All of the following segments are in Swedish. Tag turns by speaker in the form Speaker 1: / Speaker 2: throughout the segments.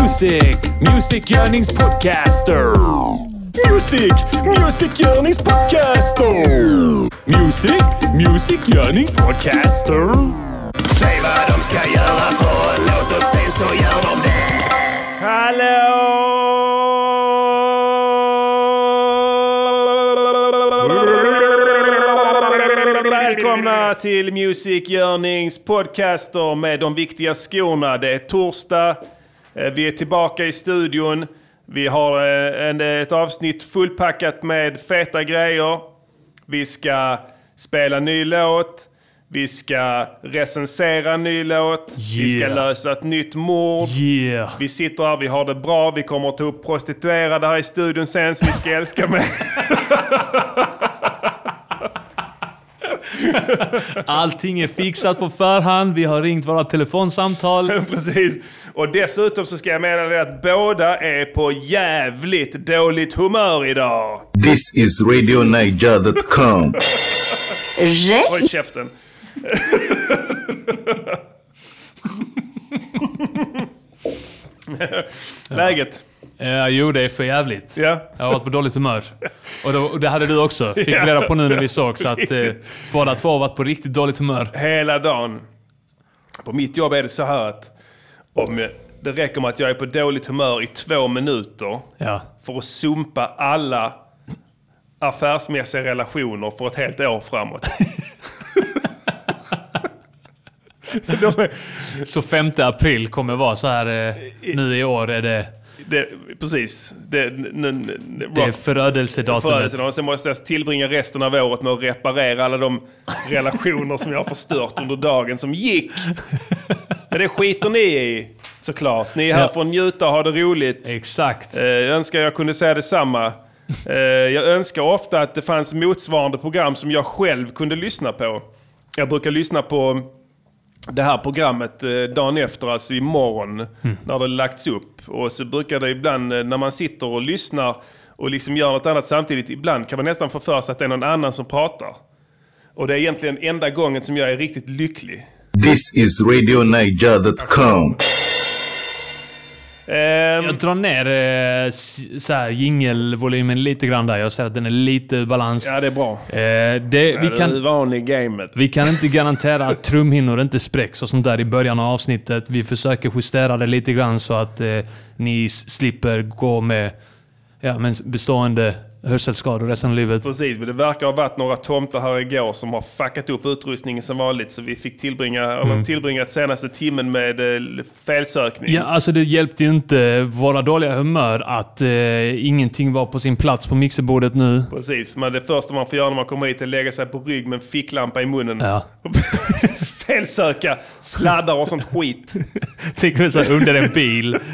Speaker 1: Music, Music Yearnings Podcaster. Music, Music Yearnings Podcaster. Music, Music Yearnings Podcaster.
Speaker 2: Säg vad de ska göra för en låt och sen så gör de det.
Speaker 3: Välkomna till Music Yearnings podcaster med de viktiga skorna. Det är torsdag, eh, vi är tillbaka i studion. Vi har eh, en, ett avsnitt fullpackat med feta grejer. Vi ska spela ny låt. Vi ska recensera en ny låt. Vi ska
Speaker 4: Yeah.
Speaker 3: lösa ett nytt mord.
Speaker 4: Yeah.
Speaker 3: Vi sitter här, vi har det bra, vi kommer att ta upp prostituerade här i studion sen som vi ska älska med.
Speaker 4: Allting är fixat på förhand. Vi har ringt våra telefonsamtal.
Speaker 3: Precis. Och dessutom så ska jag meddela dig att båda är på jävligt dåligt humör idag.
Speaker 5: This is RadioNiger.com.
Speaker 3: Håll käften. Läget?
Speaker 4: Eh, jo, det är för jävligt.
Speaker 3: Ja.
Speaker 4: Jag har varit på dåligt humör. Och, då, och det hade du också. Fick vi reda på nu när vi såg. Så att eh, båda två har varit på riktigt dåligt humör.
Speaker 3: Hela dagen. På mitt jobb är det så här att om det räcker med att jag är på dåligt humör i två minuter
Speaker 4: Ja.
Speaker 3: för att sumpa alla affärsmässiga relationer för ett helt år framåt. De är,
Speaker 4: Så 5 april kommer vara så här. Eh, nu i år är det,
Speaker 3: det, precis. Det, n, n, n,
Speaker 4: det är
Speaker 3: rock-
Speaker 4: förödelsedatumet.
Speaker 3: födelsedagen. Sen måste jag tillbringa resten av året med att reparera alla de relationer som jag har förstört under dagen som gick. Men det skiter ni i, såklart. Ni är här
Speaker 4: Ja.
Speaker 3: för att njuta och ha det roligt.
Speaker 4: Exakt.
Speaker 3: Eh, Jag önskar jag kunde säga detsamma. Eh, Jag önskar ofta att det fanns motsvarande program som jag själv kunde lyssna på. Jag brukar lyssna på det här programmet eh, dagen efter, alltså imorgon,
Speaker 4: Mm.
Speaker 3: när det lagts upp. Och så brukar det ibland, eh, när man sitter och lyssnar och liksom gör något annat samtidigt, ibland kan man nästan få för sig att det är någon annan som pratar. Och det är egentligen enda gången som jag är riktigt lycklig.
Speaker 5: This is RadioNiger.com.
Speaker 3: Ehm,
Speaker 4: Jag drar ner eh, s- så här jingelvolymen lite grann där. Jag ser att den är lite ur balans.
Speaker 3: ja, det är bra.
Speaker 4: Eh, det, vi
Speaker 3: Vi
Speaker 4: kan...
Speaker 3: Du är van i gamet.
Speaker 4: Vi kan inte garantera att trumhinnor inte spräcks och sånt där i början av avsnittet. Vi försöker justera det lite grann så att eh, ni s- slipper gå med ja, men bestående hörselskador resten av livet.
Speaker 3: Precis, men det verkar ha varit några tomtar här igår som har fuckat upp utrustningen som vanligt. Så vi fick tillbringa, eller tillbringat senaste timmen med eh, felsökning.
Speaker 4: Mm. Ja, alltså det hjälpte ju inte våra dåliga humör att eh, ingenting var på sin plats på mixerbordet nu.
Speaker 3: Precis, men det första man får göra när man kommer hit är att lägga sig på rygg med en ficklampa i munnen.
Speaker 4: Ja.
Speaker 3: Och Felsöka sladdar och sånt skit.
Speaker 4: Tänk mig så här under en bil.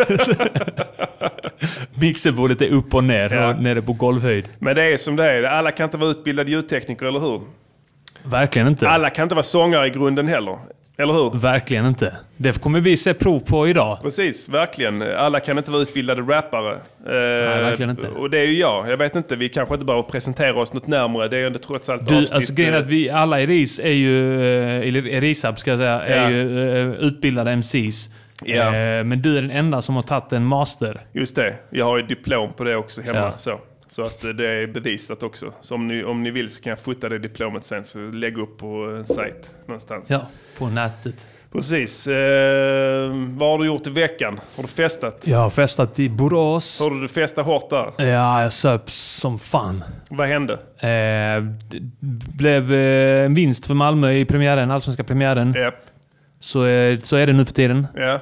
Speaker 4: mixerbordet är upp och ner
Speaker 3: Ja.
Speaker 4: och nere på golvhöjd.
Speaker 3: Men det är som det är. Alla kan inte vara utbildade ljudtekniker, eller hur?
Speaker 4: Verkligen inte.
Speaker 3: Alla kan inte vara sångare i grunden heller. Eller hur?
Speaker 4: Verkligen inte. Det kommer vi se prov på idag.
Speaker 3: Precis, verkligen. Alla kan inte vara utbildade rappare. Nej,
Speaker 4: verkligen inte.
Speaker 3: Och det är ju jag. Jag vet inte, vi kanske inte behöver presentera oss något närmare. Det är ju ändå trots allt
Speaker 4: Du,
Speaker 3: avsnitt,
Speaker 4: alltså grejen är
Speaker 3: eh,
Speaker 4: att vi alla i RIS är ju, eh, eller RISAB ska jag säga,
Speaker 3: Ja.
Speaker 4: är ju eh, utbildade MCs.
Speaker 3: Ja.
Speaker 4: Eh, Men du är den enda som har tagit en master.
Speaker 3: eh, Just det, jag har ju diplom på det också hemma.
Speaker 4: Ja.
Speaker 3: Så. så att eh, det är bevisat också. Så om ni, om ni vill så kan jag fota det diplomet sen, så lägg upp på en sajt någonstans.
Speaker 4: Ja, på nätet.
Speaker 3: Precis. Eh, vad har du gjort i veckan? Har du festat?
Speaker 4: Jag har festat i Borås.
Speaker 3: Har du festat hårt där?
Speaker 4: Ja, jag söp som fan.
Speaker 3: Vad hände?
Speaker 4: Eh, d- blev eh, en vinst för Malmö i premiären, allsvenska premiären.
Speaker 3: Japp.
Speaker 4: Så, eh, så är det nu för tiden.
Speaker 3: Ja.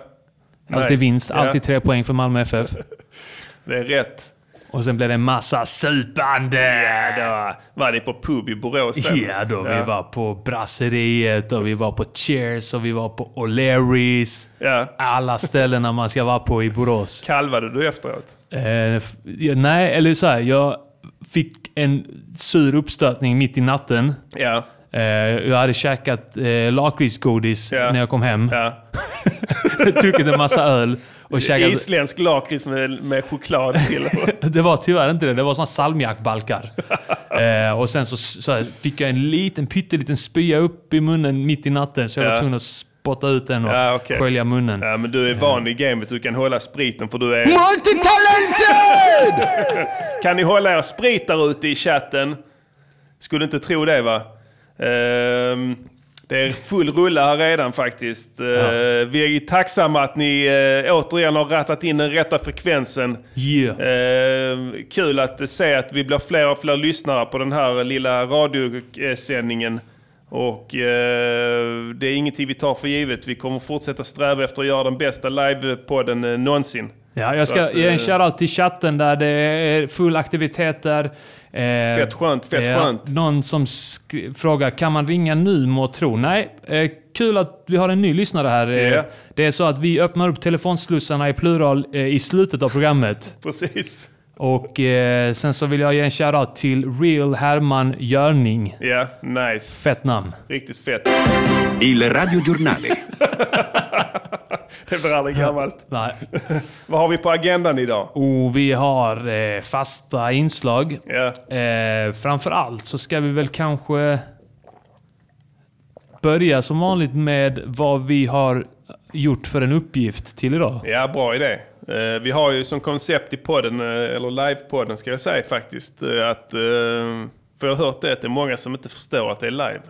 Speaker 4: Alltid
Speaker 3: Nice.
Speaker 4: vinst,
Speaker 3: Ja,
Speaker 4: alltid tre poäng för Malmö FF.
Speaker 3: Det är rätt.
Speaker 4: Och sen blev det en massa supande!
Speaker 3: Ja, då var ni på pub i Borås sen.
Speaker 4: Ja då, vi var på Brasseriet och vi var på Cheers och vi var på O'Learys.
Speaker 3: Ja.
Speaker 4: Alla ställena man ska vara på i Borås.
Speaker 3: Kalvade du efteråt?
Speaker 4: Eh, f- ja, nej, eller så här, jag fick en sur uppstötning mitt i natten.
Speaker 3: Ja.
Speaker 4: Eh, jag hade käkat eh, lakritsgodis
Speaker 3: Ja.
Speaker 4: när jag kom hem.
Speaker 3: ja.
Speaker 4: Druckit en massa öl och käkat...
Speaker 3: Isländsk lakrits med, med choklad till.
Speaker 4: Det var tyvärr inte det. Det var såna salmiakbalkar. eh, och sen så, så här, fick jag en liten pytteliten spya upp i munnen mitt i natten så jag
Speaker 3: Ja.
Speaker 4: var tvungen att s- spotta ut den och
Speaker 3: Ja, okej.
Speaker 4: skölja munnen.
Speaker 3: Ja, men du är van i gamet, du kan hålla spriten för du är...
Speaker 6: Multitalented!
Speaker 3: Kan ni hålla er sprit där ute i chatten? Skulle inte tro det va? Ehm, det är full rulla här redan faktiskt. Ehm, Vi är tacksamma att ni eh, återigen har rattat in den rätta frekvensen.
Speaker 4: Yeah.
Speaker 3: Eh, Ehm, kul att se att vi blir fler och fler lyssnare på den här lilla radiosändningen. Och eh, det är ingenting vi tar för givet. Vi kommer fortsätta sträva efter att göra den bästa livepodden eh, någonsin.
Speaker 4: Ja, jag
Speaker 3: Så
Speaker 4: ska
Speaker 3: att,
Speaker 4: ge en
Speaker 3: eh,
Speaker 4: shoutout till chatten där det är full aktivitet där. Eh,
Speaker 3: Fett skönt, fett skönt.
Speaker 4: Någon som skri- frågar, kan man ringa nu må tro? Nej, eh, kul att vi har en ny lyssnare här. Eh,
Speaker 3: Ja.
Speaker 4: Det är så att vi öppnar upp telefonslussarna i plural eh, i slutet av programmet.
Speaker 3: Precis.
Speaker 4: Och eh, sen så vill jag ge en shoutout till Real Herman Görning.
Speaker 3: Ja, nice.
Speaker 4: Fett namn.
Speaker 3: Riktigt fett.
Speaker 2: Il radiogiornale.
Speaker 3: Det blir aldrig gammalt.
Speaker 4: Nej.
Speaker 3: Vad har vi på agendan idag?
Speaker 4: Och vi har eh, fasta inslag.
Speaker 3: Ja.
Speaker 4: Eh, framförallt så ska vi väl kanske börja som vanligt med vad vi har gjort för en uppgift till idag.
Speaker 3: ja, bra idé. Eh, Vi har ju som koncept i podden, eh, eller livepodden ska jag säga faktiskt, eh, att... eh, För jag har hört det, att det är många som inte förstår att det är live.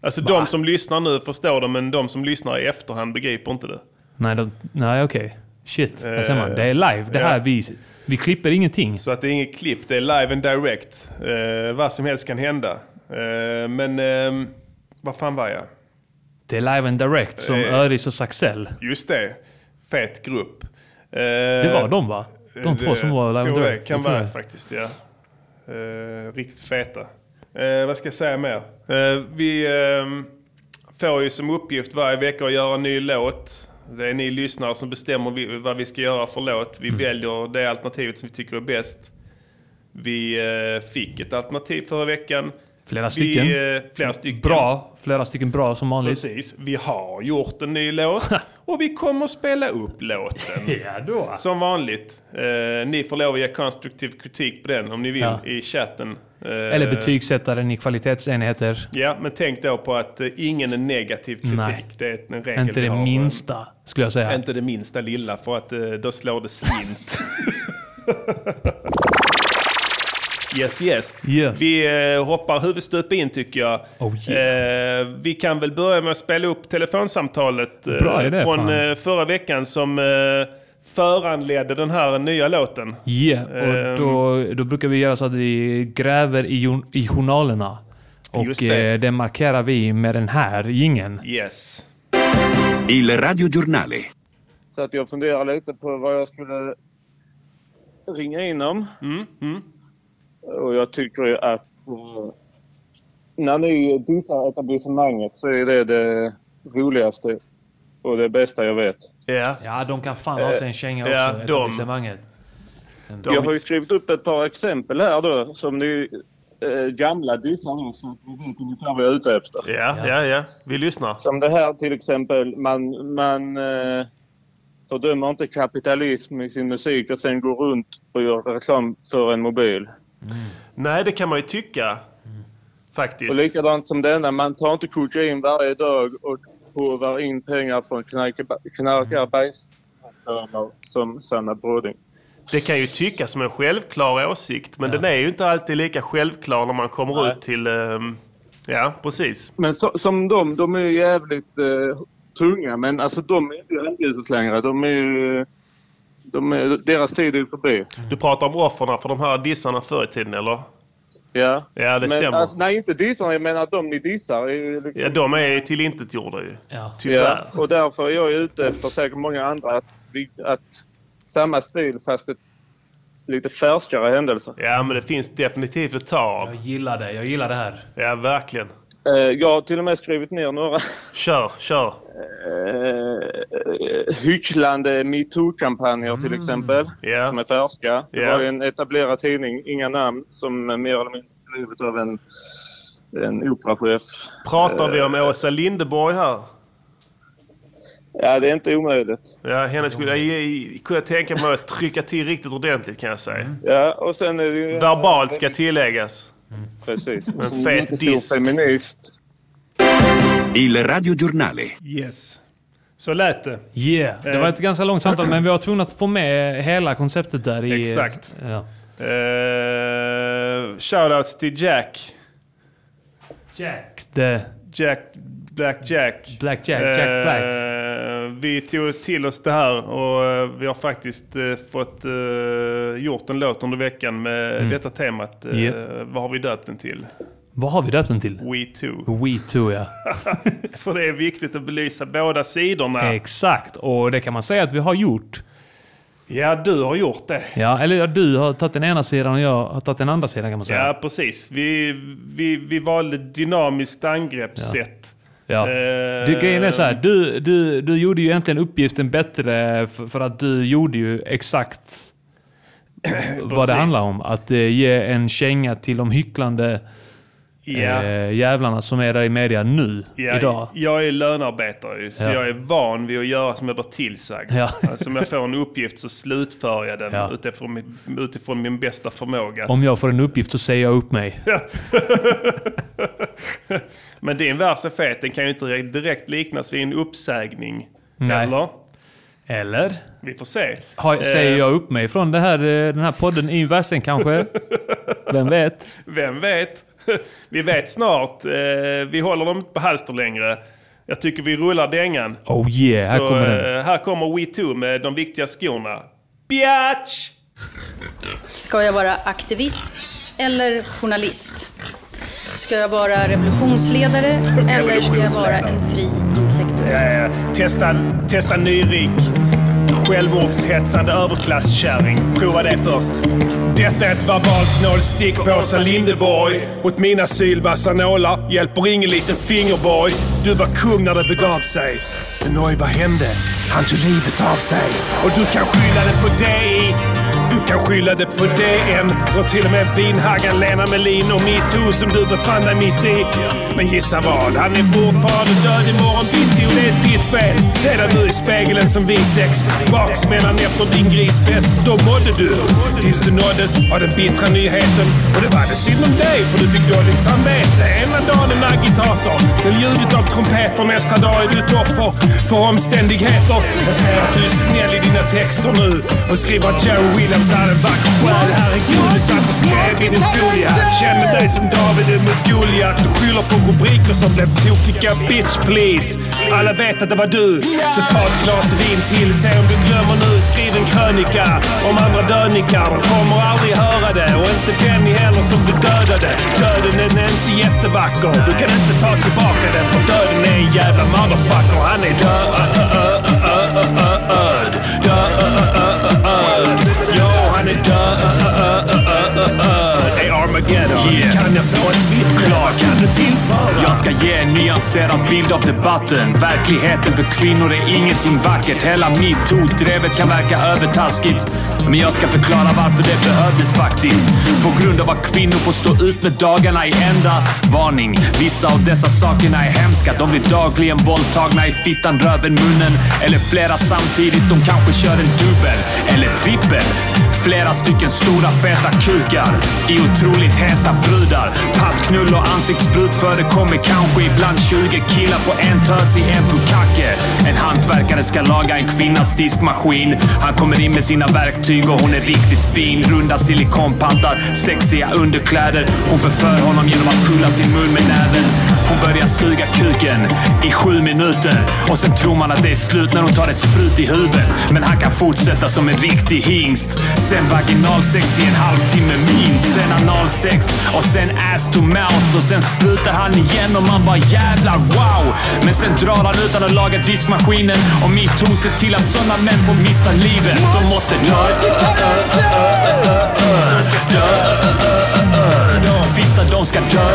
Speaker 3: Alltså de som lyssnar nu förstår det, men de som lyssnar i efterhand begriper inte det.
Speaker 4: Nej, de, nej okej. Shit, där ser man.
Speaker 3: Eh,
Speaker 4: Det är live. Det här
Speaker 3: ja.
Speaker 4: vi, vi klipper ingenting.
Speaker 3: Så att det är inget klipp, det är live and direct. Eh, vad som helst kan hända. Eh, men, eh, vad fan var jag?
Speaker 4: Det är live and direct som
Speaker 3: Eh.
Speaker 4: Öris och Saxell.
Speaker 3: Just det, fet grupp. Eh,
Speaker 4: Det var de va? De två som var live and
Speaker 3: tror Eh, det E
Speaker 4: direct.
Speaker 3: kan
Speaker 4: Jag tror
Speaker 3: vara
Speaker 4: det.
Speaker 3: faktiskt, ja. Eh, riktigt feta. Eh, vad ska jag säga mer? Eh, vi ehm, får ju som uppgift varje vecka att göra en ny låt. Det är ni lyssnare som bestämmer vi, vad vi ska göra för låt.
Speaker 4: Mm.
Speaker 3: Vi väljer det alternativet som vi tycker är bäst. Vi eh, fick ett alternativ förra veckan.
Speaker 4: Flera stycken.
Speaker 3: Vi, eh, flera stycken.
Speaker 4: Bra. Flera stycken bra som vanligt.
Speaker 3: Precis. Vi har gjort en ny låt och vi kommer spela upp låten.
Speaker 4: Ja då.
Speaker 3: Som vanligt, eh, ni får lov att ge konstruktiv kritik på den om ni vill
Speaker 4: Ja.
Speaker 3: i chatten. Eh,
Speaker 4: Eller betygsätta den i kvalitetsenheter.
Speaker 3: Ja, men tänk då på att eh, ingen är negativ kritik.
Speaker 4: Nej.
Speaker 3: Det är en regel
Speaker 4: Inte
Speaker 3: vi
Speaker 4: det
Speaker 3: har.
Speaker 4: minsta, skulle jag säga.
Speaker 3: Inte det minsta lilla, för att eh, då slår det slint. yes, yes.
Speaker 4: Yes.
Speaker 3: Vi eh, hoppar huvudstup in tycker jag.
Speaker 4: Oh,
Speaker 3: eh, vi kan väl börja med att spela upp telefonsamtalet eh,
Speaker 4: Bra idé,
Speaker 3: från
Speaker 4: fan.
Speaker 3: eh, förra veckan som eh, föranledde den här nya låten.
Speaker 4: Ja, och då,
Speaker 3: Ehm.
Speaker 4: då brukar vi göra så att vi gräver i, jo- i journalerna. Och
Speaker 3: Just det.
Speaker 4: det. Eh, det markerar vi med den här gingen.
Speaker 3: Yes.
Speaker 2: Il radiogiornale.
Speaker 7: Så att jag funderar lite på vad jag skulle ringa in om. Och jag tycker ju att eh, när ni dissar etablissemanget så är det det roligaste och det bästa jag vet.
Speaker 3: Ja.
Speaker 4: Ja, de kan fan ha sig en känga
Speaker 3: Eh, ja,
Speaker 4: också,
Speaker 3: de.
Speaker 4: etablissemanget.
Speaker 7: Jag har ju skrivit upp ett par exempel här då som ni eh, gamla dissar nu så att ni vet ungefär vad jag är ute efter.
Speaker 3: Ja, ja, ja. Vi lyssnar.
Speaker 7: Som det här till exempel. Man, man eh, fördömer inte kapitalism i sin musik och sen går runt och gör reklam för en mobil.
Speaker 3: Nej, det kan man ju tycka. Faktiskt.
Speaker 7: Och likadant som denna, man tar inte kokain varje dag och hovar in pengar från knarka- knarkarbajsreklamer som Sanna Broding.
Speaker 3: Det kan ju tyckas som en självklar åsikt, men den är ju inte alltid lika självklar när man kommer ut till... ehm, ja, precis.
Speaker 7: Men så, som de, de är ju jävligt eh, tunga, men alltså de är inte i rampljuset längre. De är ju... De är, deras tid är förbi.
Speaker 3: Du pratar om offren för de här dissarna förr i tiden, eller?
Speaker 7: Ja.
Speaker 3: Ja, det
Speaker 7: men,
Speaker 3: stämmer.
Speaker 7: Alltså, nej, inte dissarna. Jag menar de ni dissar. Är ju liksom,
Speaker 3: Ja, de är typ tillintetgjorda ju.
Speaker 4: Ja.
Speaker 3: Tyvärr.
Speaker 7: Ja, och därför är jag ute efter säkert många andra att, vi, att samma stil fast ett lite färskare händelse.
Speaker 3: Ja, men det finns definitivt att ta av.
Speaker 4: Jag gillar det, jag gillar det här.
Speaker 3: Ja, verkligen.
Speaker 7: Eh, Jag har till och med skrivit ner några
Speaker 3: Kör, kör.
Speaker 7: eh, hycklande metoo-kampanjer till exempel.
Speaker 3: Mm. Ja.
Speaker 7: Som är färska. Det
Speaker 3: Ja.
Speaker 7: var ju en etablerad tidning, inga namn, som mer eller mindre skrivet av en, en operachef.
Speaker 3: Pratar vi om Åsa Lindeborg här?
Speaker 7: Ja, det är inte omöjligt.
Speaker 3: Ja, henne skulle jag kunna tänka mig att trycka till riktigt ordentligt kan jag säga.
Speaker 7: Ja, och sen är det ju...
Speaker 3: Verbalt ska tilläggas.
Speaker 7: Precis. En
Speaker 3: fet diss.
Speaker 7: feminist.
Speaker 2: Il radiogiornale.
Speaker 3: Yes. Så lät det.
Speaker 4: Yeah. Det
Speaker 3: Eh.
Speaker 4: var ett ganska långt samtal, men vi var tvungna att få med hela konceptet där i...
Speaker 3: Exakt.
Speaker 4: Ja.
Speaker 3: Eh, shoutouts till Jack.
Speaker 4: Jack. The
Speaker 3: Jack, Black Jack.
Speaker 4: Black Jack, Jack Black.
Speaker 3: Eh, vi tog till oss det här och eh, vi har faktiskt eh, fått eh, gjort en låt under veckan med
Speaker 4: Mm.
Speaker 3: detta temat. Eh,
Speaker 4: Yeah.
Speaker 3: Vad har vi döpt den till?
Speaker 4: Vad har vi döpt den till?
Speaker 3: We too.
Speaker 4: We Too, ja.
Speaker 3: För det är viktigt att belysa båda sidorna.
Speaker 4: Exakt. Och det kan man säga att vi har gjort.
Speaker 3: Ja, du har gjort det.
Speaker 4: Ja, eller ja, du har tagit den ena sidan och jag har tagit den andra sidan kan man säga.
Speaker 3: Ja, precis. Vi, vi, vi valde dynamiskt angreppssätt.
Speaker 4: Ja.
Speaker 3: Eh,
Speaker 4: Du, grejen är så här, du, du, du gjorde ju egentligen uppgiften bättre för, för att du gjorde ju exakt vad det
Speaker 3: Precis.
Speaker 4: handlar om. Att eh, ge en känga till de hycklande
Speaker 3: Ja.
Speaker 4: eh, jävlarna som är där i media nu,
Speaker 3: Ja,
Speaker 4: idag.
Speaker 3: Jag är lönearbetare ju, så
Speaker 4: Ja.
Speaker 3: jag är van vid att göra som jag blir tillsagd.
Speaker 4: Ja.
Speaker 3: Alltså, om jag får en uppgift så slutför jag den
Speaker 4: Ja.
Speaker 3: utifrån, min, utifrån min bästa förmåga.
Speaker 4: Om jag får en uppgift så säger jag upp mig.
Speaker 3: Men din vers är fet, den kan ju inte direkt- direkt liknas vid en uppsägning.
Speaker 4: Nej.
Speaker 3: Eller?
Speaker 4: Eller?
Speaker 3: Vi får se.
Speaker 4: Har, säger
Speaker 3: Eh,
Speaker 4: jag upp mig från det här, eh, den här podden i versen kanske? Vem vet?
Speaker 3: Vem vet? Vi vet snart. Eh, Vi håller dem inte på halster längre. Jag tycker vi rullar dängan.
Speaker 4: Oh yeah, här
Speaker 3: Så,
Speaker 4: kommer den.
Speaker 3: eh, här kommer We Too med de viktiga skorna. Biatch!
Speaker 8: Ska jag vara aktivist eller journalist? Ska jag vara revolutionsledare eller ska jag vara en fri intellektuell?
Speaker 2: Eh, testa, testa nyrik. Självmordshetsande överklasskärring. Prova det först. Detta är ett verbalt nålstick på Åsa Linderborg. Mot mina sylvassa nålar hjälper ingen liten fingerborg. Du var kung när det begav sig. Men oj, vad hände? Han tog livet av sig. Och du kan skylla det på dig. Du kan skylla det på DN och till och med vinhaggan Lena Melin och metoo som du befann dig mitt i. Men gissa vad? Han är fortfarande död imorgon bitti och det är ditt fel. Se dig nu i spegeln som vi sex. Baksmällan efter din grisfest. Då mådde du. Tills du nåddes av den bittra nyheten. Och det var det synd om dig för du fick dåligt samvete. Ena dagen en agitator. Till ljudet av trumpeter. Nästa dag är du ett offer för omständigheter. Jag ser att du är snäll i dina texter nu. Och skriver att Jerry Williams hade en vacker själ. Herregud, du satt och skrev i din folie. Känner dig som David mot Goliat. Du skyller på rubriker som blev tokiga. Bitch please. Alla vet att det var du. Så ta ett glas vin till. Se om du glömmer nu. Skriv en krönika om andra dönikar. De kommer aldrig höra det. Och inte Benny heller som du dödade. Döden den är inte jättevacker. Du kan inte ta tillbaka den. För döden är en jävla motherfucker. Han är död. Död. Jo, han är död. Det är Armageddon. Kan jag få ett vittne? Vad kan du tillföra?
Speaker 9: Jag ska ge en nyanserad bild av debatten. Verkligheten för kvinnor är ingenting vackert. Hela metoo-drevet kan verka övertaskigt. Men jag ska förklara varför det behövdes faktiskt. På grund av att kvinnor får stå ut med dagarna i ända. Varning! Vissa av dessa sakerna är hemska. De blir dagligen våldtagna i fittan, röven, munnen eller flera samtidigt. De kanske kör en dubbel eller trippel. Flera stycken stora feta kukar i otroligt heta brudar. Pattknull och ansiktsbrut förekommer kanske ibland 20 killar på en tös i en pukacke. En hantverkare ska laga en kvinnas diskmaskin. Han kommer in med sina verktyg och hon är riktigt fin. Runda silikonpantar, sexiga underkläder. Hon förför honom genom att pulla sin mun med näven. Hon börjar suga kuken i sju minuter och sen tror man att det är slut när hon tar ett sprut i huvudet. Men han kan fortsätta som en riktig hingst. Sen vaginalsex i en halvtimme minst. Sen analsex och sen ass to mouth. Och sen sprutar han igen och man bara jävlar wow. Men sen drar han utan att laga diskmaskinen. Och metoo ser till att sådana män får mista livet. De måste dö. Fitta, de ska dö.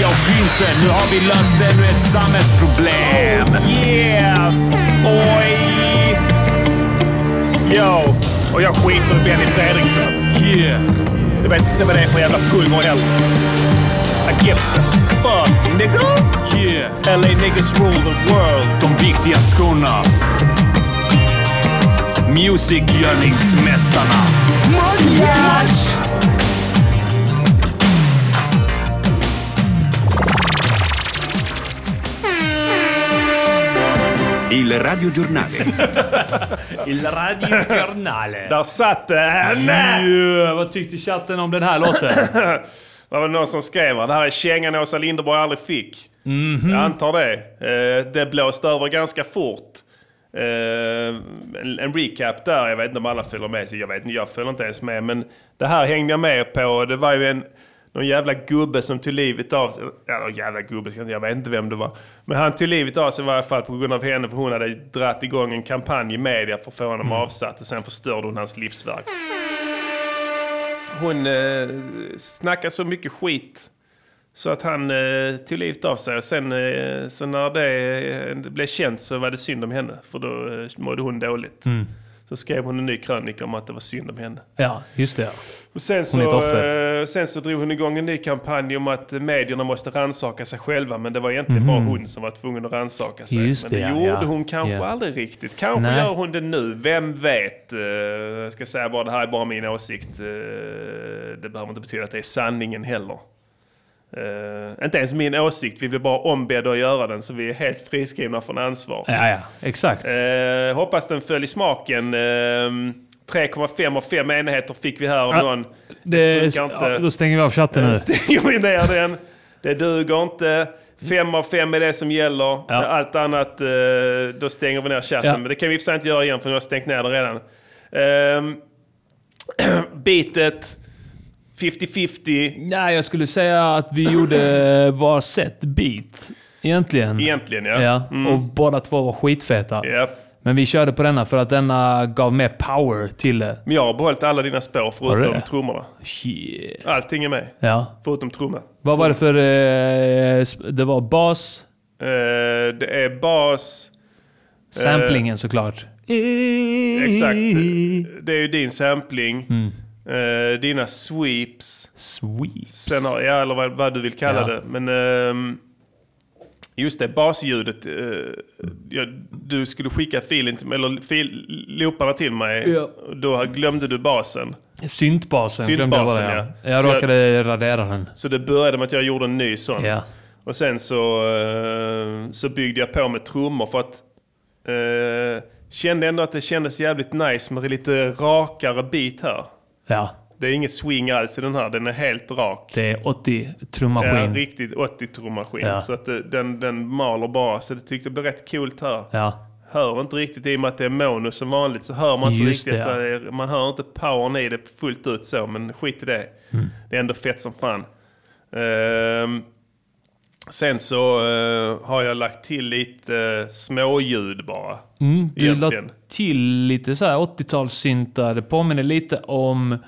Speaker 9: Jag och prinsen, nu har vi löst ännu ett samhällsproblem.
Speaker 2: Yeah! Oj! Yo! Och jag skiter i Benny Fredriksson.
Speaker 9: Yeah.
Speaker 2: Jag vet inte vad det är för jävla pulver heller. I gives a fuck, nigga!
Speaker 9: Yeah.
Speaker 2: LA niggas rule the world.
Speaker 9: De viktiga skorna. Music-görningsmästarna.
Speaker 10: Il radiogiornale.
Speaker 3: eh,
Speaker 4: Il radiogiornale.
Speaker 3: Där satt
Speaker 2: Äh,
Speaker 3: den!
Speaker 4: Yeah, vad tyckte chatten om den här låten?
Speaker 3: Vad var det någon som skrev här? Det här är kängan Åsa Linderborg aldrig fick. Jag antar det. Eh, det blåste över ganska fort. Eh, en, en recap där. Jag vet inte om alla följer med. Så Jag vet inte, jag följer inte ens med. Men det här hängde jag med på. Det var ju en, någon jävla gubbe som tog livet av sig. Ja, någon jävla gubbe. ska jag inte- Jag vet inte vem det var. Men han tog livet av sig i varje fall på grund av henne. För hon hade dratt igång en kampanj i media för att få honom avsatt. Och sen förstörde hon hans livsverk. Hon eh, snackade så mycket skit så att han eh, tog livet av sig. Och sen eh, så när det eh, blev känt så var det synd om henne. För då eh, mådde hon dåligt. Så skrev hon en ny krönika om att det var synd om henne.
Speaker 4: ja, just det. ja.
Speaker 3: Och sen,
Speaker 4: Hon är ett
Speaker 3: så,
Speaker 4: offer.
Speaker 3: eh, sen så drog hon igång en ny kampanj om att medierna måste rannsaka sig själva. Men det var egentligen bara hon som var tvungen att rannsaka sig.
Speaker 4: Mhm. Just
Speaker 3: men
Speaker 4: det,
Speaker 3: det,
Speaker 4: ja,
Speaker 3: gjorde
Speaker 4: ja.
Speaker 3: hon kanske
Speaker 4: Ja.
Speaker 3: aldrig riktigt. Kanske
Speaker 4: Nej.
Speaker 3: gör hon det nu. Vem vet? Eh, Jag ska säga bara, det här är bara min åsikt. Eh, Det behöver inte betyda att det är sanningen heller. Eh, inte ens min åsikt. Vi blev bara ombedda att göra den, så vi är helt friskrivna från ansvar.
Speaker 4: Ja, ja. Exakt.
Speaker 3: Eh, hoppas den föll i smaken. Eh, 3,5 av 5 enheter fick vi här av
Speaker 4: Ja,
Speaker 3: någon.
Speaker 4: Det,
Speaker 3: funkar
Speaker 4: ja,
Speaker 3: inte.
Speaker 4: då stänger vi av chatten nu.
Speaker 3: Stänger vi ner den. Det duger inte. 5 av 5 är det som gäller. Allt annat, eh, då stänger vi ner chatten.
Speaker 4: Ja.
Speaker 3: Men det kan vi i och för sig inte göra igen för nu har jag stängt ner den redan. Ehm, bitet, 50-50
Speaker 4: Nej, jag skulle säga att vi gjorde varsitt beat. Egentligen.
Speaker 3: egentligen ja.
Speaker 4: Ja,
Speaker 3: Mm.
Speaker 4: och båda två var skitfeta.
Speaker 3: ja.
Speaker 4: Men vi körde på denna för att denna gav mer power till det.
Speaker 3: Men jag har behållit alla dina spår
Speaker 4: Har
Speaker 3: förutom
Speaker 4: du det?
Speaker 3: trummorna.
Speaker 4: Shit.
Speaker 3: Allting är med.
Speaker 4: Ja.
Speaker 3: Förutom trumman.
Speaker 4: Vad var det för... Eh, sp- det var bas,
Speaker 3: Eh, det är bas...
Speaker 4: samplingen såklart.
Speaker 3: Exakt. Det är ju din sampling.
Speaker 4: Mm.
Speaker 3: Eh, dina sweeps.
Speaker 4: Sweeps.
Speaker 3: Sen har, ja, eller vad, vad du vill kalla
Speaker 4: Ja.
Speaker 3: det. Men ehm, just det, basljudet. eh, ja, du skulle skicka filen till, eller fil, looparna till mig.
Speaker 4: Ja.
Speaker 3: Då glömde du basen.
Speaker 4: Syntbasen glömde jag bara.
Speaker 3: Syntbasen, ja.
Speaker 4: Ja. Jag
Speaker 3: Så jag-
Speaker 4: råkade radera den.
Speaker 3: Så det började med att jag gjorde en ny sån.
Speaker 4: Ja.
Speaker 3: Och sen så, eh, så byggde jag på med trummor för att eh, kände ändå att det kändes jävligt nice med lite rakare bit här.
Speaker 4: Ja.
Speaker 3: Det är inget swing alls i den här, den är helt rak.
Speaker 4: Det är 80
Speaker 3: Det är en
Speaker 4: trummaskin.
Speaker 3: riktigt 80-trummaskin.
Speaker 4: Ja.
Speaker 3: Så att det, den, den maler bara, så det tyckte det blev rätt coolt här.
Speaker 4: Ja.
Speaker 3: Hör inte riktigt, i och med att det är mono som vanligt så hör man inte
Speaker 4: Just
Speaker 3: riktigt.
Speaker 4: det, ja.
Speaker 3: att det är- Man hör inte powern i det fullt ut så, men skit i det.
Speaker 4: Mm.
Speaker 3: Det är ändå fett som fan. Ehm, sen så eh, har jag lagt till lite uh, småljud bara.
Speaker 4: Mm, du la
Speaker 3: egentligen.
Speaker 4: till lite så här 80-talssyntar. Det påminner lite om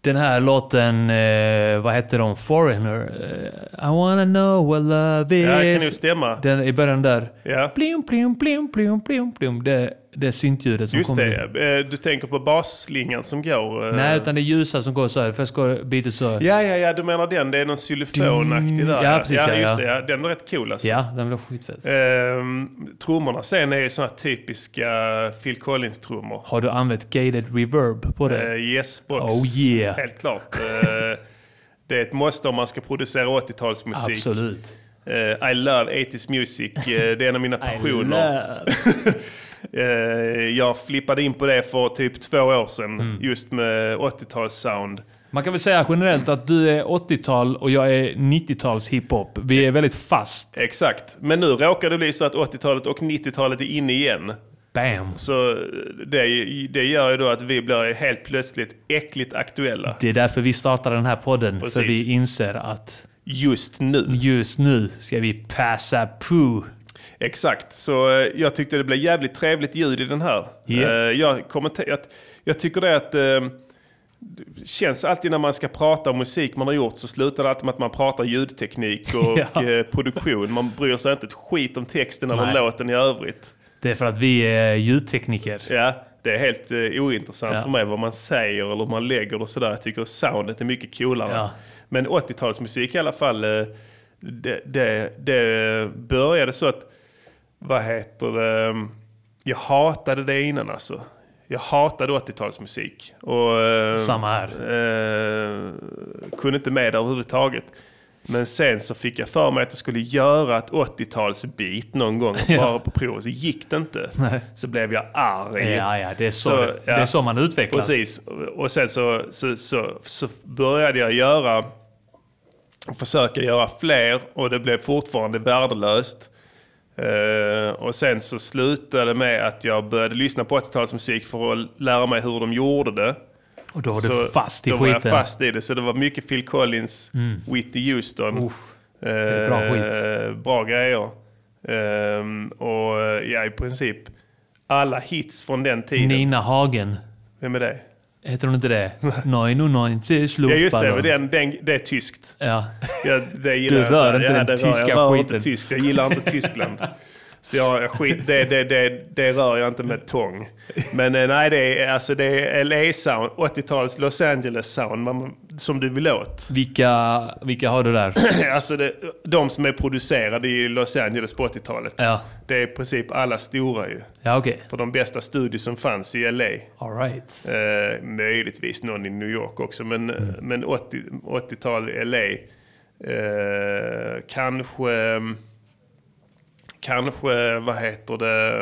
Speaker 4: den här låten, eh, vad hette de? Foreigner? Eh, I wanna know what love is.
Speaker 3: Ja, det kan nog stämma.
Speaker 4: Den i början där.
Speaker 3: Ja.
Speaker 4: Plim, plim, plim, plim, plim, plim. Det, det är syntljudet som
Speaker 3: Just
Speaker 4: kommer.
Speaker 3: det,
Speaker 4: in.
Speaker 3: eh, du tänker på basslingan som går. eh.
Speaker 4: Nej, utan det är ljusa som går så här. Först går bitet så. här.
Speaker 3: Ja, ja, ja, du menar den. Det är någon xylofonaktig där.
Speaker 4: Ja, precis, ja,
Speaker 3: just
Speaker 4: ja.
Speaker 3: det. Ja. Den är rätt cool alltså.
Speaker 4: Ja, den blev skitfett.
Speaker 3: Ehm, trummorna sen är ju såna här typiska Phil Collins-trummor.
Speaker 4: Har du använt gated reverb på det?
Speaker 3: Eh, yes box.
Speaker 4: Oh, yeah.
Speaker 3: Helt klart. Eh, det är ett måste om man ska producera 80-talsmusik.
Speaker 4: Absolut.
Speaker 3: Eh, I love 80s music. Eh, det är en av mina passioner.
Speaker 4: love-
Speaker 3: Eh, jag flippade in på det för typ två år sedan.
Speaker 4: Mm.
Speaker 3: Just med 80-talssound.
Speaker 4: Man kan väl säga generellt att du är 80-tal och jag är 90-tals hiphop. Vi är väldigt fast.
Speaker 3: Exakt. Men nu råkar det bli så att 80-talet och 90-talet är inne igen.
Speaker 4: Bam!
Speaker 3: Så eh, det, det gör ju då att vi blir helt plötsligt äckligt aktuella.
Speaker 4: Det är därför vi startar den här podden. För
Speaker 3: Precis.
Speaker 4: vi inser att
Speaker 3: Just nu.
Speaker 4: just nu ska vi passa på.
Speaker 3: Exakt, så eh, jag tyckte det blev jävligt trevligt ljud i den här.
Speaker 4: Yeah.
Speaker 3: Eh, jag, kommenter- jag, jag tycker det att... Eh, det känns alltid när man ska prata om musik man har gjort så slutar det alltid med att man pratar ljudteknik och
Speaker 4: Ja.
Speaker 3: eh, produktion. Man bryr sig inte ett skit om texten eller
Speaker 4: Nej.
Speaker 3: låten i övrigt.
Speaker 4: Det är för att vi är ljudtekniker.
Speaker 3: Ja, det är helt eh, ointressant
Speaker 4: Ja.
Speaker 3: för mig vad man säger eller hur man lägger det och sådär. Jag tycker soundet är mycket coolare.
Speaker 4: Ja.
Speaker 3: Men 80-talsmusik i alla fall, eh, det, det, det började så att, vad heter det, jag hatade det innan alltså. Jag hatade 80-talsmusik. Och, eh,
Speaker 4: Samma här.
Speaker 3: Eh, kunde inte med det överhuvudtaget. Men sen så fick jag för mig att jag skulle göra ett 80-talsbeat någon gång,
Speaker 4: Ja.
Speaker 3: bara på prov. Så gick det inte.
Speaker 4: Nej.
Speaker 3: Så blev jag arg.
Speaker 4: Ja, ja, det är så, det, det är så man utvecklas.
Speaker 3: Precis. Och sen så, så, så, så började jag göra, försöka göra fler och det blev fortfarande värdelöst. Eh, och sen så slutade det med att jag började lyssna på 80-talsmusik för att lära mig hur de gjorde det.
Speaker 4: Och då var
Speaker 3: Så
Speaker 4: du fast i
Speaker 3: då
Speaker 4: skiten. Mm.
Speaker 3: var jag fast i det. Så det var mycket Phil Collins, Whitney Houston. det
Speaker 4: är bra
Speaker 3: skit. Eh, Bra grejer. Ehm, och ja, i princip alla hits från den tiden.
Speaker 4: Nina Hagen.
Speaker 3: Vem är det?
Speaker 4: Heter hon inte det? Nein och nein till
Speaker 3: Ja just det, men den, den, det är tyskt.
Speaker 4: Ja.
Speaker 3: Jag, det gillar
Speaker 4: Du
Speaker 3: jag
Speaker 4: rör inte
Speaker 3: Ja,
Speaker 4: den
Speaker 3: det
Speaker 4: tyska
Speaker 3: jag rör
Speaker 4: skiten.
Speaker 3: Inte tysk. Jag gillar inte Tyskland. Så jag, jag skit, det, det, det, det rör jag inte med tång. Men eh, nej, det är, alltså, det är LA-sound, 80-tals Los Angeles-sound man- som du vill åt.
Speaker 4: Vilka, vilka har du där?
Speaker 3: Alltså det, de som är producerade i Los Angeles på 80-talet.
Speaker 4: Ja,
Speaker 3: Det är i princip alla stora ju.
Speaker 4: ja okej.
Speaker 3: För de bästa studios som fanns i LA.
Speaker 4: All right.
Speaker 3: Eh, möjligtvis någon i New York också. Men, men 80, 80-tal i LA. Eh, kanske... Kanske, vad heter det?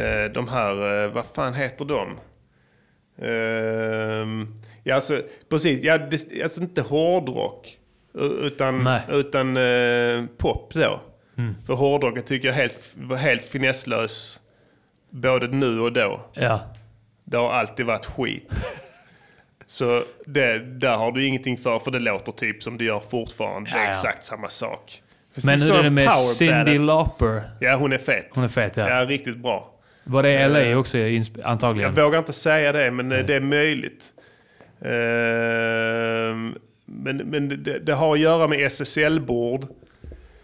Speaker 3: Eh, de här, eh, vad fan heter de? Ehm, ja, alltså, precis. Ja, det, alltså inte hårdrock. u- Utan,
Speaker 4: Nej.
Speaker 3: utan eh, pop då. För hårdrocken tycker jag helt, var helt finesslös. Både nu och då.
Speaker 4: Ja.
Speaker 3: Det har alltid varit skit. Så det, där har du ingenting för, för det låter typ som det gör fortfarande. Det är
Speaker 4: Ja, ja.
Speaker 3: exakt samma sak. Precis
Speaker 4: Men hur
Speaker 3: som
Speaker 4: är det med
Speaker 3: power
Speaker 4: Cyndi
Speaker 3: ballad.
Speaker 4: Lauper?
Speaker 3: Ja, hon är fet.
Speaker 4: Hon är fet ja.
Speaker 3: Ja, Eh, riktigt bra.
Speaker 4: Var det i LA också insp-
Speaker 3: Jag
Speaker 4: antagligen?
Speaker 3: vågar inte säga det, men
Speaker 4: Mm.
Speaker 3: eh, det är möjligt. Ehm, Men, men det, det har att göra med SSL-bord,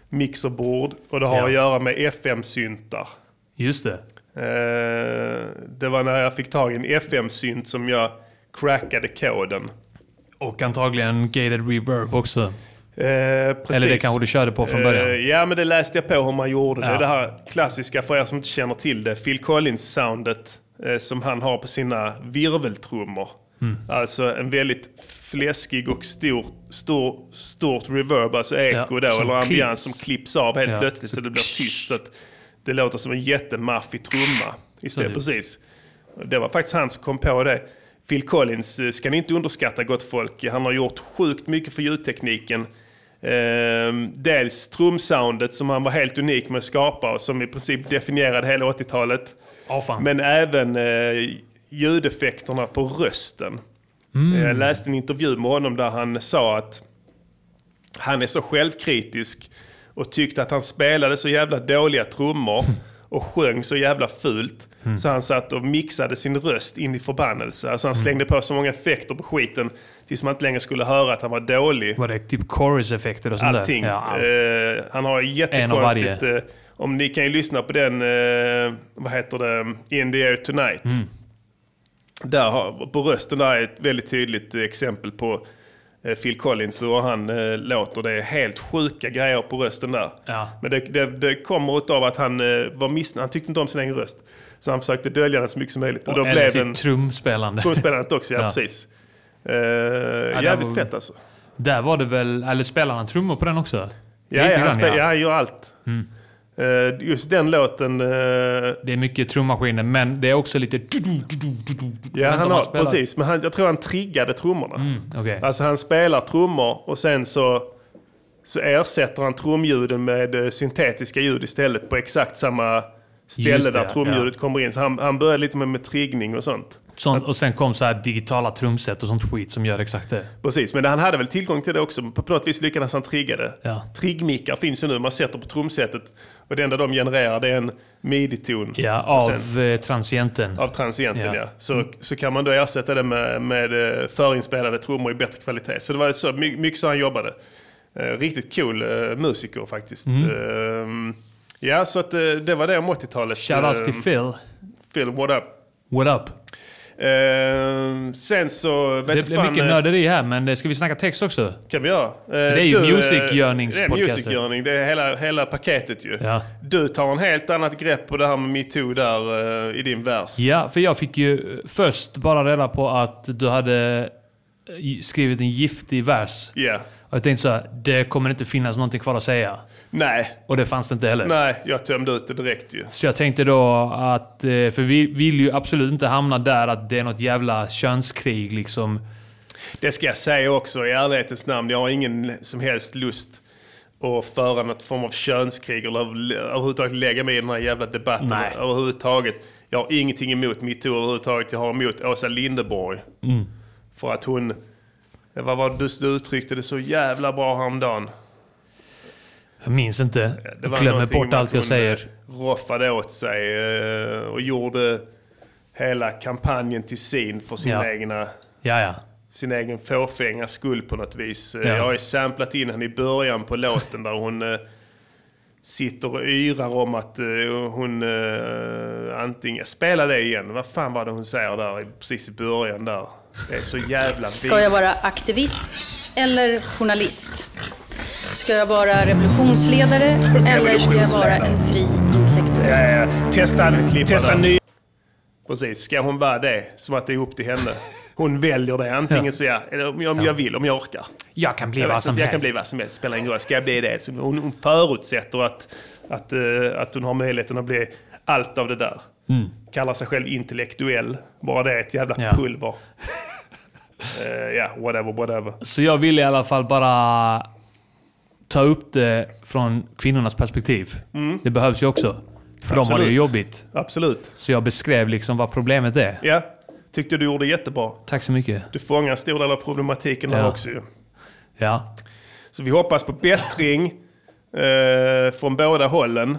Speaker 3: mixerbord och det har
Speaker 4: Ja.
Speaker 3: att göra med FM-syntar.
Speaker 4: Just det.
Speaker 3: Eh, Det var när jag fick tag i en FM-synt som jag crackade koden.
Speaker 4: Och antagligen gated reverb också.
Speaker 3: Eh, precis.
Speaker 4: Eller det kanske du körde på från
Speaker 3: Eh,
Speaker 4: början?
Speaker 3: ja, men det läste jag på hur man gjorde det.
Speaker 4: Ja.
Speaker 3: Det här klassiska, för er som inte känner till det, Phil Collins-soundet eh, som han har på sina virveltrummor.
Speaker 4: Mm.
Speaker 3: Alltså en väldigt fläskig och stor, stor, stort reverb, alltså eko då,
Speaker 4: som
Speaker 3: eller ambians
Speaker 4: klipps.
Speaker 3: som klipps av helt
Speaker 4: Ja.
Speaker 3: plötsligt så det blir tyst. Så att det låter som en jättemaffig trumma. Istället,
Speaker 4: det-
Speaker 3: precis. Det var faktiskt han som kom på det. Phil Collins eh, ska ni inte underskatta, gott folk. Han har gjort sjukt mycket för ljudtekniken. Ehm, dels trumsoundet som han var helt unik med att skapa och som i princip definierade hela 80-talet.
Speaker 4: Ja, fan.
Speaker 3: Men även eh, ljudeffekterna på rösten. Eh, Jag läste en intervju med honom där han sa att han är så självkritisk och tyckte att han spelade så jävla dåliga trummor och sjöng så jävla fult. Så han satt och mixade sin röst in i förbannelse. Alltså han slängde på så många effekter på skiten tills man inte längre skulle höra att han var dålig.
Speaker 4: Var det typ chorus-effekter och sånt
Speaker 3: Allting.
Speaker 4: där? Ja, alltså. allt.
Speaker 3: Eh, han har
Speaker 4: En av
Speaker 3: jättekonstigt...
Speaker 4: varje.
Speaker 3: eh, om ni kan ju lyssna på den, eh, vad heter det, In the air tonight.
Speaker 4: Mm.
Speaker 3: Där har, på rösten där är ett väldigt tydligt exempel på eh, Phil Collins och hur han eh, låter. Det är helt sjuka grejer på rösten där.
Speaker 4: Ja.
Speaker 3: Men det, det, det kommer av att han eh, var missnöjd. Han tyckte inte om sin egen röst. Så han försökte dölja den så mycket som möjligt. Och då
Speaker 4: Eller
Speaker 3: blev
Speaker 4: sitt
Speaker 3: den...
Speaker 4: trumspelande.
Speaker 3: Trumspelandet också, ja,
Speaker 4: Ja.
Speaker 3: precis. Eh,
Speaker 4: det
Speaker 3: jävligt
Speaker 4: var-
Speaker 3: fett alltså.
Speaker 4: Där var det väl... Eller spelade han trummor på den också?
Speaker 3: Ja, ja,
Speaker 4: Lite
Speaker 3: han
Speaker 4: grann, Mm.
Speaker 3: spe- ja. han gör allt. Eh, just den låten, eh,
Speaker 4: Det är mycket trummaskiner, men det är också lite...
Speaker 3: ja
Speaker 4: Vänta,
Speaker 3: han
Speaker 4: man
Speaker 3: har,
Speaker 4: spelar.
Speaker 3: precis. Men han, jag tror han triggade trummorna.
Speaker 4: Okej.
Speaker 3: Alltså han spelar trummor och sen så, så ersätter han trumljuden med eh, syntetiska ljud istället på exakt samma ställe
Speaker 4: Just det,
Speaker 3: där trumljudet kommer in. Så han, han började lite med, med triggning och sånt.
Speaker 4: Sånt, och sen kom så här digitala trumset och sånt skit som gör exakt det.
Speaker 3: Precis, men han hade väl tillgång till det också. På på något vis lyckades han trigga det.
Speaker 4: Ja.
Speaker 3: Triggmickar finns ju nu. Man sätter på trumsetet och det enda de genererar det är en midi-ton.
Speaker 4: Ja,
Speaker 3: Och
Speaker 4: av
Speaker 3: sen-
Speaker 4: eh, transienten.
Speaker 3: Av transienten ja.
Speaker 4: Ja. Mm.
Speaker 3: Så, så kan man då ersätta det med, med eh, förinspelade trummor i bättre kvalitet. Så det var så, my- mycket så han jobbade. Eh, Riktigt cool eh, musiker faktiskt.
Speaker 4: Mm.
Speaker 3: Ehm, ja, så att, eh, det var det om 80-talet.
Speaker 4: Shoutouts till
Speaker 3: Ehm,
Speaker 4: Phil.
Speaker 3: Phil, what up?
Speaker 4: What up?
Speaker 3: Ehm, sen så... Vet
Speaker 4: Det
Speaker 3: du
Speaker 4: blir
Speaker 3: fan,
Speaker 4: mycket
Speaker 3: eh,
Speaker 4: nörderi här, men eh, ska vi snacka text också?
Speaker 3: kan vi göra. Eh, det
Speaker 4: är ju musikgörnings-
Speaker 3: Det är
Speaker 4: podcasten.
Speaker 3: musikgörning. Det är hela, hela paketet ju.
Speaker 4: Ja.
Speaker 3: Du tar en helt annat grepp på det här med metoo där eh, i din vers.
Speaker 4: Ja, för jag fick ju eh, först bara reda på att du hade eh, skrivit en giftig vers.
Speaker 3: Ja.
Speaker 4: Och jag tänkte så här, det kommer inte finnas någonting kvar att säga.
Speaker 3: Nej,
Speaker 4: Och det fanns det inte heller.
Speaker 3: nej, jag tömde ut det direkt ju.
Speaker 4: Så jag tänkte då att, eh, för vi vill ju absolut inte hamna där att det är något jävla könskrig liksom.
Speaker 3: Det ska jag säga också i ärlighetens namn. Jag har ingen som helst lust att föra något form av könskrig eller över- överhuvudtaget lägga mig i den här jävla debatten.
Speaker 4: Nej.
Speaker 3: Överhuvudtaget. Jag har ingenting emot metoo överhuvudtaget. Jag har emot Åsa Linderborg.
Speaker 4: Mm.
Speaker 3: För att hon... Vad var det du uttryckte det så jävla bra häromdagen?
Speaker 4: Jag minns inte.
Speaker 3: Det
Speaker 4: Jag
Speaker 3: var
Speaker 4: glömmer
Speaker 3: någonting
Speaker 4: bort
Speaker 3: om att
Speaker 4: allt jag
Speaker 3: hon,
Speaker 4: säger.
Speaker 3: eh, roffade åt sig eh, och gjorde hela kampanjen till sin för sin,
Speaker 4: Ja.
Speaker 3: egna,
Speaker 4: Ja, ja.
Speaker 3: sin egen fåfänga skull på något vis. Eh,
Speaker 4: Ja.
Speaker 3: Jag har ju samplat in henne i början på låten där hon eh, sitter och yrar om att eh, hon eh, antingen... Spela det igen. Vad fan var det hon säger där i- precis i början där? Det är så jävla
Speaker 11: Ska jag vara aktivist eller journalist? Ska jag vara revolutionsledare eller ska jag vara en fri intellektuell?
Speaker 2: Eh, testa, testa ny...
Speaker 3: Precis, ska hon vara det? Som att det är upp till henne. Hon väljer det antingen så jag, eller om jag, om jag vill, om jag orkar.
Speaker 4: Jag kan bli
Speaker 3: Jag,
Speaker 4: vad
Speaker 3: vet
Speaker 4: som
Speaker 3: inte, jag
Speaker 4: helst.
Speaker 3: kan bli vad som helst, spelar ingen roll. Ska jag bli det? Så hon, hon förutsätter att, att, eh, att hon har möjligheten att bli allt av det där. Kallar sig själv intellektuell. Bara det är ett jävla
Speaker 4: Mm. Ja.
Speaker 3: pulver. Eh, Ja, whatever, whatever.
Speaker 4: Så jag vill i alla fall bara ta upp det från kvinnornas perspektiv. Det behövs ju också. För de har det ju
Speaker 3: Mm. Absolut.
Speaker 4: jobbigt.
Speaker 3: Absolut.
Speaker 4: Så jag beskrev liksom vad problemet är.
Speaker 3: Ja, tyckte du gjorde jättebra.
Speaker 4: Tack så mycket.
Speaker 3: Du fångar en stor del av problematiken där
Speaker 4: Ja.
Speaker 3: också ju.
Speaker 4: Ja.
Speaker 3: Så vi hoppas på bättring eh, från båda hållen.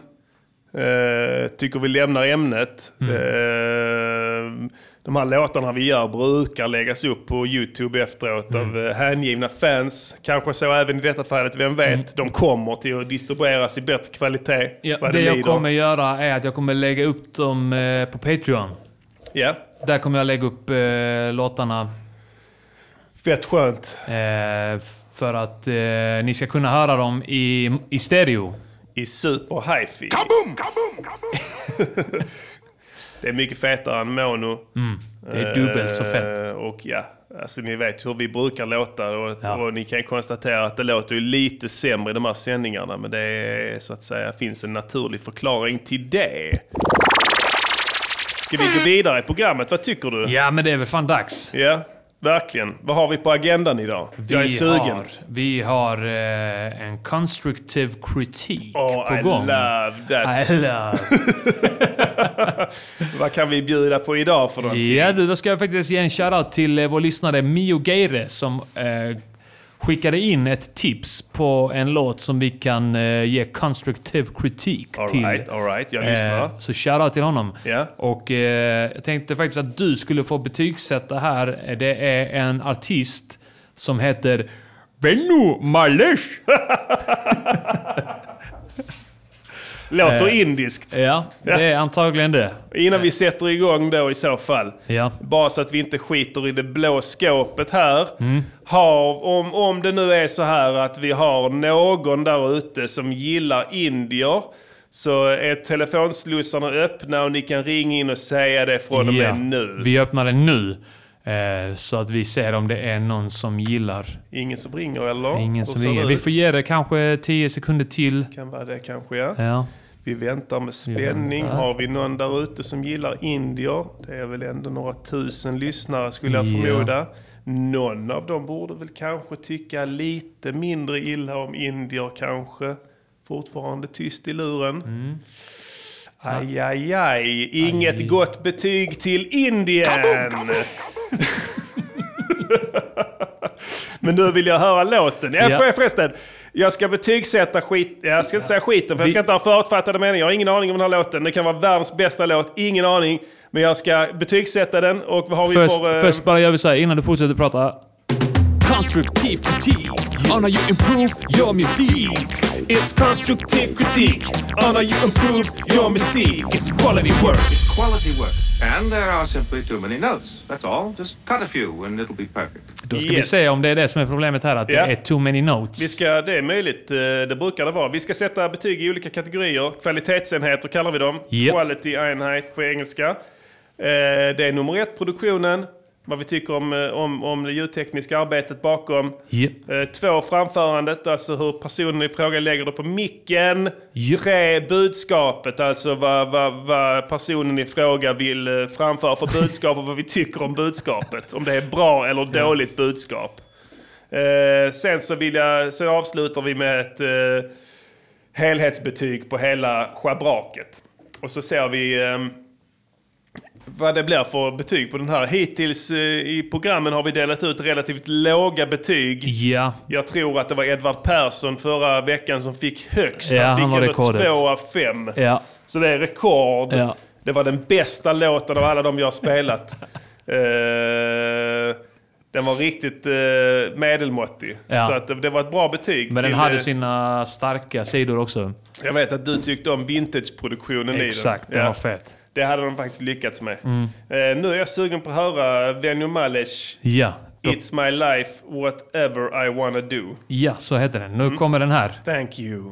Speaker 3: Eh, tycker vi lämnar ämnet.
Speaker 4: Mm.
Speaker 3: Eh, de här låtarna vi gör brukar läggas upp på YouTube efteråt
Speaker 4: Mm.
Speaker 3: av eh, hängivna fans. Kanske så även i detta fallet, vem vet. De kommer till att distribueras i bättre kvalitet.
Speaker 4: Mm. Ja,
Speaker 3: vad
Speaker 4: det jag
Speaker 3: lider.
Speaker 4: kommer göra är att jag kommer lägga upp dem eh, på Patreon.
Speaker 3: Ja,
Speaker 4: Där kommer jag lägga upp eh, låtarna
Speaker 3: fett skönt.
Speaker 4: eh, för att eh, ni ska kunna höra dem i, i stereo.
Speaker 3: I super hifi. det är mycket fetare än mono.
Speaker 4: Mm. Det är dubbelt så fett.
Speaker 3: Eh, Och ja, alltså ni vet hur vi brukar låta och,
Speaker 4: Ja.
Speaker 3: och ni kan konstatera att det låter ju lite sämre i de här sändningarna. Men det är, så att säga, finns en naturlig förklaring till det. Ska vi gå vidare i programmet? Vad tycker du?
Speaker 4: Ja, men det är väl fan dags.
Speaker 3: Ja, verkligen. Vad har vi på agendan idag?
Speaker 4: Vi
Speaker 3: Jag är sugen.
Speaker 4: Har, vi har eh, en constructive kritik
Speaker 3: Oh,
Speaker 4: på
Speaker 3: I
Speaker 4: gång.
Speaker 3: love that.
Speaker 4: I love.
Speaker 3: Vad kan vi bjuda på idag för någonting?
Speaker 4: Ja du, då ska jag faktiskt ge en shoutout till eh, vår lyssnare Mio Geire som eh, skickade in ett tips på en låt som vi kan eh, ge konstruktiv kritik
Speaker 3: All
Speaker 4: till. Eh,
Speaker 3: right, all right. Jag lyssnar.
Speaker 4: så shoutout till honom.
Speaker 3: Ja.
Speaker 4: Och eh, jag tänkte faktiskt att du skulle få betygsätta här. Det är en artist som heter Benno Malesh.
Speaker 3: Låter
Speaker 4: eh.
Speaker 3: indiskt.
Speaker 4: ja, det är antagligen det.
Speaker 3: Innan vi sätter igång då i så fall.
Speaker 4: Ja.
Speaker 3: Bara så att vi inte skiter i det blå skåpet här.
Speaker 4: Mm.
Speaker 3: Har, om, om det nu är så här att vi har någon där ute som gillar indier. Så är telefonslussarna öppna och ni kan ringa in och säga det från och med
Speaker 4: Ja,
Speaker 3: nu.
Speaker 4: Vi öppnar den nu. Eh, så att vi ser om det är någon som gillar
Speaker 3: Ingen som ringer eller?
Speaker 4: Ingen
Speaker 3: Hur
Speaker 4: som
Speaker 3: ser
Speaker 4: ringer.
Speaker 3: det
Speaker 4: Vi
Speaker 3: ut?
Speaker 4: får ge det kanske 10 sekunder till.
Speaker 3: Kan vara det kanske ja.
Speaker 4: Ja.
Speaker 3: Vi väntar med spänning.
Speaker 4: väntar.
Speaker 3: Har vi någon där ute som gillar indier? Det är väl ändå några tusen lyssnare skulle jag
Speaker 4: Ja.
Speaker 3: förmoda. Någon av dem borde väl kanske tycka lite mindre illa om indier kanske. Fortfarande tyst i luren. Aj, aj, aj. Inget gott betyg till Indien! Men nu vill jag höra låten. Ja,
Speaker 4: Ja.
Speaker 3: för- förresten. Jag ska betygsätta skit... Jag ska inte säga skiten, för jag ska inte ha förutfattade meningar. Jag har ingen aning om den här låten. Det kan vara världens bästa låt. Ingen aning. Men jag ska betygsätta den och vad har vi
Speaker 4: Först,
Speaker 3: för... eh,
Speaker 4: först bara gör vi så här innan du fortsätter prata.
Speaker 1: Constructive critique on how you improve your music.
Speaker 3: It's constructive critique on how you improve your music. It's quality work.
Speaker 10: quality work. And there are simply too many notes. That's all. Just cut a few and it'll be perfect.
Speaker 4: Då ska vi
Speaker 3: Yes.
Speaker 4: se om det är det som är problemet här, att
Speaker 3: Ja.
Speaker 4: det är too many
Speaker 3: Vi
Speaker 4: notes.
Speaker 3: ska, det är möjligt, eh, det brukar det vara. Vi ska sätta betyg i olika kategorier. Kvalitetsenheter kallar vi dem.
Speaker 4: Japp.
Speaker 3: Quality enhet på engelska. Eh, Det är nummer ett, produktionen. Vad vi tycker om, eh, om, om det ljudtekniska arbetet bakom.
Speaker 4: Japp.
Speaker 3: Eh, Två, framförandet, alltså hur personen i fråga lägger det på micken. Tre, budskapet, alltså vad, vad, vad personen i fråga vill eh, framföra för budskap och vad vi tycker om budskapet. Om det är bra eller dåligt budskap. Eh, sen så vill jag, sen avslutar vi med ett eh, helhetsbetyg på hela schabraket. Och så ser vi eh, vad det blir för betyg på den här. Hittills eh, i programmen har vi delat ut relativt låga betyg.
Speaker 4: Ja.
Speaker 3: Jag tror att det var Edvard Persson förra veckan som fick högst.
Speaker 4: Ja,
Speaker 3: fick
Speaker 4: han har
Speaker 3: över
Speaker 4: rekordet.
Speaker 3: två av fem.
Speaker 4: Ja.
Speaker 3: Så det är rekord.
Speaker 4: Ja.
Speaker 3: Det var den bästa låten av alla de jag har spelat. Eh, den var riktigt eh, medelmåttig.
Speaker 4: Ja.
Speaker 3: Så att det- det var ett bra betyg.
Speaker 4: Men den
Speaker 3: till,
Speaker 4: hade
Speaker 3: eh,
Speaker 4: sina starka sidor också.
Speaker 3: Jag vet att du tyckte om vintage-produktionen i den.
Speaker 4: Exakt, den var fet.
Speaker 3: Det hade de faktiskt lyckats med.
Speaker 4: Mm.
Speaker 3: Eh, nu är jag sugen på att höra Venjo Malish.
Speaker 4: Ja.
Speaker 3: It's my life, whatever I wanna do.
Speaker 4: Ja, så heter den.
Speaker 3: Mm.
Speaker 4: Nu kommer den här.
Speaker 3: Thank you.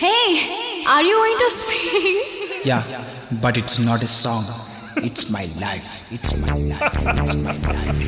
Speaker 12: Hey, are you going to sing?
Speaker 13: Yeah, but it's not a song. It's my life. It's my life. It's my life.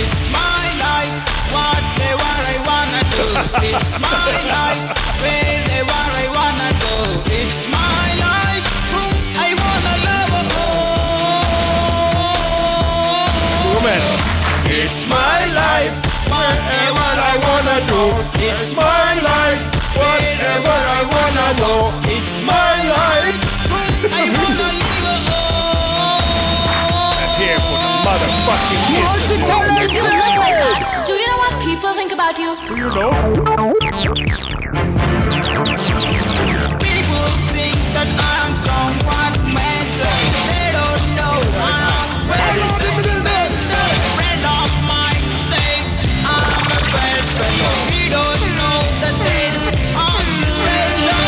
Speaker 14: It's my life, whatever I wanna do. It's my life, wherever I wanna go. It's my life, whom I wanna love and know. It's my life, whatever I wanna do. It's my life, whatever I wanna go. It's my life, whom I wanna live alone.
Speaker 3: Motherfucking
Speaker 12: You look like that. Do you know what people think about you? Do you know?
Speaker 14: People think that I'm someone mental. They don't know I'm very sentimental. Friend of mine say I'm the best friend, but he don't know the depth of this fellow.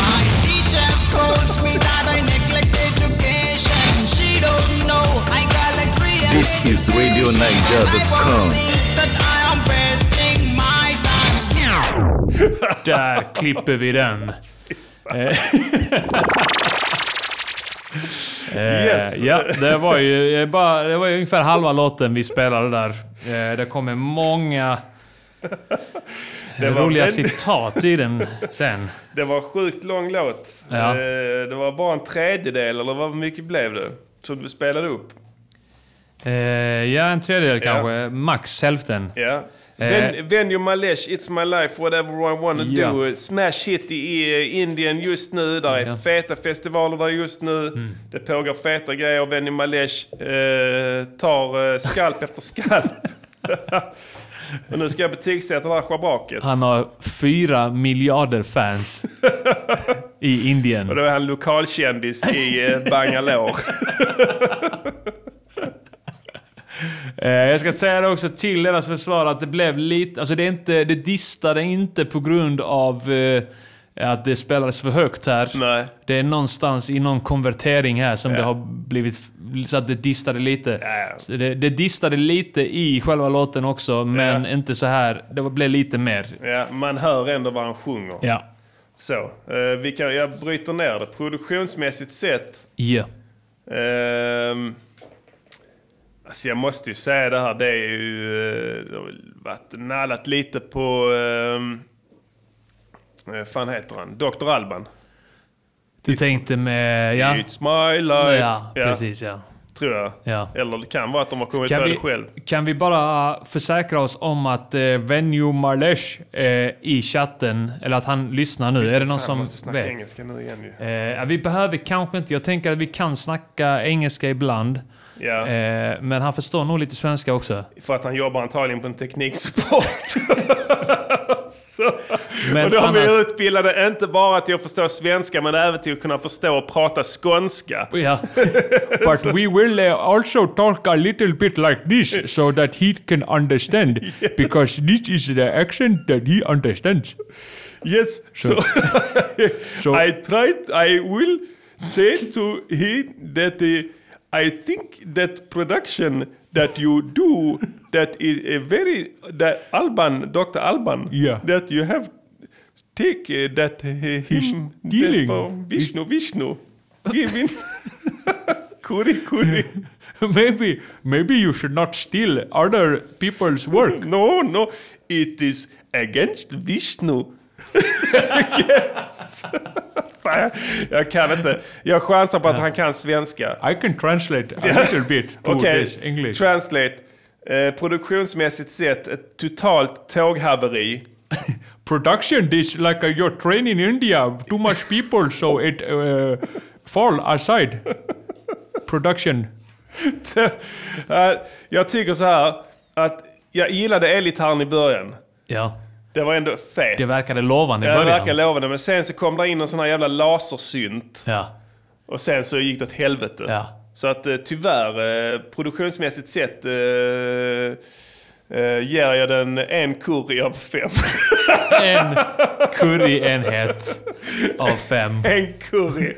Speaker 14: My teacher scolds me that I neglect education. She don't know I collect creation.
Speaker 5: This is RadioNiger.com.
Speaker 14: Thinks that I am wasting my time.
Speaker 4: Där klipper vi den. Eh, Eh,
Speaker 3: Yes.
Speaker 4: Ja, det var ju eh, bara, det var ju ungefär halva låten vi spelade där. Eh, Det kommer många
Speaker 3: Det var
Speaker 4: roliga
Speaker 3: väldigt-
Speaker 4: citat i den sen.
Speaker 3: Det var en sjukt lång låt.
Speaker 4: Ja.
Speaker 3: Eh, Det var bara en tredjedel, eller vad mycket blev det? Som du spelade upp.
Speaker 4: Eh, Ja, en tredjedel kanske. Max hälften.
Speaker 3: Ja.
Speaker 4: Eh.
Speaker 3: Ven- Venjo Malesh, It's My Life, Whatever I Wanna
Speaker 4: Ja.
Speaker 3: Do. Smash hit i eh, Indien just nu. Där är
Speaker 4: Ja. Mm.
Speaker 3: feta festivaler där just nu. Det pågår feta grejer. Venjo Malesh eh, tar eh, skalp efter skalp. Och nu ska jag betygsätta det här schabraket.
Speaker 4: Han har fyra miljarder fans i Indien.
Speaker 3: Och då är han lokalkändis i eh, Bangalore.
Speaker 4: Eh, Jag ska säga det också till deras försvar att det blev lite... Alltså det, är inte, det distade inte på grund av eh, att det spelades för högt här. Det är någonstans i någon konvertering här som
Speaker 3: Ja.
Speaker 4: det har blivit... Så att det distade lite. Så det, det distade lite i själva låten också, men inte så här. Det var- blev lite mer.
Speaker 3: Ja, man hör ändå vad han sjunger.
Speaker 4: Ja.
Speaker 3: Så, eh, vi kan, jag bryter ner det. Produktionsmässigt sett.
Speaker 4: Ja.
Speaker 3: ehm, alltså jag måste ju säga det här, det är ju... eh, Det har väl varit nallat lite på... ehm, eh, Vad fan heter han? Dr. Alban.
Speaker 4: Du tänkte med... Ja.
Speaker 3: It's my life.
Speaker 4: Ja, precis, ja.
Speaker 3: Tror jag.
Speaker 4: Ja.
Speaker 3: Eller det kan vara att de har kommit
Speaker 4: Kan
Speaker 3: på
Speaker 4: vi-
Speaker 3: det själv.
Speaker 4: Kan vi bara försäkra oss om att eh, Venjo Marlesh eh, i chatten, eller att han lyssnar nu.
Speaker 3: Just
Speaker 4: är det
Speaker 3: fan,
Speaker 4: någon
Speaker 3: jag
Speaker 4: som
Speaker 3: måste snacka
Speaker 4: vet?
Speaker 3: engelska nu igen ju.
Speaker 4: Eh, vi behöver kanske inte, jag tänker att vi kan snacka engelska ibland.
Speaker 3: Ja.
Speaker 4: Eh, men han förstår nog lite svenska också.
Speaker 3: För att han jobbar antagligen på en tekniksupport. Så.
Speaker 4: Men
Speaker 3: och de är
Speaker 4: annars-
Speaker 3: utbildade inte bara till att förstå svenska men även till att kunna förstå och prata skånska.
Speaker 4: Ja. But we will uh, also talk a little bit like this so that he can understand because this is the accent that he understands.
Speaker 3: Yes, so, I tried, I will say to him that uh, I think that production that you do, that is a very, that Alban, Dr. Alban,
Speaker 4: Yeah.
Speaker 3: that you have take uh, that uh, him
Speaker 4: dealing.
Speaker 3: That from Vishnu, Vishnu, giving kuri kuri.
Speaker 4: maybe maybe you should not steal other people's work.
Speaker 3: No, no, it is against Vishnu. Fan, jag, jag kan inte. Jag chansar på att han kan svenska.
Speaker 4: I can translate a little bit to this English.
Speaker 3: translate. Eh, produktionsmässigt sett ett totalt tåghaveri.
Speaker 4: Production is like uh, your train in India, too much people so it uh, fall aside. Production.
Speaker 3: Eh, jag tycker så här att jag gillade elgitarren i början.
Speaker 4: Ja.
Speaker 3: Det var ändå fet.
Speaker 4: Det verkade lovande i
Speaker 3: Det verkar
Speaker 4: början.
Speaker 3: lovande men sen så kom det in en sån här jävla lasersynt.
Speaker 4: Ja.
Speaker 3: Och sen så gick det åt helvete.
Speaker 4: Ja.
Speaker 3: Så att eh, tyvärr, eh, produktionsmässigt sett eh, eh, ger jag den en curry av fem.
Speaker 4: En curryenhet av fem.
Speaker 3: en curry.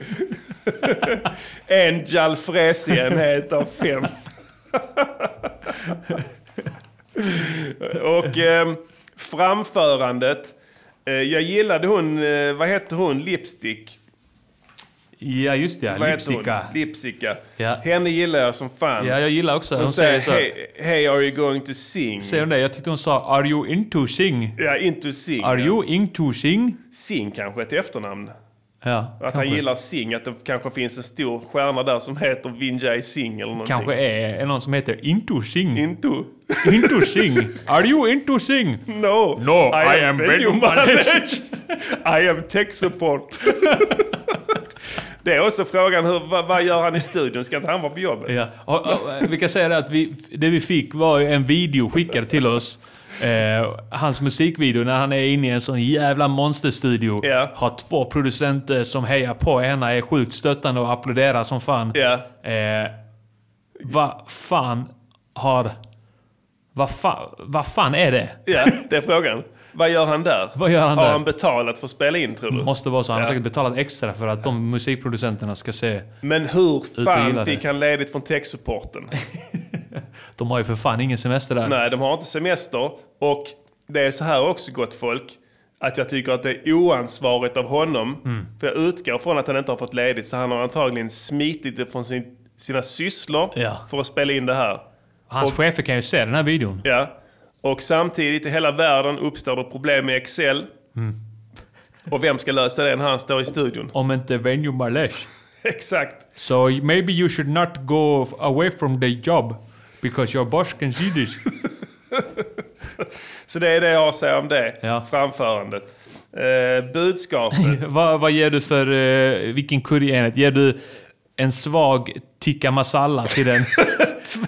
Speaker 3: en jalfrezi-enhet av fem. Och eh, framförandet. Eh, jag gillade hon, eh, vad hette hon, Lipstick?
Speaker 4: Ja, just det.
Speaker 3: Vad heter hon?
Speaker 4: Lipsika.
Speaker 3: Lipsika.
Speaker 4: Ja.
Speaker 3: Henne gillar jag som fan.
Speaker 4: Ja, jag gillar också.
Speaker 3: Hon,
Speaker 4: Hon
Speaker 3: säger,
Speaker 4: säger så. här-
Speaker 3: Hey, hey, are you going to sing?
Speaker 4: Säger hon det? Jag tyckte hon sa Are you into sing?
Speaker 3: Ja, into sing.
Speaker 4: Are
Speaker 3: ja.
Speaker 4: you into sing?
Speaker 3: Sing kanske ett efternamn.
Speaker 4: Ja,
Speaker 3: Att han
Speaker 4: kanske.
Speaker 3: gillar Sing, att det kanske finns en stor stjärna där som heter Vinjay Singh eller någonting.
Speaker 4: Kanske är, är någon som heter Into sing.
Speaker 3: Into?
Speaker 4: into sing? Are you into sing?
Speaker 3: No!
Speaker 4: No, I
Speaker 3: venue
Speaker 4: am Benjamin.
Speaker 3: manager. I am tech support. det är också frågan, hur, vad, vad gör han i studion? Ska inte han vara på jobbet?
Speaker 4: Ja. Och, och, vi kan säga det att vi, det vi fick var ju en video skickad till oss. Eh, hans musikvideo när han är inne i en sån jävla monsterstudio.
Speaker 3: Ja.
Speaker 4: Har två producenter som hejar på. Ena är sjukt stöttande och applåderar som fan.
Speaker 3: Ja.
Speaker 4: Eh, vad fan har... Vad fa, vad fan är det?
Speaker 3: Ja, det är frågan. Vad gör han där?
Speaker 4: Vad gör han
Speaker 3: Har
Speaker 4: där?
Speaker 3: han betalat för att spela in tror du?
Speaker 4: Måste vara så. Han har
Speaker 3: Ja.
Speaker 4: säkert betalat extra för att de musikproducenterna ska se.
Speaker 3: Men hur
Speaker 4: och gillar
Speaker 3: fan
Speaker 4: det.
Speaker 3: fick han ledigt från tech-supporten?
Speaker 4: De har ju för fan ingen semester där.
Speaker 3: Nej, de har inte semester. Och det är så här också, gott folk, att jag tycker att det är oansvarigt av honom.
Speaker 4: Mm.
Speaker 3: För jag utgår från att han inte har fått ledigt, så han har antagligen smitit det från sin, sina sysslor
Speaker 4: Ja.
Speaker 3: för att spela in det här.
Speaker 4: Hans
Speaker 3: Och-
Speaker 4: chefer kan ju se den här videon.
Speaker 3: Ja. Och samtidigt i hela världen uppstår det problem med Excel.
Speaker 4: Mm.
Speaker 3: Och vem ska lösa det när han står i studion?
Speaker 4: Om inte Venue Malesh.
Speaker 3: Exakt.
Speaker 4: So maybe you should not go f- away from the job because your boss can see this.
Speaker 3: Så det är det jag har att säga om det.
Speaker 4: Ja.
Speaker 3: Framförandet. Eh, budskapet.
Speaker 4: vad, vad ger du för... eh, vilken curryenhet? Ger du en svag tikka masala till den?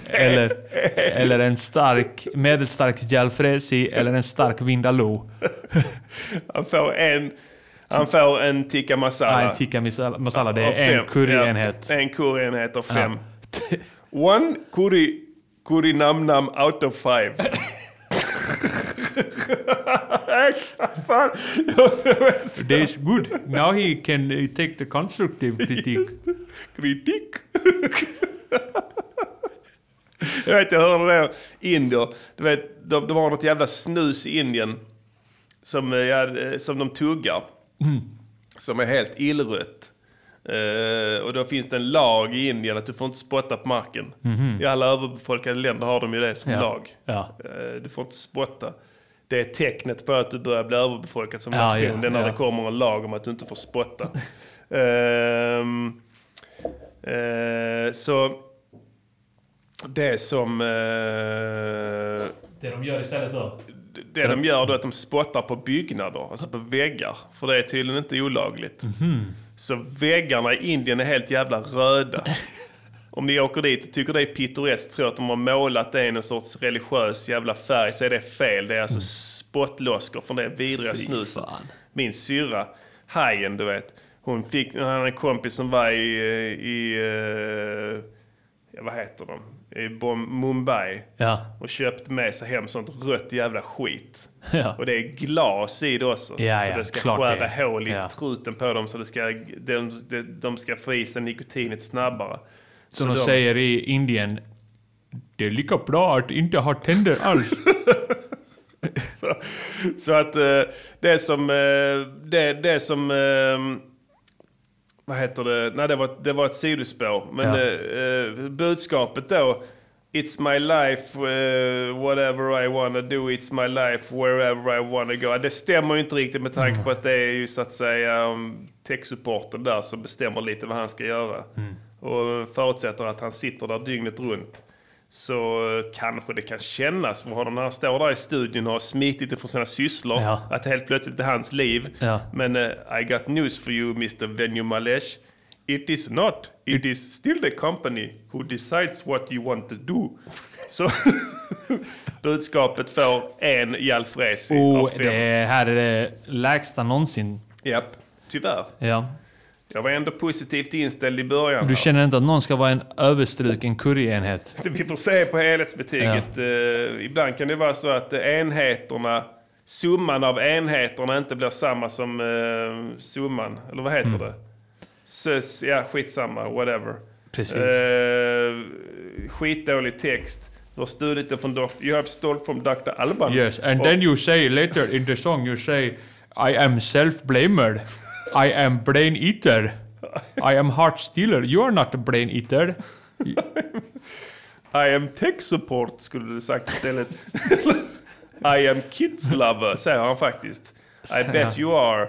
Speaker 4: eller, eller en stark, medelstark jalfrezi eller en stark vindaloo?
Speaker 3: Han får en, han får en tikka masala.
Speaker 4: Nej, en tikka masala, masala det
Speaker 3: Av
Speaker 4: är en
Speaker 3: fem.
Speaker 4: curryenhet.
Speaker 3: Ja, en curryenhet av fem.
Speaker 4: Ja.
Speaker 3: One curry, curry nam nam out of five. Äh, Fan.
Speaker 4: Det is good. Now he can uh, take the constructive critique.
Speaker 3: Kritik. jag vet, jag hörde det. Indier. Du vet, de, de har något jävla snus i Indien som, eh, ja, eh, som de tuggar.
Speaker 4: Mm.
Speaker 3: Som är helt illrött. Eh, och då finns det en lag i Indien att du får inte spotta på marken.
Speaker 4: Mhm.
Speaker 3: I alla överbefolkade länder har de ju det som
Speaker 4: Ja.
Speaker 3: lag.
Speaker 4: Ja.
Speaker 3: Eh, du får inte spotta. Det är tecknet på att du börjar bli överbefolkad som
Speaker 4: Ja,
Speaker 3: nation.
Speaker 4: ja,
Speaker 3: det är när
Speaker 4: ja.
Speaker 3: det kommer en lag om att du inte får spotta. Ehm, eh, så det som... eh,
Speaker 4: Det de gör istället då?
Speaker 3: det de gör då är att de spottar på byggnader, alltså på väggar. För det är tydligen inte olagligt.
Speaker 4: Mhm.
Speaker 3: Så väggarna i Indien är helt jävla röda. Om ni åker dit och tycker det är pittoreskt, tror att de har målat det i någon sorts religiös jävla färg, så är det fel. Det är
Speaker 4: Mm.
Speaker 3: alltså spottloskor från det vidriga
Speaker 15: Fy
Speaker 3: snuset. Min syrra, hajen du vet, hon fick, hon hade en kompis som var i, eh, i eh, ja, vad heter de? I Bom- Mumbai.
Speaker 4: Ja.
Speaker 3: Och köpt med sig hem sånt rött jävla skit.
Speaker 4: Ja.
Speaker 3: Och det är glas i det också.
Speaker 4: Ja,
Speaker 3: så
Speaker 4: ja,
Speaker 3: det ska
Speaker 4: klart
Speaker 3: skära
Speaker 4: det är.
Speaker 3: hål i
Speaker 4: Ja.
Speaker 3: truten på dem så det ska, de, de, de ska få i sig nikotinet snabbare.
Speaker 15: Som de säger i Indien. Det är lika bra att inte ha tänder alls.
Speaker 3: så, så att eh, det som... eh, Det, det som eh, vad heter det? Nej, det var, det var ett sidospår. Men
Speaker 15: Ja.
Speaker 3: eh, eh, budskapet då. It's my life, eh, whatever I wanna do, it's my life, wherever I wanna go. Det stämmer ju inte riktigt med
Speaker 15: Mm.
Speaker 3: tanke på att det är ju så att säga um, techsupporten där som bestämmer lite vad han ska göra.
Speaker 15: Mm.
Speaker 3: Och förutsätter att han sitter där dygnet runt. Så eh, kanske det kan kännas för honom när han står där i studion och har smitit ifrån sina sysslor.
Speaker 4: Ja.
Speaker 3: Att helt plötsligt är hans liv.
Speaker 4: Ja.
Speaker 3: Men eh, I got news for you, Mr. Venue Malesh. It is not. It is still the company who decides what you want to do. Så budskapet får en Jalfrezi av
Speaker 4: Oh,
Speaker 3: fem.
Speaker 4: det här är det lägsta någonsin.
Speaker 3: Japp, tyvärr.
Speaker 4: Ja.
Speaker 3: Jag var ändå positivt inställd i början.
Speaker 4: Du
Speaker 3: här.
Speaker 4: känner inte att någon ska vara en överstruken curryenhet?
Speaker 3: Vi får se på helhetsbetyget. Eh, ibland kan det vara så att eh, enheterna, summan av enheterna inte blir samma som eh, summan. Eller vad heter
Speaker 4: Mm.
Speaker 3: det? Sös, ja, skitsamma, whatever.
Speaker 4: Precis.
Speaker 3: Eh, skitdålig text. Du har stulit den från Dr. You have stole from Dr. Alban.
Speaker 15: Yes, and
Speaker 3: Och-
Speaker 15: then you say later in the song, you say, I am self-blamer. I am brain eater. I am heart stealer. You are not a brain eater.
Speaker 3: I am tech support skulle du sagt istället. I am kids lover, säger han faktiskt. I
Speaker 15: Säger
Speaker 3: bet
Speaker 15: han.
Speaker 3: you are.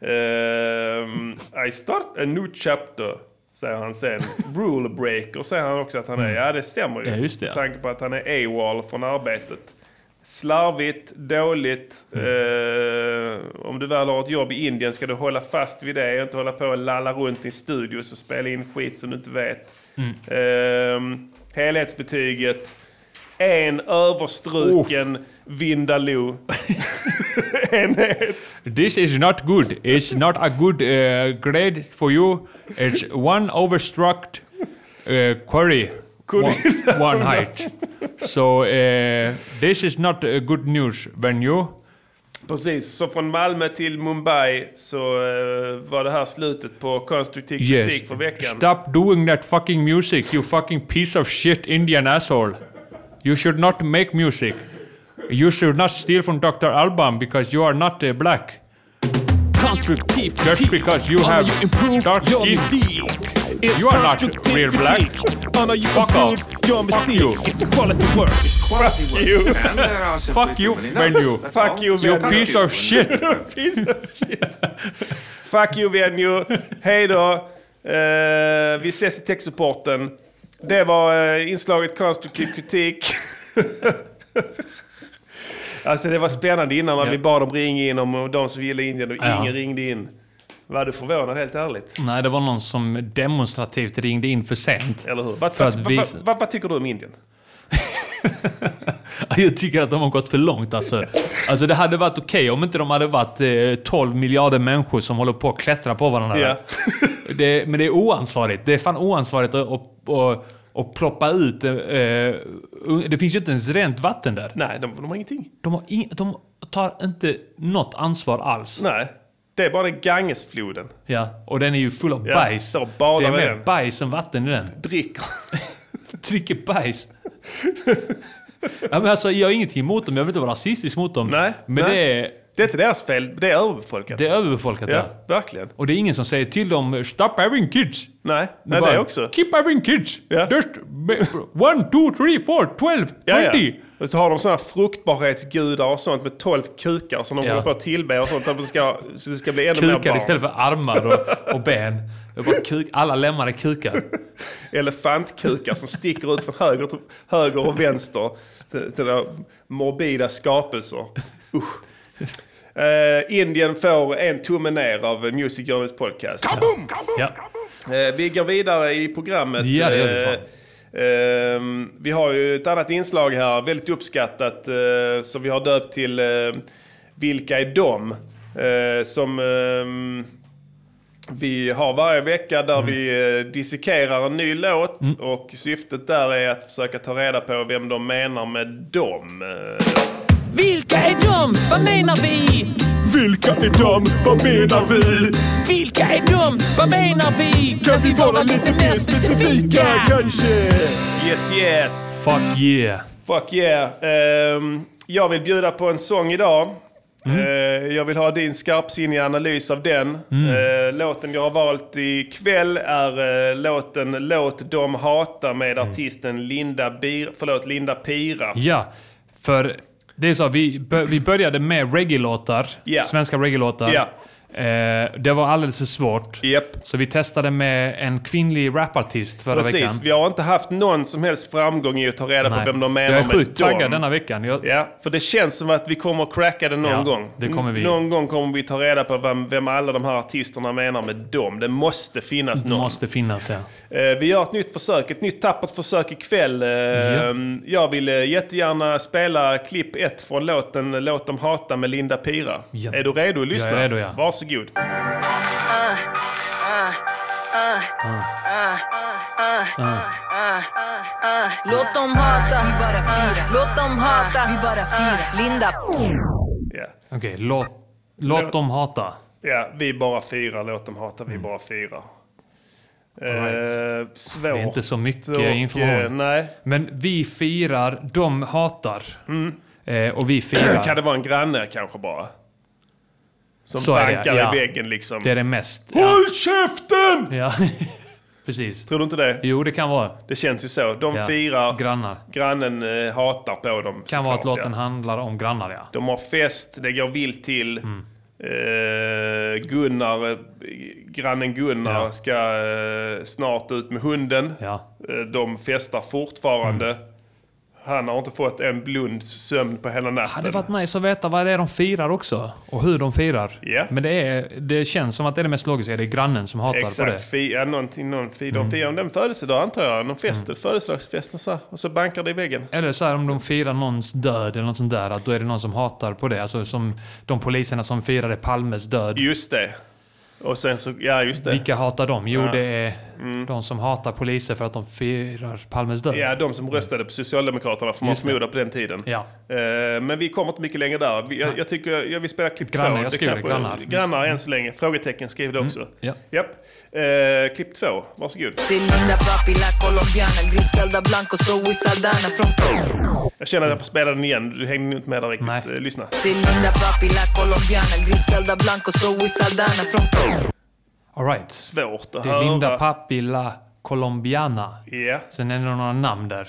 Speaker 3: Ehm, I start a new chapter, säger han sen. Rule breaker säger han också att han är.
Speaker 15: Mm.
Speaker 3: Ja, det stämmer ju.
Speaker 15: Ja, just det, ja.
Speaker 3: Med tanke på att han är AWOL från arbetet. Slarvigt, dåligt.
Speaker 15: Mm.
Speaker 3: Ehm, om du väl har ett jobb i Indien ska du hålla fast vid det och inte hålla på och lalla runt i studios och spela in skit som du inte vet.
Speaker 15: Mm.
Speaker 3: Ehm, helhetsbetyget. En
Speaker 15: Oh.
Speaker 3: överstruken Vindaloo.
Speaker 15: This is not good. It's not a good uh, grade for you. It's one overstruct uh, query. One, one height. So uh, this is not uh, good news when you...
Speaker 3: Precis, så från Malmö till Mumbai så eh, var det här slutet på konstruktiv kritik
Speaker 15: Yes.
Speaker 3: för veckan.
Speaker 15: Stop doing that fucking music, you fucking piece of shit Indian asshole. You should not make music. You should not steal from Dr. Alban because you are not uh, black.
Speaker 1: Konstruktiv
Speaker 15: Just because you have dark skin, you are not real black. Fuck off. Fuck you.
Speaker 3: quality work. Fuck you.
Speaker 15: Fuck you, Venue.
Speaker 3: Fuck you,
Speaker 15: You
Speaker 3: Venue.
Speaker 15: piece of shit.
Speaker 3: Piece of shit. Fuck you, Venue. Hej då. Eh, vi ses i techsupporten. Det var eh, inslaget konstruktiv kritik. alltså det var spännande innan när
Speaker 4: Ja.
Speaker 3: vi bad dem ringa in om de som gillar Indien och
Speaker 4: Ja.
Speaker 3: ingen ringde in. Var du förvånad helt ärligt?
Speaker 4: Nej, det var någon som demonstrativt ringde in för sent.
Speaker 3: Eller hur? Vad,
Speaker 4: För att
Speaker 3: vad,
Speaker 4: visa...
Speaker 3: vad, vad, vad tycker du om Indien?
Speaker 4: Jag tycker att de har gått för långt alltså. Alltså det hade varit okej om inte de hade varit eh, 12 miljarder människor som håller på att klättra på varandra.
Speaker 3: Ja.
Speaker 4: Det, men det är oansvarigt. Det är fan oansvarigt att och, och, och ploppa ut... Eh, un- det finns ju inte ens rent vatten där.
Speaker 3: Nej, de, har ingenting.
Speaker 4: De, har ing, de tar inte något ansvar alls.
Speaker 3: Nej, det är bara den Gangesfloden.
Speaker 4: Ja, och den är ju full av
Speaker 3: Ja,
Speaker 4: bajs.
Speaker 3: så badar
Speaker 4: det är
Speaker 3: vi
Speaker 4: mer
Speaker 3: den.
Speaker 4: bajs än vatten i den.
Speaker 3: Dricker.
Speaker 4: Dricker bajs. ja, men alltså, jag har ingenting emot dem, jag vill inte vara rasistisk mot dem. Nej, men
Speaker 3: nej.
Speaker 4: det är...
Speaker 3: Det är inte deras fel, det är överbefolkat.
Speaker 4: Det är överbefolkat, ja.
Speaker 3: Ja, verkligen.
Speaker 4: Och det är ingen som säger till dem “Stop having kids”.
Speaker 3: Nej, nej det
Speaker 4: bara,
Speaker 3: också.
Speaker 15: Keep having kids. Just be- one, two, three, four, twelve,
Speaker 3: Ja, ja.
Speaker 15: twenty.
Speaker 3: Och så har de sådana fruktbarhetsgudar och sånt med tolv kukar som de
Speaker 4: Ja.
Speaker 3: håller på att tillbe och sånt. Så det ska, så det ska bli ännu mer
Speaker 4: Kukar
Speaker 3: barn.
Speaker 4: istället för armar och, och ben. Det är bara kuk, alla lemmar är kukar.
Speaker 3: Elefantkukar som sticker ut från höger, till, höger och vänster. Till, till där morbida skapelser. Usch. Eh, Indien får en tumme ner av Music Journeys podcast.
Speaker 4: Ja.
Speaker 3: Eh, Vi går vidare i programmet.
Speaker 4: Ja, det gör vi,
Speaker 3: Eh,
Speaker 4: fan.
Speaker 3: ehm, vi har ju ett annat inslag här, väldigt uppskattat, eh, som vi har döpt till eh, Vilka är de? Eh, som ehm, vi har varje vecka där
Speaker 4: Mm.
Speaker 3: vi eh, dissekerar en ny låt och syftet där är att försöka ta reda på vem de menar med dem. Eh,
Speaker 1: Vilka är de? Vad menar vi?
Speaker 2: Vilka är de? Vad menar vi?
Speaker 1: Vilka är de? Vad menar vi? Kan vi vara lite mer specifika?
Speaker 3: kanske? Yes, yes!
Speaker 16: Fuck yeah.
Speaker 3: Fuck yeah. Ehm, jag vill bjuda på en sång idag. Eh, jag vill ha din skarpsinniga analys av den.
Speaker 4: Mm.
Speaker 3: Eh, låten jag har valt ikväll är eh, låten Låt dem hata med artisten Linda, Bir- förlåt, Linda Pira.
Speaker 4: Mm. Ja, för det är så vi, bör- vi började med reggae-låtar.
Speaker 3: Ja.
Speaker 4: Svenska reggae-låtar.
Speaker 3: Ja.
Speaker 4: Eh, det var alldeles för svårt. Så vi testade med en kvinnlig rapartist förra
Speaker 3: Precis,
Speaker 4: veckan.
Speaker 3: vi har inte haft någon som helst framgång i att ta reda
Speaker 4: Nej.
Speaker 3: på vem de menar
Speaker 4: Jag är
Speaker 3: med
Speaker 4: sjukt
Speaker 3: dem.
Speaker 4: taggad denna veckan. Jag,
Speaker 3: Ja, för det känns som att vi kommer att cracka det någon
Speaker 4: Ja,
Speaker 3: gång.
Speaker 4: det kommer vi.
Speaker 3: Någon gång kommer vi ta reda på vem, vem alla de här artisterna menar med dem. Det måste finnas
Speaker 4: det
Speaker 3: någon.
Speaker 4: måste finnas, ja.
Speaker 3: Eh, Vi gör ett nytt försök, ett nytt tappert försök ikväll. Eh,
Speaker 4: Ja.
Speaker 3: Jag vill eh, jättegärna spela klipp ett från låten Låt dem hata med Linda Pira. Är
Speaker 4: Ja.
Speaker 3: du redo att
Speaker 4: Jag är
Speaker 3: lyssna?
Speaker 4: redo, ja.
Speaker 3: Varsågod.
Speaker 17: Låt dem hata, låt dem hata, vi bara fyra. Linda.
Speaker 4: Okej, låt, låt dem hata.
Speaker 3: Ja, vi bara fyra, låt dem hata, vi bara fyra. Eh, svårt.
Speaker 4: Mm. Det är inte så mycket
Speaker 3: och, eh,
Speaker 4: information.
Speaker 3: Nej.
Speaker 4: Men vi firar, de hatar. Eh, och vi firar.
Speaker 3: Mm. Kan det vara en granne kanske bara? Som
Speaker 4: Så är det,
Speaker 3: bankar
Speaker 4: ja.
Speaker 3: i väggen liksom.
Speaker 4: Det är det mest.
Speaker 3: Håll käften!
Speaker 4: Ja, precis.
Speaker 3: Tror du inte det?
Speaker 4: Jo, det kan vara.
Speaker 3: Det känns ju så. De
Speaker 4: Ja,
Speaker 3: firar,
Speaker 4: Grannar.
Speaker 3: grannen eh, hatar på dem.
Speaker 4: Kan vara att
Speaker 3: såklart,
Speaker 4: låten
Speaker 3: ja.
Speaker 4: handlar om grannar, ja.
Speaker 3: De har fest, det går vilt till.
Speaker 4: Mm.
Speaker 3: Eh, Gunnar, eh, grannen Gunnar
Speaker 4: Ja.
Speaker 3: ska eh, snart ut med hunden. Eh, de festar fortfarande.
Speaker 4: Mm.
Speaker 3: Han har inte fått en blunds sömn på hela natten.
Speaker 4: Det hade varit nice att veta vad det är de firar också. Och hur de firar.
Speaker 3: Ja.
Speaker 4: Men det, är, det känns som att det är det mest logiska. Det är grannen som hatar på det.
Speaker 3: Exakt, fi, ja, någonting, någon, fi, de firar mm. den födelsedag antar jag. Någon fest,
Speaker 4: Mm.
Speaker 3: födelsedagsfest och så, här. och så bankar det i väggen.
Speaker 4: Eller så här om de firar någons död eller något sånt där. Att då är det någon som hatar på det. Alltså som de poliserna som firade Palmes död.
Speaker 3: Just det. Och sen så, ja just det.
Speaker 4: Vilka hatar de? Jo,
Speaker 3: Ja. Mm.
Speaker 4: det är de som hatar poliser för att de firar Palmes död.
Speaker 3: Ja, de som röstade på Socialdemokraterna får man
Speaker 4: Just det.
Speaker 3: förmoda på den tiden.
Speaker 4: Ja.
Speaker 3: Eh, Men vi kommer inte mycket längre där. Vi- Jag, jag tycker jag vill spela klipp
Speaker 4: Grannar,
Speaker 3: två.
Speaker 4: jag
Speaker 3: Det
Speaker 4: skriver
Speaker 3: kanske-
Speaker 4: grannar. Mm,
Speaker 3: Grannar än så länge. Frågetecken skriv det också.
Speaker 4: ja.
Speaker 3: Japp. Eh, klipp två, varsågod.
Speaker 17: Till Linda Papi, la colombiana, Griselda Blanco, Zoe Saldana från...
Speaker 3: Jag känner att jag får spela den igen. Du hängde inte med där riktigt. Eh, Lyssna.
Speaker 17: Till Linda Papi, la colombiana, Griselda Blanco, Zoe Saldana från...
Speaker 4: All right.
Speaker 3: Svårt att
Speaker 4: Det är Linda
Speaker 3: höra.
Speaker 4: Papi La Colombiana.
Speaker 3: Ja.
Speaker 4: Sen är det några namn där.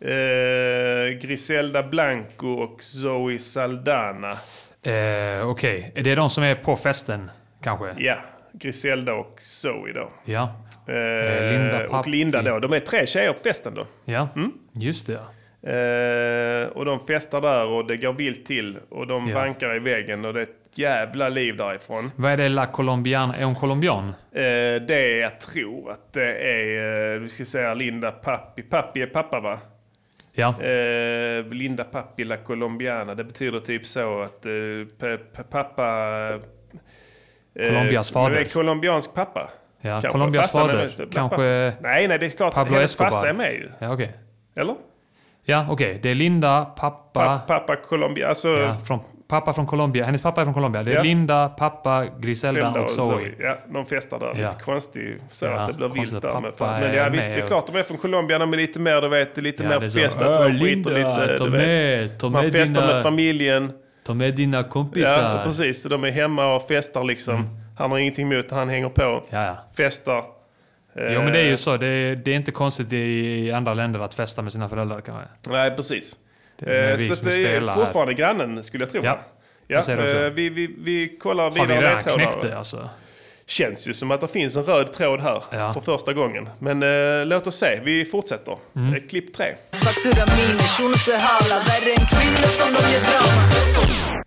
Speaker 3: Eh, Griselda Blanco och Zoe Saldana.
Speaker 4: Eh, Okej, är det de som är på festen kanske?
Speaker 3: Ja, Griselda och Zoe då.
Speaker 4: Ja.
Speaker 3: Eh,
Speaker 4: Linda
Speaker 3: och
Speaker 4: Papi.
Speaker 3: Linda då. De är tre tjejer på festen då.
Speaker 4: Ja,
Speaker 3: Mm.
Speaker 4: just det.
Speaker 3: Eh, och de festar där och det går vilt till. Och de
Speaker 4: Ja.
Speaker 3: vankar i väggen och det är ett jävla liv därifrån.
Speaker 4: Vad är det La Colombiana? Är hon colombian?
Speaker 3: Eh, det jag tror att det är, eh, vi ska säga Linda Pappi. Pappi är pappa va?
Speaker 4: Ja.
Speaker 3: Eh, Linda Pappi La Colombiana. Det betyder typ så att eh, p- p- pappa... eh,
Speaker 4: Colombias fader.
Speaker 3: men Det är colombiansk pappa.
Speaker 4: Ja, Colombias
Speaker 3: Farsan är
Speaker 4: fader.
Speaker 3: inte-
Speaker 4: Kanske
Speaker 3: Nej, nej, det är klart.
Speaker 4: Pablo
Speaker 3: hennes
Speaker 4: Escobar.
Speaker 3: farsa är med ju.
Speaker 4: Ja, okej.
Speaker 3: Eller?
Speaker 4: Ja, okej. Det är Linda, pappa...
Speaker 3: Pa- pappa Colombia. Alltså,
Speaker 4: ja, från, pappa från Colombia. Hennes pappa är från Colombia. Det är
Speaker 3: Ja.
Speaker 4: Linda, pappa, Griselda
Speaker 3: Zelda
Speaker 4: och Zoe.
Speaker 3: Ja, de festar där.
Speaker 4: Ja.
Speaker 3: Lite konstigt så
Speaker 4: Ja,
Speaker 3: att det blir vilt
Speaker 4: konstigt att
Speaker 3: där. Men,
Speaker 4: pappa
Speaker 3: men ja,
Speaker 4: är
Speaker 3: visst, det
Speaker 4: med
Speaker 3: är
Speaker 4: och-
Speaker 3: klart de är från Colombia. De är lite mer, du vet, lite
Speaker 4: Ja,
Speaker 3: mer
Speaker 4: det är så,
Speaker 3: festa. Så
Speaker 4: "Åh,
Speaker 3: de skiter
Speaker 4: Linda,
Speaker 3: lite.
Speaker 4: ta
Speaker 3: du
Speaker 4: med-
Speaker 3: vet.
Speaker 4: ta
Speaker 3: Man
Speaker 4: med
Speaker 3: festar
Speaker 4: dina
Speaker 3: med familjen.
Speaker 4: Ta med dina kompisar.
Speaker 3: Ja, precis. Så de är hemma och festar liksom.
Speaker 4: Mm.
Speaker 3: Han har ingenting emot, han hänger på. Festar.
Speaker 4: Jo, men det är
Speaker 3: Eh.
Speaker 4: ju så. Det är, det är inte konstigt i andra länder att festa med sina föräldrar kan man säga.
Speaker 3: Eh, Nej, precis.
Speaker 4: Det är
Speaker 3: Eh,
Speaker 4: vi
Speaker 3: Så
Speaker 4: som
Speaker 3: att det är
Speaker 4: stela här.
Speaker 3: fortfarande grannen, skulle jag tro.
Speaker 4: Ja,
Speaker 3: va?
Speaker 4: jag ser det också.
Speaker 3: eh, vi, vi, vi kollar
Speaker 4: Har vi
Speaker 3: vidare
Speaker 4: redan
Speaker 3: ledtrådar.
Speaker 4: knäckt det alltså?
Speaker 3: Känns ju som att det finns en röd tråd här för första gången. Men eh, låt oss se, vi fortsätter.
Speaker 4: Mm.
Speaker 3: Eh, klipp tre.
Speaker 17: Svartsura miner, shunon ser hala, värre än kvinnor som de gör drama.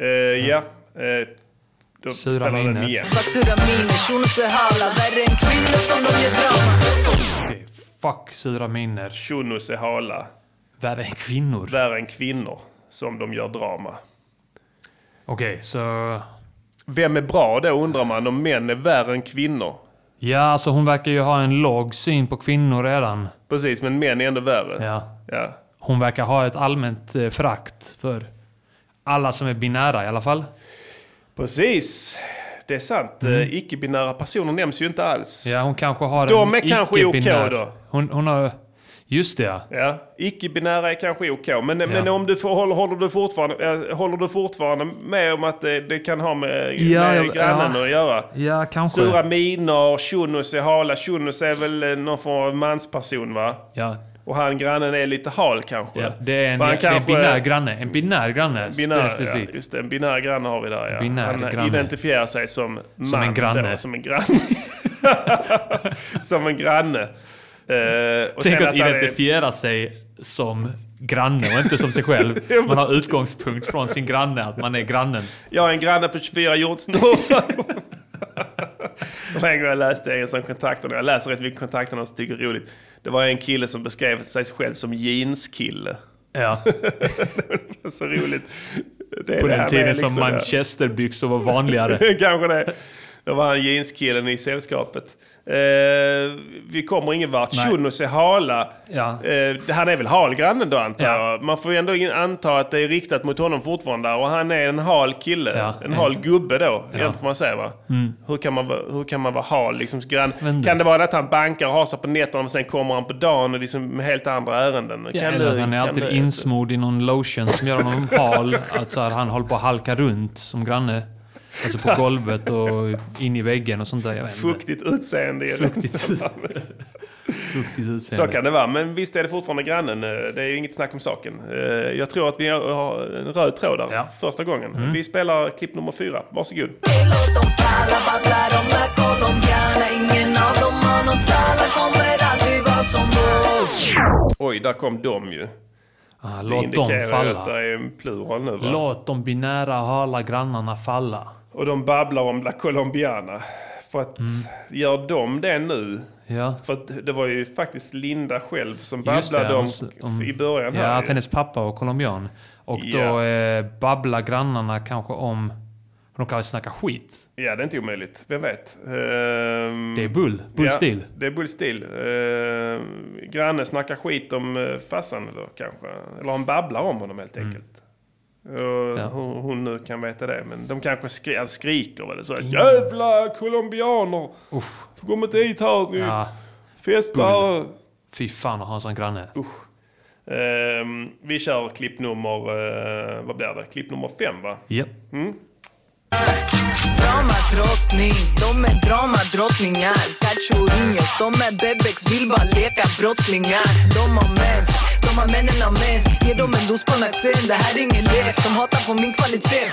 Speaker 3: Eh, ja, eh, Då
Speaker 4: Sura
Speaker 3: spelar den
Speaker 4: miner.
Speaker 3: igen.
Speaker 17: Basura miner, shunos är hala Värre än kvinnor som de gör drama
Speaker 3: Fuck sura miner. Shunos är hala. Värre än kvinnor. Värre än kvinnor. Som de gör drama.
Speaker 4: Okej, så...
Speaker 3: Vem är bra då undrar man om män är värre än kvinnor.
Speaker 4: Ja, alltså hon verkar ju ha en låg syn på kvinnor redan.
Speaker 3: Precis, men män är ändå värre.
Speaker 4: Ja.
Speaker 3: ja.
Speaker 4: Hon verkar ha ett allmänt eh, frakt för alla som är binära i alla fall.
Speaker 3: Precis. Det är sant.
Speaker 4: Mm.
Speaker 3: Eh, Icke-binära personer nämns ju inte alls.
Speaker 4: Ja, hon kanske har
Speaker 3: De
Speaker 4: en
Speaker 3: är kanske OK
Speaker 4: icke-binär-
Speaker 3: då.
Speaker 4: Hon, hon har... Just det ja.
Speaker 3: Ja, icke-binära är kanske OK, men, men om du får, håller, håller, du fortfarande, eh, håller du fortfarande med om att det, det kan ha med,
Speaker 4: Ja,
Speaker 3: med
Speaker 4: ja,
Speaker 3: grannen
Speaker 4: ja.
Speaker 3: att göra?
Speaker 4: Ja, kanske.
Speaker 3: Sura miner, Shunos är hala. Shunos är väl eh, någon form av mansperson va?
Speaker 4: Ja.
Speaker 3: Och han grannen är lite hal kanske?
Speaker 4: Ja, det är en,
Speaker 3: För han
Speaker 4: det är en
Speaker 3: kanske-
Speaker 4: binär granne. En binär granne.
Speaker 3: Binär, ja,
Speaker 4: specifikt.
Speaker 3: just det, en binär granne har vi där ja.
Speaker 4: Binär
Speaker 3: han
Speaker 4: granne.
Speaker 3: identifierar sig som man.
Speaker 4: Som en granne.
Speaker 3: Då, som en granne. som en granne. Eh, och
Speaker 4: Tänk
Speaker 3: sen
Speaker 4: att
Speaker 3: han är-
Speaker 4: identifiera sig som granne och inte som sig själv. Man har utgångspunkt från sin granne, att man är grannen.
Speaker 3: Jag är en granne på 24 jordsnåsar. Det var en gång jag läste en som kontaktade Jag läser rätt mycket kontaktannonser och tycker det är roligt. Det var en kille som beskrev sig själv som jeanskille.
Speaker 4: Ja.
Speaker 3: det var så roligt. Det är
Speaker 4: På
Speaker 3: det
Speaker 4: den
Speaker 3: han
Speaker 4: tiden
Speaker 3: är
Speaker 4: som
Speaker 3: liksom, ja.
Speaker 4: manchesterbyxor var vanligare.
Speaker 3: Kanske det. Då var han jeanskillen i sällskapet. Eh, vi kommer ingen vart.
Speaker 4: Nej.
Speaker 3: Shunos är hala.
Speaker 4: Ja.
Speaker 3: Eh, han är väl hal grannen då antar jag. Man får ju ändå in- anta att det är riktat mot honom fortfarande. Och han är en hal kille. En hal gubbe då, egentligen får man säga va?
Speaker 4: Mm.
Speaker 3: Hur kan man, vara- hur kan man vara hal? Liksom, grann, kan det vara att han bankar och hasar på nätterna och sen kommer han på dagen och liksom med helt andra ärenden?
Speaker 4: Ja,
Speaker 3: kan
Speaker 4: eller
Speaker 3: det-
Speaker 4: han är
Speaker 3: kan
Speaker 4: alltid
Speaker 3: det-
Speaker 4: insmord i någon lotion som gör honom hal. Att så här, han håller på att halka runt som granne. Alltså på golvet och in i väggen och sånt där. Jag vet inte.
Speaker 3: Fuktigt utseende. är det.
Speaker 4: Fuktigt Fuktigt utseende.
Speaker 3: Så kan det vara, men visst är det fortfarande grannen. eh, Det är ju inget snack om saken. Eh, Jag tror att vi har- har en röd tråd där första gången.
Speaker 17: Mm.
Speaker 3: Vi spelar klipp nummer fyra. Varsågod.
Speaker 17: Alla battlar om la colombiana Ingen av dem har nån tala Kommer aldrig vara som oss
Speaker 3: Oj, där kom de ju.
Speaker 4: Ah,
Speaker 3: Det
Speaker 4: låt dem
Speaker 3: indikerar ju
Speaker 4: falla.
Speaker 3: att det är en plural nu va?
Speaker 4: Låt de binära hala grannarna falla.
Speaker 3: Och de babblar om La Colombiana. För att,
Speaker 4: Mm.
Speaker 3: gör de det nu?
Speaker 4: Ja.
Speaker 3: För att det var ju faktiskt Linda själv som
Speaker 4: Just det,
Speaker 3: babblade om,
Speaker 4: hon- om-
Speaker 3: i början
Speaker 4: Ja,
Speaker 3: här.
Speaker 4: att
Speaker 3: ju.
Speaker 4: hennes pappa var colombian. Och då
Speaker 3: Ja.
Speaker 4: eh, babblar grannarna kanske om... De kanske snackar skit.
Speaker 3: Ja, det är inte omöjligt. Vem vet? Ehm,
Speaker 4: Det är bull. Bull
Speaker 3: ja,
Speaker 4: stil.
Speaker 3: Det är bullstil. Uh, grannen snackar skit om uh, farsan då kanske. Eller han babblar om honom helt
Speaker 4: Mm.
Speaker 3: enkelt. Och hon, hon nu kan veta det. Men de kanske skri han skriker väl så. Jävla colombianer! Får komma inte hit här nu.
Speaker 4: Ja.
Speaker 3: Festar!
Speaker 4: Fy fan att ha en sån granne.
Speaker 3: Usch. Ehm, vi kör klipp nummer... eh, vad blir det? Klipp nummer fem va?
Speaker 4: Japp.
Speaker 3: Mm.
Speaker 17: Dramadrottning, de är dramadrottningar Cachorinhos, de är bebeks, vill bara leka brottslingar De har mens, de har männen har mens Ge dem en dos på nacken, det här är ingen lek De hatar på min kvalitet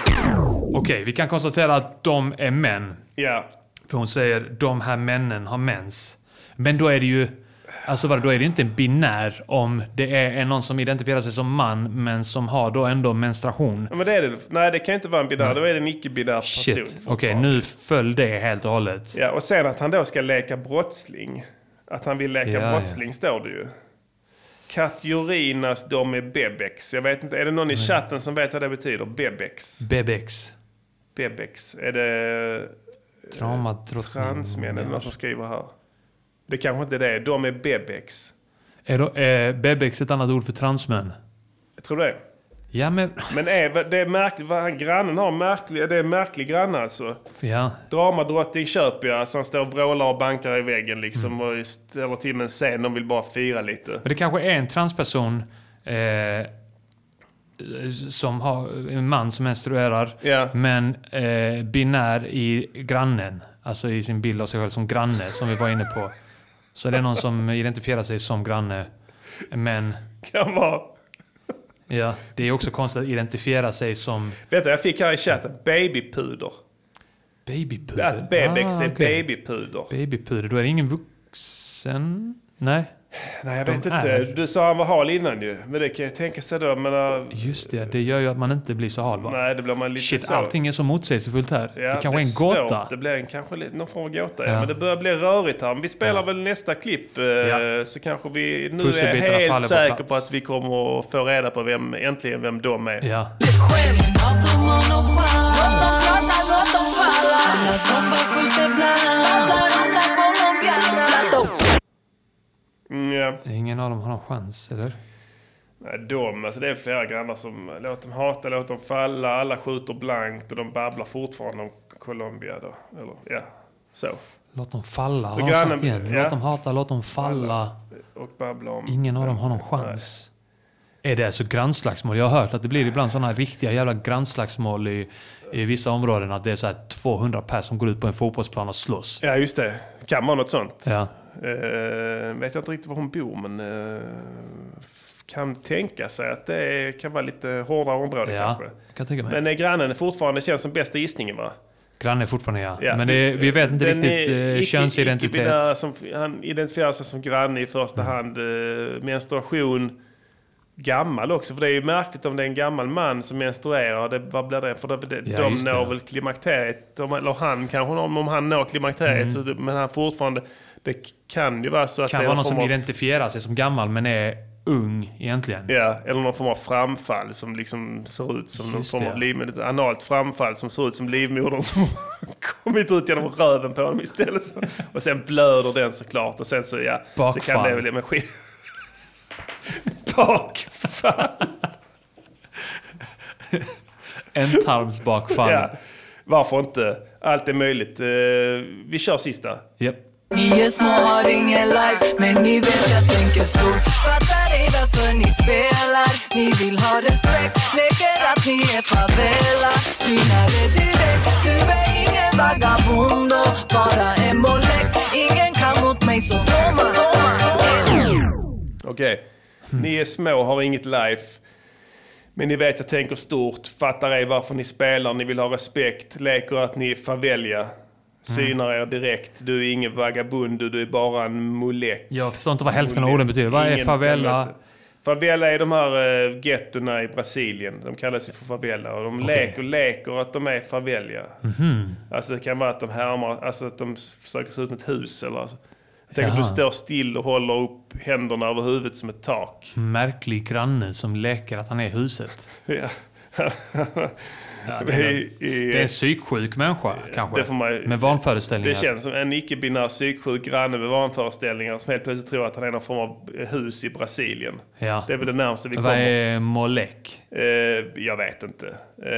Speaker 4: Okej, vi kan konstatera att de är män.
Speaker 3: Ja.
Speaker 4: För hon säger de här männen har mens. Men då är det ju... Alltså vad, då är det inte en binär om det är en- någon som identifierar sig som man men som har då ändå menstruation.
Speaker 3: Ja, men det är det. Nej, det kan inte vara en binär. Då är det en icke-binär person.
Speaker 4: Shit. Okej, nu föll det helt och hållet.
Speaker 3: Ja, och sen att han då ska leka brottsling. Att han vill leka
Speaker 4: Ja, ja.
Speaker 3: brottsling står det ju. Katjorinas de är bebex. Jag vet inte, är det någon i
Speaker 4: Nej.
Speaker 3: chatten som vet vad det betyder? Bebex.
Speaker 4: Bebex.
Speaker 3: Bebex. Är det... eh,
Speaker 4: Dramadrottning.
Speaker 3: Transmän eller någon som skriver här. Det kanske inte är det. De är bebex.
Speaker 4: Är, då, är bebex ett annat ord för transmän?
Speaker 3: Jag tror det.
Speaker 4: Ja, men...
Speaker 3: Men är, det är märkligt. Vad han, grannen har märklig... Det är en märklig granne alltså.
Speaker 4: Ja.
Speaker 3: Dramadrottning köper jag. Alltså han står och vrålar och bankar i väggen
Speaker 4: Mm.
Speaker 3: liksom. Och ställer till med en scen. De vill bara fira lite.
Speaker 4: Men det kanske är en transperson eh, som har en man som menstruerar men eh, binär i grannen. Alltså i sin bild av sig själv som granne som vi var inne på. Så det är någon som identifierar sig som granne. Men
Speaker 3: Kan vara.
Speaker 4: ja, det är också konstigt att identifiera sig som...
Speaker 3: Vänta, jag fick här i chatten
Speaker 4: Mm.
Speaker 3: babypuder.
Speaker 4: Babypuder?
Speaker 3: Att bebex
Speaker 4: Ah,
Speaker 3: är
Speaker 4: okej.
Speaker 3: babypuder.
Speaker 4: Babypuder. Då är det ingen vuxen? Nej.
Speaker 3: Nej, jag
Speaker 4: De
Speaker 3: vet
Speaker 4: är-
Speaker 3: inte. Du sa han var hal innan ju. Men det kan jag tänka sig då. Men, äh,
Speaker 4: Just det, det gör ju att man inte blir så hal va?
Speaker 3: nej, det blir man lite
Speaker 4: Shit,
Speaker 3: så.
Speaker 4: allting är så motsägelsefullt här.
Speaker 3: Ja,
Speaker 4: det kanske är en
Speaker 3: svårt.
Speaker 4: gåta.
Speaker 3: Det blir en, kanske lite, någon form av gåta. Ja.
Speaker 4: Ja.
Speaker 3: Men det börjar bli rörigt här. Men vi spelar väl nästa klipp. eh, Så kanske vi nu är
Speaker 4: Pusselbitarna faller
Speaker 3: helt
Speaker 4: på
Speaker 3: säker på,
Speaker 4: plats.
Speaker 3: att vi kommer att få reda på vem, äntligen vem de är.
Speaker 4: Ja.
Speaker 14: Låt dem prata, låt dem falla. Alla de bara skjuter blankt. Alla de där colombiana.
Speaker 3: Mm, ja.
Speaker 4: Ingen av dem har någon chans, eller?
Speaker 3: Nej, de, alltså det är flera grannar som låt dem hata, låt dem falla, alla skjuter blankt och de babblar fortfarande om Colombia då. Eller, ja, så.
Speaker 4: Låt dem falla, har
Speaker 3: Och
Speaker 4: de
Speaker 3: grannen-
Speaker 4: sagt igen. Låt
Speaker 3: ja.
Speaker 4: dem hata, låt dem falla.
Speaker 3: Och babblar om...
Speaker 4: Ingen av dem har någon chans. Är det alltså grannslagsmål? Jag har hört att det blir ibland sådana riktiga jävla grannslagsmål i, i vissa områden. Att det är så här 200 pers som går ut på en fotbollsplan och slåss.
Speaker 3: Ja, just det. Kan vara något sånt.
Speaker 4: Ja.
Speaker 3: Eh, vet jag inte riktigt var hon bor, men eh, kan tänka sig att det är, kan vara lite hårdare område
Speaker 4: Ja,
Speaker 3: kanske.
Speaker 4: kan tänka mig.
Speaker 3: Men eh, grannen är fortfarande känns som bästa gissningen va?
Speaker 4: Grannen är fortfarande ja.
Speaker 3: Ja,
Speaker 4: Men det, vi vet inte
Speaker 3: den
Speaker 4: riktigt
Speaker 3: är
Speaker 4: eh,
Speaker 3: icke-
Speaker 4: könsidentitet. Mm.
Speaker 3: icke-binär Som, han identifierar sig som granne i första hand. Eh, menstruation. Gammal också, för det är ju märkligt om det är en gammal man som menstruerar. Det, vad blir det? För det, det,
Speaker 4: Ja,
Speaker 3: de
Speaker 4: just det,
Speaker 3: når
Speaker 4: ja.
Speaker 3: väl klimakteriet, om, eller han kanske, om, om han når klimakteriet.
Speaker 4: Mm.
Speaker 3: Så, det- men han fortfarande, det kan ju vara så att
Speaker 4: kan
Speaker 3: det är någon
Speaker 4: vara någon som
Speaker 3: form av-
Speaker 4: identifierar sig som gammal men är ung egentligen.
Speaker 3: Ja, eller någon form av framfall som liksom ser ut som någon
Speaker 4: Just
Speaker 3: form
Speaker 4: det,
Speaker 3: av
Speaker 4: ja.
Speaker 3: liv, ett analt framfall som ser ut som livmodern som har kommit ut genom röven på honom istället. Så- Och sen blöder den såklart och sen så ja, så kan
Speaker 4: Bakfall.
Speaker 3: det väl med skit. Bakfall.
Speaker 4: Ändtarmsbakfall.
Speaker 3: Ja, varför inte? Allt är möjligt. Eh, Vi kör sista.
Speaker 4: Yep.
Speaker 17: Ni är små, har ingen life, men ni vet jag tänker stort. Fattar ej varför ni spelar. Ni vill ha respekt, leker att ni är e favela. Synar det direkt, du är ingen vagabundo. Bara en molek, ingen kan mot mig så doma.
Speaker 3: Okej. Ni är små, har inget life. Men ni vet jag tänker stort, fattar ej varför ni spelar, ni vill ha respekt, leker att ni är favela. Synar er direkt, du är ingen vagabund, du är bara en molek.
Speaker 4: Jag förstår inte vad hälften av orden betyder. Vad är
Speaker 3: Ingen kan
Speaker 4: favela?
Speaker 3: veta. Favela är de här uh, gettona i Brasilien. De kallas ju för favela. Och de
Speaker 4: Okej.
Speaker 3: leker, leker att de är favela.
Speaker 4: Mhm.
Speaker 3: Alltså det kan vara att de härmar, alltså att de försöker se ut som ett hus eller alltså. Jag tänker
Speaker 4: Jaha.
Speaker 3: att du står still och håller upp händerna över huvudet som ett tak.
Speaker 4: Märklig granne som leker att han är i huset.
Speaker 3: Ja.
Speaker 4: Ja,
Speaker 3: det,
Speaker 4: det,
Speaker 3: är,
Speaker 4: är, det är en psyksjuk människa kanske.
Speaker 3: det får man-
Speaker 4: med vanföreställningar.
Speaker 3: det känns som en icke-binär psyksjuk granne med vanföreställningar som helt plötsligt tror att han är någon form av eh, hus i Brasilien.
Speaker 4: Ja.
Speaker 3: Det är väl det närmaste vi
Speaker 4: Vad
Speaker 3: kommer.
Speaker 4: är molek?
Speaker 3: Eh, jag vet inte. Eh,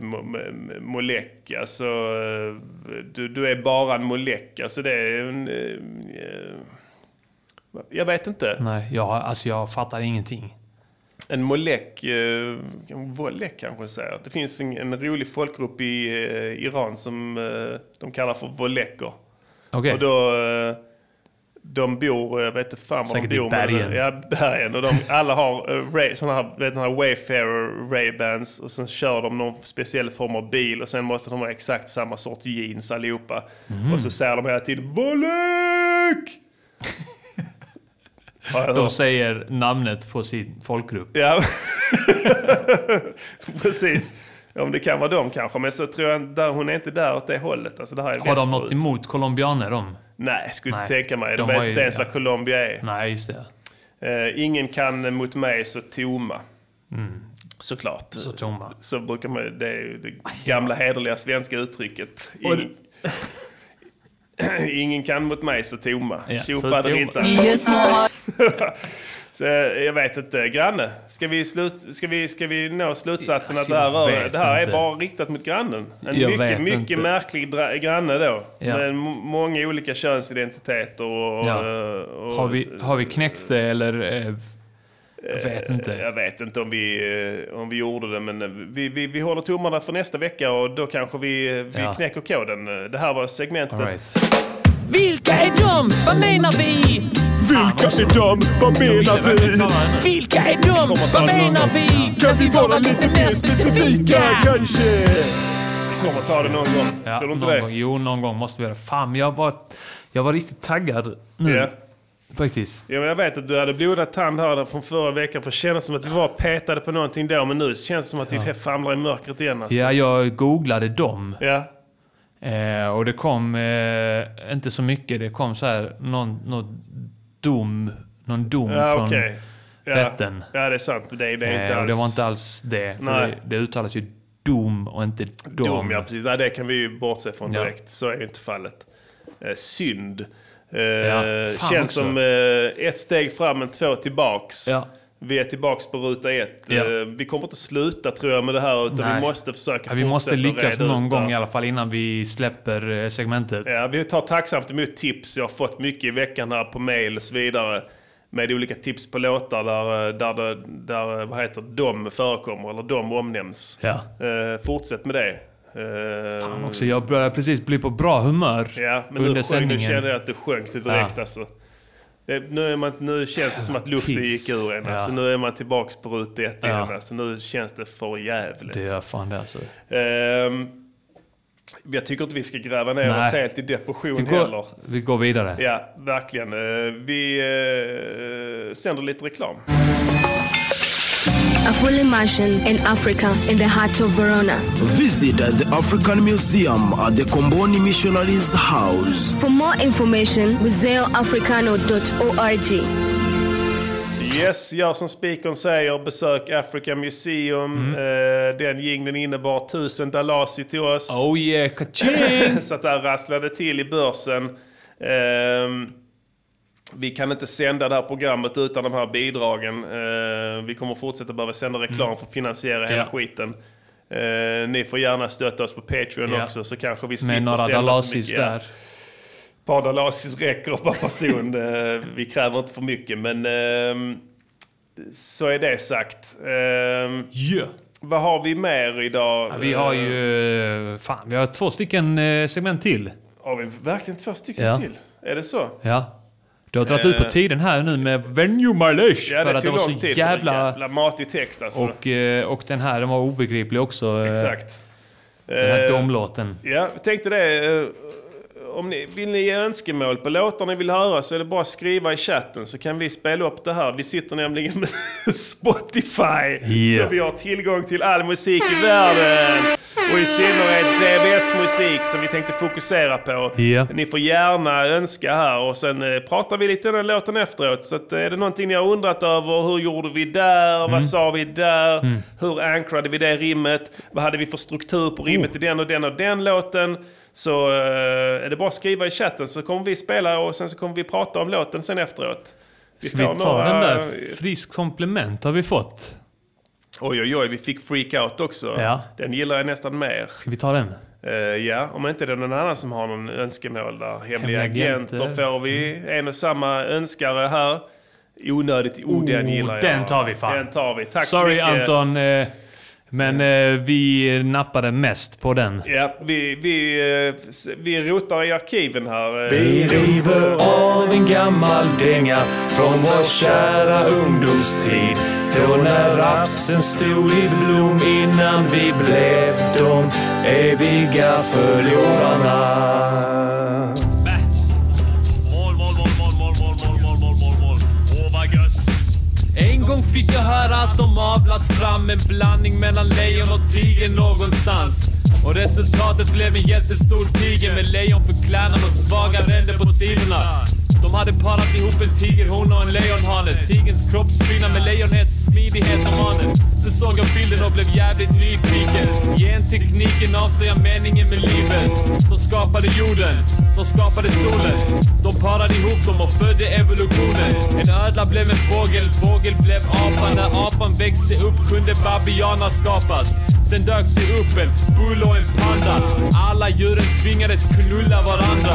Speaker 3: mo- mo- molek, alltså... eh, Du, du är bara en molek. Alltså det är en... eh, eh, jag vet inte.
Speaker 4: Nej, jag, har- alltså jag fattar ingenting.
Speaker 3: En molek, eh, volek kanske jag säger. Det finns en, en rolig folkgrupp i eh, Iran som eh, de kallar för voleker.
Speaker 4: Okej.
Speaker 3: Och då, eh, de bor, jag vet inte fan var
Speaker 4: Säkert
Speaker 3: de
Speaker 4: i
Speaker 3: bor. men-
Speaker 4: bergen.
Speaker 3: Ja, bergen. Och de, alla har eh, Ray, såna här, vet, du, de här Wayfarer Ray-Bans och sen kör de någon speciell form av bil och sen måste de ha exakt samma sorts jeans allihopa.
Speaker 4: Mhm.
Speaker 3: Och så säger de hela tiden volek! Har jag
Speaker 4: De
Speaker 3: hört.
Speaker 4: säger namnet på sin folkgrupp.
Speaker 3: Ja, precis. Om det kan vara dem kanske, men så tror jag där, hon är inte där åt det hållet. Alltså, det här är
Speaker 4: Har de
Speaker 3: västerut.
Speaker 4: något emot colombianer de?
Speaker 3: Nej, skulle inte
Speaker 4: Nej,
Speaker 3: tänka mig. De,
Speaker 4: de
Speaker 3: vet
Speaker 4: har ju-
Speaker 3: inte ens vad
Speaker 4: ja.
Speaker 3: Colombia är.
Speaker 4: Nej, just det.
Speaker 3: Eh, ingen kan mot mig så tomma.
Speaker 4: Mm.
Speaker 3: Såklart.
Speaker 4: Så tomma.
Speaker 3: Så brukar man ju- det är ju det gamla hederliga svenska uttrycket.
Speaker 4: Och-
Speaker 3: Ingen, ingen kan mot mig så tomma.
Speaker 4: Ja,
Speaker 3: Tjo
Speaker 4: så
Speaker 3: faderita.
Speaker 4: tomma. Ni är små.
Speaker 3: Så eh, jag vet inte, granne. Ska vi, slut, ska vi, ska vi nå slutsatsen att
Speaker 4: Alltså,
Speaker 3: det här,
Speaker 4: jag
Speaker 3: rör,
Speaker 4: vet
Speaker 3: det här är
Speaker 4: inte.
Speaker 3: bara riktat mot grannen? En
Speaker 4: Jag
Speaker 3: mycket,
Speaker 4: vet
Speaker 3: mycket
Speaker 4: inte.
Speaker 3: märklig dra- granne då.
Speaker 4: Ja.
Speaker 3: Med må- många olika könsidentiteter och... eh,
Speaker 4: Ja.
Speaker 3: och, och
Speaker 4: Har vi, har vi knäckt det eller? eh, Jag vet inte.
Speaker 3: Jag vet inte om vi, eh, om vi gjorde det, men eh, vi, vi, vi håller tummarna för nästa vecka och då kanske vi, eh, vi
Speaker 4: Ja.
Speaker 3: knäcker koden. Eh, Det här var segmentet.
Speaker 4: All
Speaker 9: Vilka är de? Vad menar vi?
Speaker 1: Vilka är de? Vad menar vi?
Speaker 9: Vilka är de? Vad menar vi? Kan vi vara lite mer specifika?
Speaker 3: kanske? Kommer ta det någon gång.
Speaker 4: Ja,
Speaker 3: Tror du inte
Speaker 4: någon
Speaker 3: det?
Speaker 4: gång, jo, någon gång måste vi göra det. Fan, men jag var, jag var riktigt taggad nu.
Speaker 3: Ja.
Speaker 4: Faktiskt.
Speaker 3: Ja, men jag vet att du hade blodad tand här från förra veckan för det kändes som att vi var petade på någonting då men nu känns det som att vi famlar i mörkret igen alltså.
Speaker 4: Ja, jag googlade dem.
Speaker 3: Ja.
Speaker 4: Eh, och det kom eh, inte så mycket. Det kom så här någon, någon dom, någon dom
Speaker 3: Ja,
Speaker 4: från
Speaker 3: okej. Ja.
Speaker 4: rätten.
Speaker 3: Ja, det är sant. Det, det är inte
Speaker 4: Eh, och
Speaker 3: alls...
Speaker 4: det var inte alls det. För
Speaker 3: Nej.
Speaker 4: det, det uttalas ju dom och inte dom.
Speaker 3: Dom, ja precis. Nej, det kan vi ju bortse från
Speaker 4: Ja.
Speaker 3: direkt. Så är ju inte fallet. Eh, synd. Eh,
Speaker 4: fan
Speaker 3: känns
Speaker 4: också.
Speaker 3: som eh, ett steg fram men två tillbaks.
Speaker 4: Ja.
Speaker 3: Vi är tillbaks på ruta ett.
Speaker 4: Ja.
Speaker 3: Eh, vi kommer inte sluta tror jag med det här utan
Speaker 4: Nej.
Speaker 3: vi måste försöka
Speaker 4: ja, Vi måste
Speaker 3: fortsätta
Speaker 4: lyckas
Speaker 3: reda ut
Speaker 4: någon
Speaker 3: det här.
Speaker 4: gång i alla fall innan vi släpper eh, segmentet.
Speaker 3: Ja, vi tar tacksamt emot tips. Jag har fått mycket i veckan här på mail och så vidare. Med olika tips på låtar där, eh, där, det- där eh, vad heter, det, de förekommer eller de omnämns.
Speaker 4: Ja.
Speaker 3: Eh, fortsätt med det. Eh,
Speaker 4: Fan också, jag börjar precis bli på bra humör
Speaker 3: Ja, men nu,
Speaker 4: under
Speaker 3: sjönk, nu
Speaker 4: sändningen.
Speaker 3: kände jag att det sjönk det direkt alltså. Det, nu, är man, nu känns det som att luften
Speaker 4: Piss.
Speaker 3: gick ur en.
Speaker 4: Ja.
Speaker 3: Alltså, nu är man tillbaks på ruta ett
Speaker 4: Ja.
Speaker 3: igen. Alltså, nu känns det för jävligt.
Speaker 4: Det gör fan det alltså.
Speaker 3: Ehm, jag tycker inte vi ska gräva ner
Speaker 4: Nej.
Speaker 3: oss helt i depression
Speaker 4: Vi går,
Speaker 3: heller.
Speaker 4: vi går vidare.
Speaker 3: Ja, verkligen. Eh, Vi eh, sänder lite reklam.
Speaker 18: A full immersion in Africa in the heart of Verona.
Speaker 6: Visit uh, the African Museum at the Komboni Missionaries House.
Speaker 18: For more information, museoafricano.org.
Speaker 3: Yes, gör som spikern säger. Besök Africa Museum.
Speaker 4: Mm.
Speaker 3: Eh, Den jingeln innebar 1000 dalasi till oss.
Speaker 4: Oh yeah, ka-ching!
Speaker 3: Så att där rasslade till i börsen. Ehm, vi kan inte sända det här programmet utan de här bidragen. Eh, vi kommer fortsätta behöva sända reklam
Speaker 4: Mm.
Speaker 3: för att finansiera hela
Speaker 4: Ja.
Speaker 3: skiten. Eh, ni får gärna stötta oss på Patreon
Speaker 4: Ja.
Speaker 3: också så kanske vi
Speaker 4: Med
Speaker 3: slipper
Speaker 4: några
Speaker 3: sända så
Speaker 4: dalasis
Speaker 3: mycket. Ja.
Speaker 4: där.
Speaker 3: Ett par dalasis räcker per person. Eh, vi kräver inte för mycket men ehm, så är det sagt. Ehm, Vad har vi mer idag?
Speaker 4: Vi har ju...
Speaker 3: Eh,
Speaker 4: eh, Fan, vi har två stycken eh, segment till.
Speaker 3: Har vi verkligen två stycken
Speaker 4: Ja.
Speaker 3: till? Är det så?
Speaker 4: Ja. Du har dragit ut på
Speaker 3: Eh.
Speaker 4: tiden här nu med Venue Marlish.
Speaker 3: Ja,
Speaker 4: för
Speaker 3: det
Speaker 4: att det
Speaker 3: tog
Speaker 4: var så
Speaker 3: lång tid. för
Speaker 4: jävla...
Speaker 3: jävla matig text alltså.
Speaker 4: Och, eh, och den här, den var obegriplig också. eh,
Speaker 3: Exakt.
Speaker 4: Den här
Speaker 3: Eh,
Speaker 4: domlåten.
Speaker 3: Ja, jag tänkte det. eh, Om ni, vill ni ge önskemål på låtar ni vill höra så är det bara att skriva i chatten så kan vi spela upp det här. Vi sitter nämligen med Spotify.
Speaker 2: Yeah.
Speaker 3: Så vi har tillgång till all musik i världen. Och i synnerhet DBS-musik som vi tänkte fokusera på.
Speaker 4: Ja.
Speaker 3: Ni får gärna önska här och sen eh, pratar vi lite om den låten efteråt. Så att, eh, är det någonting ni har undrat över, hur gjorde vi där,
Speaker 4: Mm.
Speaker 3: vad sa vi där,
Speaker 4: Mm.
Speaker 3: hur ankrade vi det rimmet, vad hade vi för struktur på rimmet
Speaker 4: Oh.
Speaker 3: i den och den och den låten. Så eh, är det bara att skriva i chatten så kommer vi spela och sen så kommer vi prata om låten sen efteråt.
Speaker 4: Ska vi
Speaker 3: får
Speaker 4: ta
Speaker 3: några-
Speaker 4: den där? Frisk komplement har vi fått.
Speaker 3: Oj, oj, oj, vi fick freak out också.
Speaker 4: Ja.
Speaker 3: Den gillar jag nästan mer.
Speaker 4: Ska vi ta den?
Speaker 3: Eh, ja, om inte det är någon annan som har någon önskemål där. Hemliga,
Speaker 4: Hemliga
Speaker 3: agenter.
Speaker 4: agenter.
Speaker 3: får vi. En och samma önskare här. Onödigt, oh, den
Speaker 4: Oh,
Speaker 3: gillar jag.
Speaker 4: den tar vi fan.
Speaker 3: Den tar vi. Tack så
Speaker 4: Sorry
Speaker 3: mycket.
Speaker 4: Anton, eh, men eh, vi nappade mest på den.
Speaker 3: Ja, vi, vi, eh, s- vi rotar i arkiven här. eh.
Speaker 19: Vi river av en gammal dänga från vår kära ungdomstid. Då när rapsen stod i blom innan vi blev de eviga förlorarna.
Speaker 9: En gång fick jag höra att de avlat fram en blandning mellan lejon och tiger någonstans. Och resultatet blev en jättestor tiger med lejon för klärnan och svaga ränder på sidorna. De hade parat ihop en tigerhona och en lejonhane. Tigerns kroppsbyggnad med lejonets smidighet och manen. Sen såg jag bilden och blev jävligt nyfiken. Gentekniken avslöjar meningen med livet. De skapade jorden, de skapade solen. De parade ihop dem och födde evolutionen. En ödla blev en fågel, fågel blev apa. När apan växte upp kunde babianer skapas. Sen dök det upp en bull och en panda. Alla djuren tvingades knulla varandra.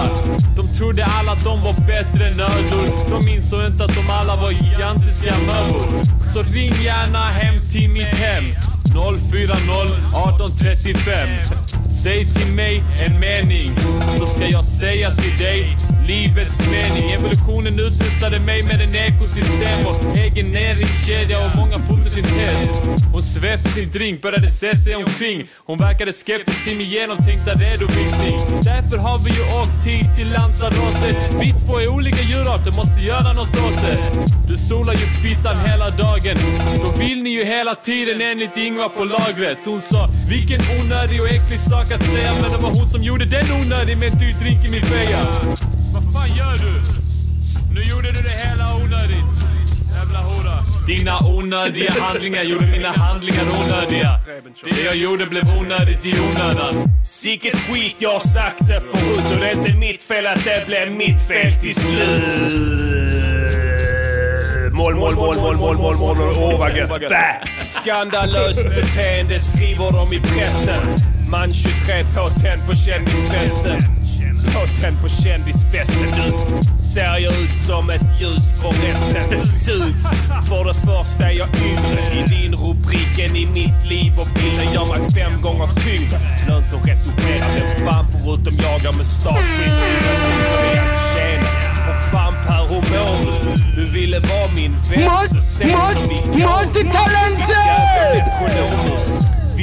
Speaker 9: De trodde alla att de var bättre än ödlor. De insåg inte att de alla var gigantiska möbler. Så ring gärna hem till mitt hem. 040 1835 Säg till mig en mening så ska jag säga till dig livets mening. Evolutionen utrustade mig med en ekosystem och egen näringskedja och många fotosyntes. Hon svepte sin drink, började se sig omkring. Hon verkade skeptisk till min genomtänkta redovisning. Därför har vi ju åkt hit till Lanzarote. Vi två är olika djurarter, måste göra något åt det. Du solar ju fittan hela dagen. Då vill ni ju hela tiden enligt Ingvar på lagret. Hon sa, vilken onödig och äcklig sak att säga. Men det var hon som gjorde den onödig med en dyr drink i min feja. Vad fan gör du? Nu gjorde du det hela onödigt. Jävla hora. Dina onödiga handlingar gjorde mina handlingar onödiga. Det jag gjorde blev onödigt i onödan.
Speaker 20: Sicket skit jag har sagt det förut och det är inte mitt fel att det blev mitt fel till slut. Mål, mål, mål, mål, mål, mål, mål, mål, åh vad gött. Bä!
Speaker 2: Skandalöst beteende skriver de i pressen. Man 23 påtänd på kändisfesten. Påtänd på kändisfesten du. Ser jag ut som ett ljus på resten? Sug! För det första är jag yngre i din rubrik än i mitt liv och bilden gör mig fem gånger tyngre. Lönt att retuschera den fan förutom jag är med startprincipen. För fan Per, hur mår du? Du ville vara min vän så sent som vi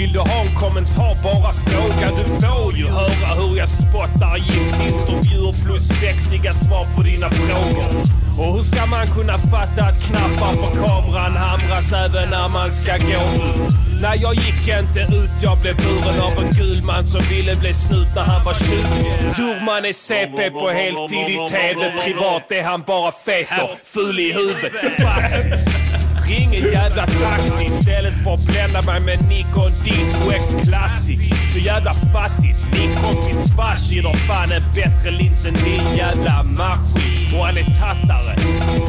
Speaker 2: Vill du ha en kommentar, bara fråga. Du får ju höra hur jag spottar gift intervjuer plus växliga svar på dina frågor. Och hur ska man kunna fatta att knappar på kameran hamras även när man ska gå ut? Nej, jag gick inte ut, jag blev buren av en gul man som ville bli snut när han var 20. Jurman är CP på heltid i TV, privat är han bara fetor, ful i huvudet, fast. Ring en jävla taxi istället för att blända mig med Nikon Dito X Classic. Så jävla fattigt. Min kompis Fashi har fan en bättre lins än din jävla maskin. Och han är tattare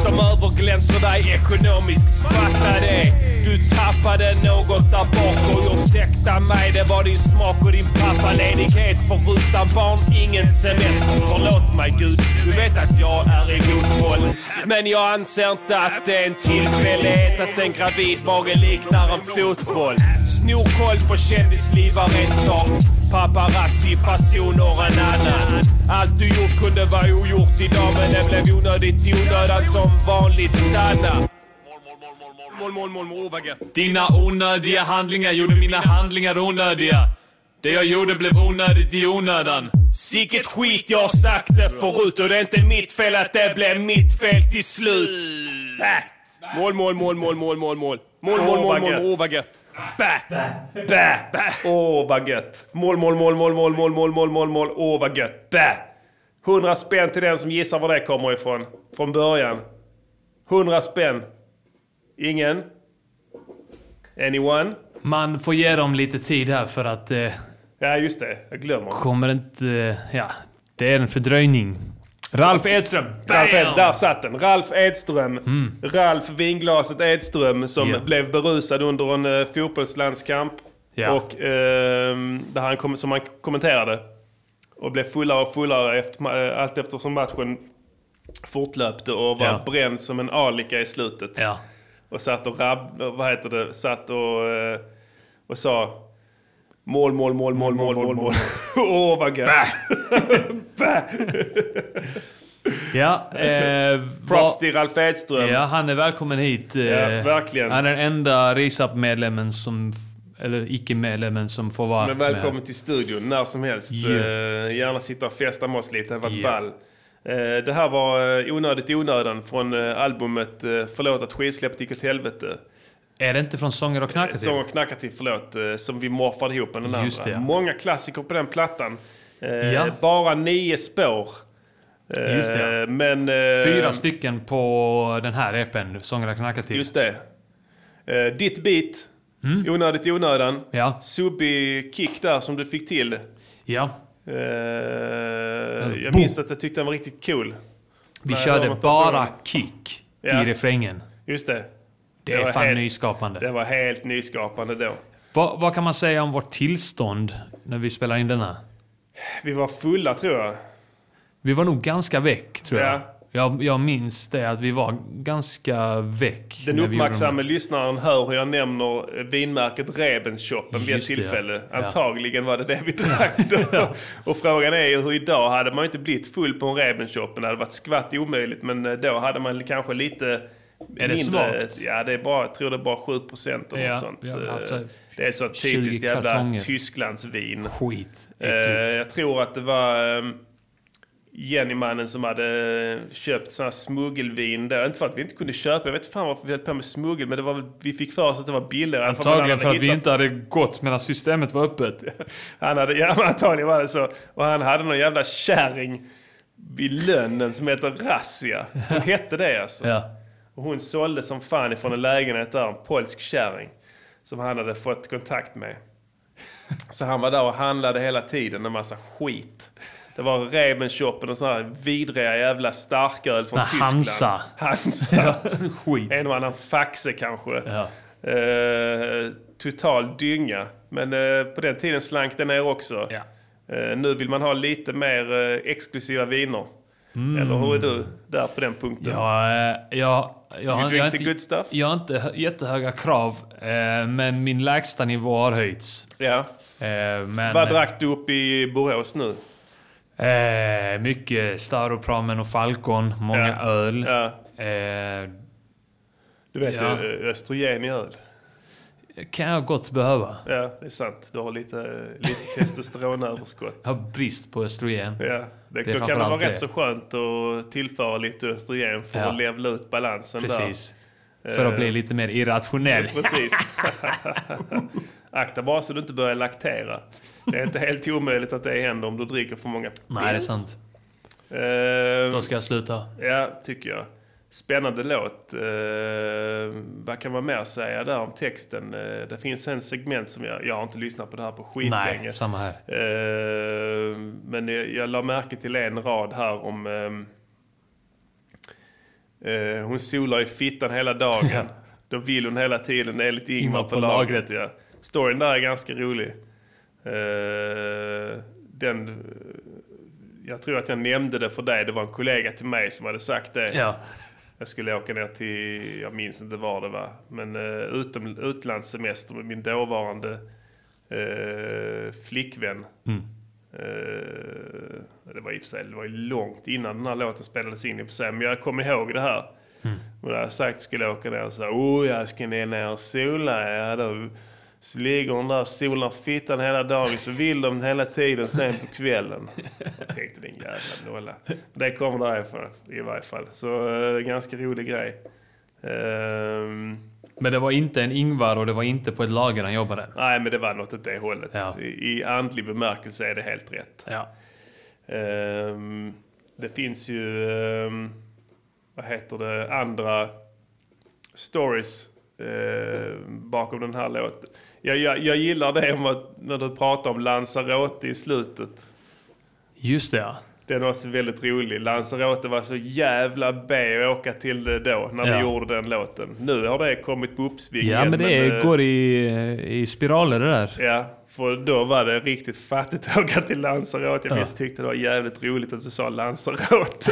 Speaker 2: som överglänser dig ekonomiskt. Fatta det. Du tappade något där bak och ursäkta mig, det var din smak och din pappaledighet. För utan barn, ingen semester. Förlåt mig Gud, du vet att jag är i god koll. Men jag anser inte att det är en tillfällighet att en gravid mage liknar en fotboll. Snor koll på kändisliv var en sak. Paparazzi-fasoner en annan. Allt du gjort kunde vara ogjort idag men det blev onödigt i onödan som vanligt. Stanna!
Speaker 20: Mål, mål, mål, mål, åh, vad gött.
Speaker 9: Dina onödiga handlingar gjorde mina handlingar onödiga. Det jag gjorde blev onödigt i onödan.
Speaker 20: Sicket skit jag har sagt det förut och det är inte mitt fel att det blev mitt fel till slut. Bä! Mål, mål, mål, mål, mål, mål, mål. Mål, mål,
Speaker 3: Åh,
Speaker 20: mål,
Speaker 3: vad
Speaker 20: mål,
Speaker 3: gött.
Speaker 20: åh vad gött. Bä!
Speaker 3: Bä! Åh, vad gött. Mål, mål, mål, mål, mål, mål, mål, mål, mål, mål. Åh, vad gött. Bä! 100 spänn till den som gissar var det kommer ifrån. Från början. 100 spänn. Ingen? Anyone?
Speaker 4: Man får ge dem lite tid här för att... Eh,
Speaker 3: ja, just det. Jag glömmer.
Speaker 4: Kommer inte... eh, Ja, det är en fördröjning. Ralf Edström.
Speaker 3: Ralf Ed,
Speaker 4: Bam!
Speaker 3: där satt den. Ralf Edström.
Speaker 4: Mm.
Speaker 3: Ralf Vinglaset Edström som
Speaker 4: Ja.
Speaker 3: blev berusad under en eh, fotbollslandskamp.
Speaker 4: Ja.
Speaker 3: Och, ehm, där han kom, som han kommenterade. Och blev fullare och fullare efter, ma- eh, allt eftersom matchen fortlöpte och var
Speaker 4: Ja.
Speaker 3: bränd som en alika i slutet. Och satt och rabb, eh, vad heter det, satt och, eh, och sa mål, mål, mål, mål, mål, mål, mål. Åh vad gött.
Speaker 4: Ja, eh,
Speaker 3: Props
Speaker 4: vad-
Speaker 3: till Ralf Edström.
Speaker 4: Ja, han är välkommen hit. eh,
Speaker 3: Ja, verkligen.
Speaker 4: Han är den enda RISAP-medlemmen som... Eller icke-medlemmen som får vara
Speaker 3: Som är välkommen
Speaker 4: med.
Speaker 3: till studion när som helst.
Speaker 4: Ja.
Speaker 3: Eh, gärna sitta och festa med oss lite, det har varit
Speaker 4: Ja.
Speaker 3: ball. Eh, det här var eh, Onödigt i onödan från eh, albumet eh, Förlåt att skivsläppet gick åt helvete.
Speaker 4: Är det inte från Sånger och knarkar
Speaker 3: Sång och knacka till, förlåt, eh, som vi morfade ihop med den andra.
Speaker 4: Just det, ja.
Speaker 3: Många klassiker på den plattan. Eh,
Speaker 4: Ja.
Speaker 3: Bara nio spår. Eh,
Speaker 4: Just det.
Speaker 3: Men, eh,
Speaker 4: Fyra stycken på den här EPn, Sångerna knackar till.
Speaker 3: Just det. Eh, ditt beat,
Speaker 4: Mm.
Speaker 3: onödigt i onödan.
Speaker 4: Ja.
Speaker 3: Subbig kick där som du fick till. Eh,
Speaker 4: Ja.
Speaker 3: jag
Speaker 4: boom.
Speaker 3: minns att jag tyckte den var riktigt cool.
Speaker 4: Vi
Speaker 3: När jag hörde
Speaker 4: körde
Speaker 3: den första
Speaker 4: bara
Speaker 3: gången.
Speaker 4: kick
Speaker 3: Ja.
Speaker 4: i refrängen.
Speaker 3: Just det.
Speaker 4: Det är
Speaker 3: var
Speaker 4: fan
Speaker 3: helt-
Speaker 4: nyskapande.
Speaker 3: Det var helt nyskapande då.
Speaker 4: Vad, vad kan man säga om vårt tillstånd när vi spelar in denna?
Speaker 3: Vi var fulla tror jag.
Speaker 4: Vi var nog ganska väck, tror jag.
Speaker 3: Ja.
Speaker 4: Jag, jag minns det, att vi var ganska väck.
Speaker 3: Den
Speaker 4: när vi
Speaker 3: uppmärksamme lyssnaren hör hur jag nämner eh, vinmärket Rebenshoppen vid ett
Speaker 4: Just det, ja.
Speaker 3: tillfälle.
Speaker 4: Ja.
Speaker 3: Antagligen var det det vi drack då. Och frågan är ju hur idag hade man ju inte blivit full på en Rebenshoppen. Det hade varit skvatt omöjligt. Men eh, då hade man kanske lite...
Speaker 4: Är det svagt?
Speaker 3: Ja, det är bara, jag tror det är bara 7 procent eller
Speaker 4: Ja,
Speaker 3: något sånt.
Speaker 4: ja, alltså,
Speaker 3: Eh, det är så
Speaker 4: 20
Speaker 3: typiskt jävla
Speaker 4: kartonger.
Speaker 3: Tysklandsvin.
Speaker 4: Skit.
Speaker 3: Eh,
Speaker 4: Äckligt.
Speaker 3: jag tror att det var ehm, Jennymannen som hade köpt sådana här smuggelvin där. Inte för att vi inte kunde köpa, jag vet inte fan varför vi höll på med smuggel, men det var, väl- vi fick för oss att det var billigare. än vad man
Speaker 4: Antagligen
Speaker 3: hade
Speaker 4: för att vi
Speaker 3: hittat.
Speaker 4: inte hade gått medan systemet var öppet.
Speaker 3: Han hade, ja, men antagligen var det så. Och han hade någon jävla kärring vid lönnen som heter Rassia. Hon hette det alltså.
Speaker 4: Ja.
Speaker 3: Och hon sålde som fan ifrån en lägenhet där, en polsk kärring. Som han hade fått kontakt med. Så han var där och handlade hela tiden en massa skit. Det var Rebenshoppen och såna här vidriga jävla starköl från
Speaker 4: Nej,
Speaker 3: Tyskland.
Speaker 4: Hansa.
Speaker 3: Hansa. skit. En och annan Faxe kanske. Eh, total dynga. Men eh, på den tiden slank den ner också. Eh, nu vill man ha lite mer eh, exklusiva viner.
Speaker 4: Mm.
Speaker 3: Eller hur är du där på den punkten?
Speaker 4: Ja, eh, jag, jag,
Speaker 3: You
Speaker 4: har-
Speaker 3: drink
Speaker 4: jag,
Speaker 3: the
Speaker 4: har
Speaker 3: good
Speaker 4: inte, jag har inte hö- jättehöga krav, eh, men min lägsta nivå har höjts.
Speaker 3: Ja.
Speaker 4: Eh, men,
Speaker 3: Vad drack du upp i Borås nu?
Speaker 4: Eh, mycket Staropramen och Falcon, många
Speaker 3: Ja.
Speaker 4: öl. Eh,
Speaker 3: Du vet,
Speaker 4: ja.
Speaker 3: ö- östrogen i öl.
Speaker 4: kan jag gott behöva.
Speaker 3: Ja, det är sant. Du har lite, eh, lite testosteronöverskott.
Speaker 4: Jag har brist på östrogen.
Speaker 3: Ja, det, då kan det
Speaker 4: framförallt
Speaker 3: vara rätt så skönt att tillföra lite östrogen för
Speaker 4: Ja.
Speaker 3: att levla ut balansen
Speaker 4: Precis.
Speaker 3: där.
Speaker 4: För att
Speaker 3: Eh,
Speaker 4: bli lite mer irrationell.
Speaker 3: Precis. Akta bara så du inte börjar laktera. Det är inte helt omöjligt att det händer om du dricker för många pils.
Speaker 4: Nej, det är sant.
Speaker 3: Eh,
Speaker 4: Då ska jag sluta.
Speaker 3: Ja, tycker jag. Spännande låt. Eh, vad kan man mer säga där om texten? Eh, det finns en segment som jag... Jag har inte lyssnat på det här på skitlänge.
Speaker 4: Nej, samma här.
Speaker 3: Eh, men jag, jag la märke till en rad här om... ehm, eh, hon solar i fittan hela dagen. Då vill hon hela tiden enligt Ingmar på, lagret. Ja. Storyn där är ganska rolig. Eh, den, eh, jag tror att jag nämnde det för dig. Det var en kollega till mig som hade sagt det.
Speaker 4: Ja.
Speaker 3: Jag skulle åka ner till, jag minns inte var det var, men eh, utom, utlandssemester med min dåvarande eh, flickvän.
Speaker 4: Mm.
Speaker 3: Eh, det var i och för sig det var ju långt innan den här låten spelades in i och för sig, men jag kommer ihåg det här.
Speaker 4: Mm.
Speaker 3: Och när jag sagt skulle jag åka ner och sa oh jag ska ni ner och sola. Ja, då så ligger hon där och solar fittan hela dagen så vill de hela tiden sen på kvällen. Jag tänkte din jävla nolla. Det kommer därifrån i varje fall. Så eh, ganska rolig grej. Ehm,
Speaker 4: Men det var inte en Ingvar och det var inte på ett lager han jobbade.
Speaker 3: Nej, men det var något åt det hållet. I, I andlig bemärkelse är det helt rätt. Ehm, det finns ju, ehm, vad heter det, andra stories ehm, bakom den här låten. Jag, jag, jag gillar det om att, när du pratar om Lanzarote i slutet.
Speaker 4: Just det ja.
Speaker 3: Den var så väldigt rolig. Lanzarote var så jävla B att åka till det då, när
Speaker 4: Ja.
Speaker 3: vi gjorde den låten. Nu har det kommit på uppsving
Speaker 4: Ja
Speaker 3: igen,
Speaker 4: men det är-
Speaker 3: eh,
Speaker 4: går i, i spiraler det där.
Speaker 3: Ja, för då var det riktigt fattigt att åka till Lanzarote. Jag
Speaker 4: Ja.
Speaker 3: minns tyckte det var jävligt roligt att du sa Lanzarote.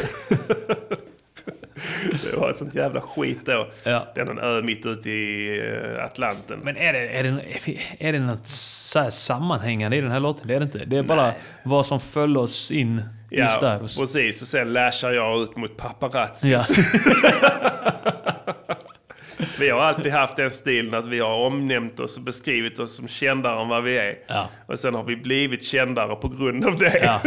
Speaker 3: det var ett sånt jävla skit då.
Speaker 4: Ja.
Speaker 3: Den är en ö mitt ute i eh, Atlanten.
Speaker 4: Men är det, är det, är det något så här sammanhängande i den här låten? Det är det inte. Det är bara vad som föll oss in just där. Och så.
Speaker 3: precis. Och sen lashar jag ut mot paparazzis.
Speaker 4: Ja.
Speaker 3: vi har alltid haft den stilen att vi har omnämnt oss och beskrivit oss som kändare än vad vi är. Och sen har vi blivit kändare på grund av det.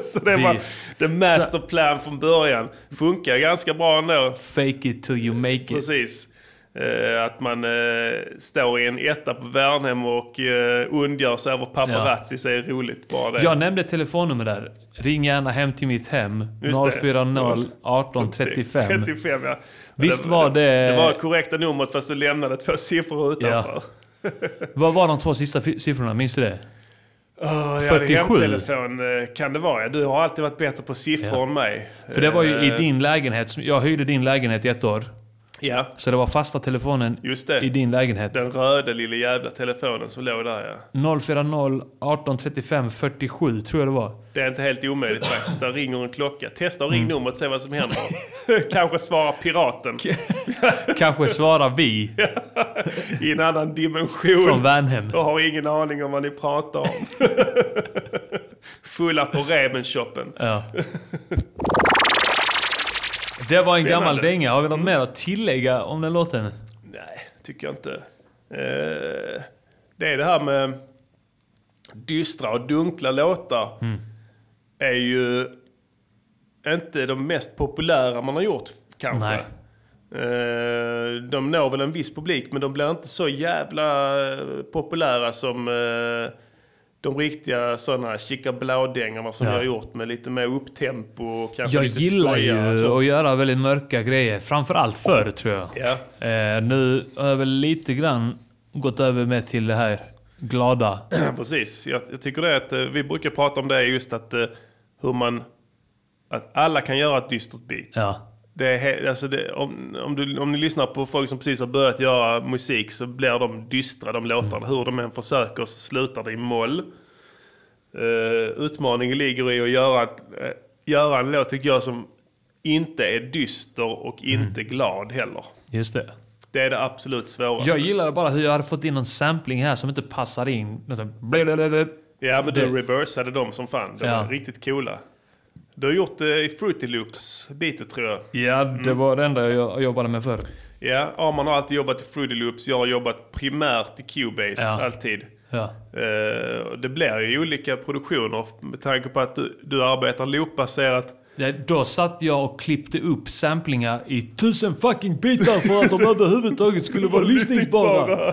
Speaker 3: Så det
Speaker 4: Vi-
Speaker 3: var the master plan från början. Funkar ganska bra ändå.
Speaker 4: Fake it till you make it.
Speaker 3: Precis. Eh, att man eh, står i en etta på Värnhem och eh, ondgör sig över paparazzis är roligt. Bara det.
Speaker 4: Jag nämnde telefonnummer där. Ring gärna hem till mitt hem.
Speaker 3: Just det.
Speaker 4: 040 18 35.
Speaker 3: 35 ja.
Speaker 4: Visst
Speaker 3: Det-
Speaker 4: var det-
Speaker 3: Det var korrekta numret fast du lämnade två siffror utanför.
Speaker 4: Vad var de två sista fi- siffrorna? Minns du det?
Speaker 3: Åh, jag hade
Speaker 4: 47.
Speaker 3: hemtelefon eh, kan det vara. ja. Du har alltid varit bättre på siffror
Speaker 4: Ja.
Speaker 3: än mig.
Speaker 4: För det var ju i
Speaker 3: Eh,
Speaker 4: din lägenhet. som- Jag hyrde din lägenhet i ett år.
Speaker 3: Ja.
Speaker 4: Så det var fasta telefonen
Speaker 3: Just det.
Speaker 4: i din lägenhet.
Speaker 3: Den röda lilla jävla telefonen som låg där ja.
Speaker 4: 040 18 35 47 tror jag det var.
Speaker 3: Det är inte helt omöjligt faktiskt. Där ringer en klocka. Testa och ring
Speaker 4: Mm.
Speaker 3: numret och se vad som händer. Kanske svarar piraten.
Speaker 4: Kanske svarar vi
Speaker 3: I en annan dimension.
Speaker 4: från Värnhem.
Speaker 3: Och har ingen aning om vad ni pratar om. Fulla på Rebenshoppen.
Speaker 4: Ja. Det var en gammal
Speaker 3: Spännande.
Speaker 4: dänga. Har vi något mer att tillägga om den låten?
Speaker 3: Nej, tycker jag inte. Eh, det är det här med dystra och dunkla låtar.
Speaker 4: Mm.
Speaker 3: är ju inte de mest populära man har gjort kanske.
Speaker 4: Nej.
Speaker 3: Eh, De når väl en viss publik men de blir inte så jävla eh, populära som eh, de riktiga sådana chica blådängarna som
Speaker 4: Ja.
Speaker 3: jag har gjort med lite mer upptempo och kanske
Speaker 4: Jag
Speaker 3: lite
Speaker 4: gillar
Speaker 3: skojigare
Speaker 4: ju
Speaker 3: och så.
Speaker 4: att göra väldigt mörka grejer. Framförallt förr tror jag.
Speaker 3: Ja.
Speaker 4: Eh, nu har jag väl lite grann gått över med till det här glada.
Speaker 3: Precis. Jag, jag tycker det att eh, vi brukar prata om det just att eh, hur man... Att alla kan göra ett dystert beat.
Speaker 4: Ja.
Speaker 3: Det är he- alltså det, om, om, du, om ni lyssnar på folk som precis har börjat göra musik så blir de dystra, de
Speaker 4: Mm.
Speaker 3: låtarna. Hur de än försöker så slutar det i moll. Eh, utmaningen ligger i att göra, eh, göra en låt, tycker jag, som inte är dyster och inte
Speaker 4: Mm.
Speaker 3: glad heller.
Speaker 4: Just det.
Speaker 3: Det är det absolut svåraste.
Speaker 4: Jag gillar bara hur jag hade fått in någon sampling här som inte passar in. Utan blablabla.
Speaker 3: Ja, men
Speaker 4: Det-
Speaker 3: du reversade dem som fan. De
Speaker 4: Ja.
Speaker 3: var riktigt coola. Du har gjort det i Fruity Loops-bitet tror jag.
Speaker 4: Ja, det
Speaker 3: Mm.
Speaker 4: var det enda jag jobbade med förr.
Speaker 3: Ja, Arman har alltid jobbat i Fruity Loops. Jag har jobbat primärt i Cubase,
Speaker 4: Ja.
Speaker 3: alltid.
Speaker 4: Ja.
Speaker 3: Eh, och det blir ju olika produktioner med tanke på att du, du arbetar loopbaserat.
Speaker 4: Ja, Då satt jag och klippte upp samplingar i tusen fucking bitar för att de överhuvudtaget skulle vara lyssningsbara.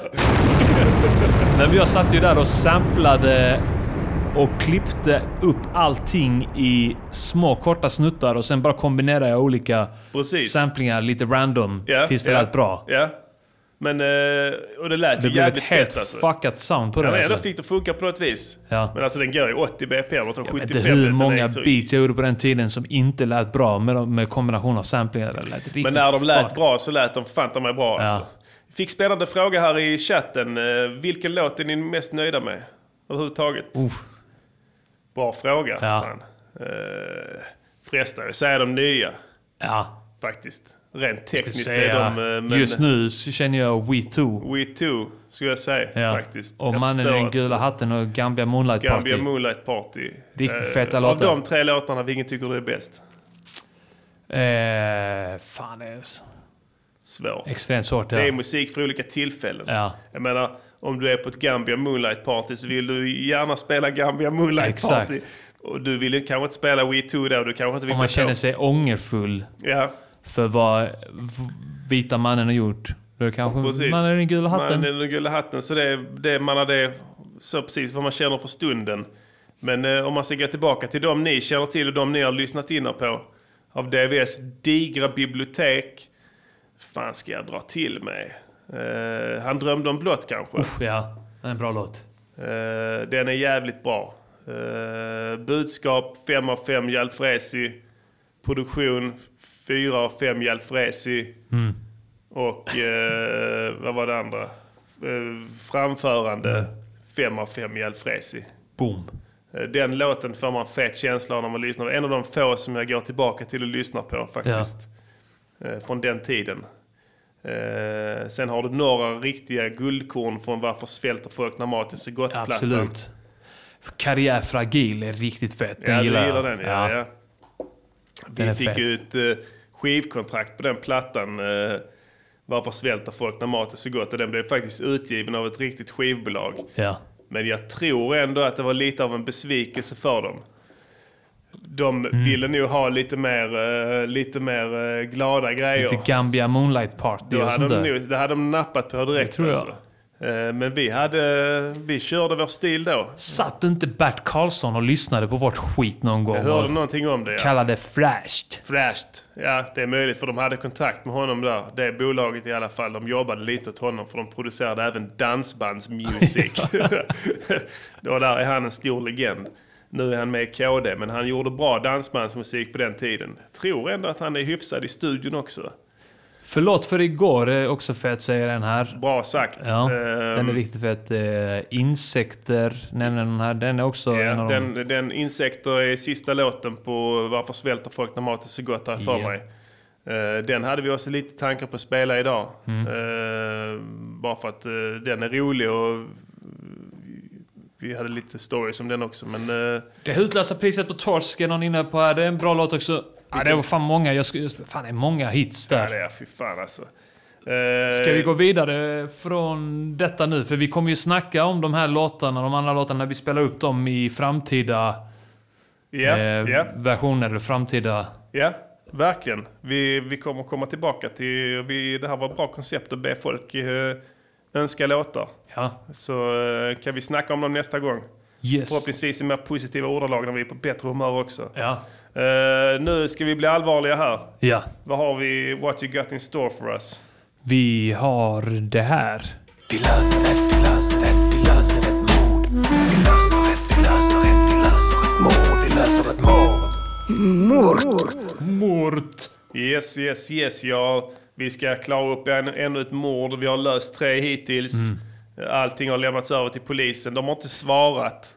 Speaker 4: Nej, men jag satt ju där och samplade och klippte upp allting i små korta snuttar och sen bara kombinerade jag olika
Speaker 3: Precis.
Speaker 4: samplingar lite random
Speaker 3: Ja,
Speaker 4: tills det
Speaker 3: ja,
Speaker 4: lät bra.
Speaker 3: Ja. Men, eh, och det lät
Speaker 4: Det
Speaker 3: ju
Speaker 4: blev ett
Speaker 3: jävligt fett
Speaker 4: helt
Speaker 3: alltså.
Speaker 4: fuckat sound på
Speaker 3: ja,
Speaker 4: den.
Speaker 3: men ändå
Speaker 4: Alltså.
Speaker 3: fick det funka på något vis.
Speaker 4: Ja.
Speaker 3: Men alltså den går ju 80 BPM och tar
Speaker 4: Jag vet
Speaker 3: 75
Speaker 4: inte hur
Speaker 3: utan det är
Speaker 4: många
Speaker 3: så-
Speaker 4: beats jag gjorde på den tiden som inte lät bra med, de- med kombination av samplingar. Det lät riktigt
Speaker 3: Men när de lät
Speaker 4: fucked.
Speaker 3: bra så lät de fan ta mig bra alltså. Fick spännande fråga här i chatten. Eh, Vilken låt är ni mest nöjda med? Överhuvudtaget. Bra fråga.
Speaker 4: Oh. Ja.
Speaker 3: Fan. Eh, Frestar jag säga de nya.
Speaker 4: Ja.
Speaker 3: Faktiskt. Rent
Speaker 4: Jag
Speaker 3: tekniskt
Speaker 4: skulle
Speaker 3: är
Speaker 4: säga,
Speaker 3: de... eh, Men
Speaker 4: Just nu så känner jag We Too.
Speaker 3: We Too skulle jag säga
Speaker 4: Ja.
Speaker 3: faktiskt.
Speaker 4: Och
Speaker 3: Jag
Speaker 4: mannen i
Speaker 3: förstår
Speaker 4: den
Speaker 3: att
Speaker 4: gula hatten och Gambia Moonlight
Speaker 3: Gambia
Speaker 4: Party.
Speaker 3: Moonlight Party.
Speaker 4: Riktigt
Speaker 3: Eh,
Speaker 4: feta
Speaker 3: Av
Speaker 4: låtar.
Speaker 3: de tre låtarna, vilken tycker du är bäst?
Speaker 4: eh, fan, det är så-
Speaker 3: Svårt.
Speaker 4: extremt svårt. Ja.
Speaker 3: Det är musik för olika tillfällen.
Speaker 4: Ja.
Speaker 3: Jag menar, om du är på ett Gambia Moonlight Party så vill du gärna spela Gambia Moonlight
Speaker 4: Exakt.
Speaker 3: Party. Och du vill kanske inte spela We Too då, du kanske inte vill
Speaker 4: Om man
Speaker 3: bli
Speaker 4: känner
Speaker 3: på.
Speaker 4: sig ångerfull
Speaker 3: Ja,
Speaker 4: för vad v- vita mannen har gjort. Då är det kanske
Speaker 3: precis.
Speaker 4: mannen i den gula hatten.
Speaker 3: Man är den gula hatten. Så det, är- det, är- man har det så precis vad man känner för stunden. Men eh, om man ska gå tillbaka till de ni känner till och de ni har lyssnat in på. Av DVS digra bibliotek. fan ska jag dra till mig? Eh, han drömde om blått kanske?
Speaker 4: Ja, det är en bra låt.
Speaker 3: Eh, den är jävligt bra. Eh, budskap 5 av 5 Jalfrezi. Produktion 4 av 5 Jalfrezi.
Speaker 4: Mm.
Speaker 3: Och eh, vad var det andra? Eh, framförande 5 av 5 Jalfrezi.
Speaker 4: Boom.
Speaker 3: Eh, Den låten får man fet känsla av när man lyssnar. En av de få som jag går tillbaka till och lyssnar på faktiskt. Eh, Från den tiden. Eh, Sen har du några riktiga guldkorn från Varför svälter folk när maten är så gott-plattan.
Speaker 4: Absolut. Karriär Fragil är riktigt fet. Den
Speaker 3: ja, du
Speaker 4: gillar jag.
Speaker 3: gillar den. Ja, ja.
Speaker 4: Den är
Speaker 3: Vi fick
Speaker 4: fet.
Speaker 3: ju ett eh, skivkontrakt på den plattan. eh, Varför svälter folk när mat är så gott? Och den blev faktiskt utgiven av ett riktigt skivbolag.
Speaker 4: Ja.
Speaker 3: Men jag tror ändå att det var lite av en besvikelse för dem. De
Speaker 4: Mm.
Speaker 3: ville nog ha lite mer, eh, lite mer eh, glada grejer.
Speaker 4: Lite Gambia Moonlight Party
Speaker 3: Då
Speaker 4: och
Speaker 3: hade
Speaker 4: sånt
Speaker 3: de,
Speaker 4: där.
Speaker 3: nog, det hade de nappat på direkt.
Speaker 4: Det tror jag.
Speaker 3: Alltså. Eh, Men vi, hade, eh, vi körde vår stil då.
Speaker 4: Satt inte Bert Karlsson och lyssnade på vårt skit någon gång?
Speaker 3: Jag hörde
Speaker 4: och
Speaker 3: någonting om det. Ja.
Speaker 4: Kallade Flashed.
Speaker 3: Flashed. Ja, det är möjligt för de hade kontakt med honom där. Det bolaget i alla fall. De jobbade lite åt honom för de producerade även dansbandsmusik. Då där är han en stor legend. Nu är han med i KD, men han gjorde bra dansbandsmusik på den tiden. Tror ändå att han är hyfsad i studion också.
Speaker 4: Förlåt för igår är också fet säger den här.
Speaker 3: Bra sagt.
Speaker 4: Ja,
Speaker 3: Ehm.
Speaker 4: den är riktigt fet. Eh, Insekter nämner den här. Den är också en
Speaker 3: Ja,
Speaker 4: av de...
Speaker 3: den, den insekter är sista låten på Varför svälter folk när mat är så gott här för
Speaker 4: Ja.
Speaker 3: mig. Eh, Den hade vi också lite tankar på att spela idag.
Speaker 4: Mm.
Speaker 3: Eh, Bara för att eh, den är rolig och eh, vi hade lite stories om den också. Men eh,
Speaker 4: Det hutlösa priset på torsk är någon inne på här. Det är en bra låt också. Ja, det var fan många. Jag skulle, fan, det är många hits där.
Speaker 3: Ja, det är fy fan alltså. Eh,
Speaker 4: Ska vi gå vidare från detta nu? För vi kommer ju snacka om de här låtarna, de andra låtarna, när vi spelar upp dem i framtida
Speaker 3: Ja,
Speaker 4: Eh.
Speaker 3: ja.
Speaker 4: versioner. Eller framtida...
Speaker 3: Ja, verkligen. Vi, vi kommer komma tillbaka till... Vi, det här var ett bra koncept att be folk eh, önska låtar.
Speaker 4: Ja.
Speaker 3: Så eh, kan vi snacka om dem nästa gång.
Speaker 4: Yes.
Speaker 3: Förhoppningsvis i mer positiva ordalag när vi är på bättre humör också.
Speaker 4: Ja.
Speaker 3: Eh, nu ska vi bli allvarliga här.
Speaker 4: Ja.
Speaker 3: Vad har vi? What you got in store for us?
Speaker 4: Vi har det här.
Speaker 14: Vi löser ett, vi löser ett, vi löser ett mord. Vi löser ett, vi löser ett, vi löser ett mord. Vi löser ett mord.
Speaker 3: Mort. Mort. Yes, yes, yes, ja. Vi ska klara upp en, ännu ett mord. Vi har löst tre hittills.
Speaker 4: Mm.
Speaker 3: Allting har lämnats över till polisen. De har inte svarat.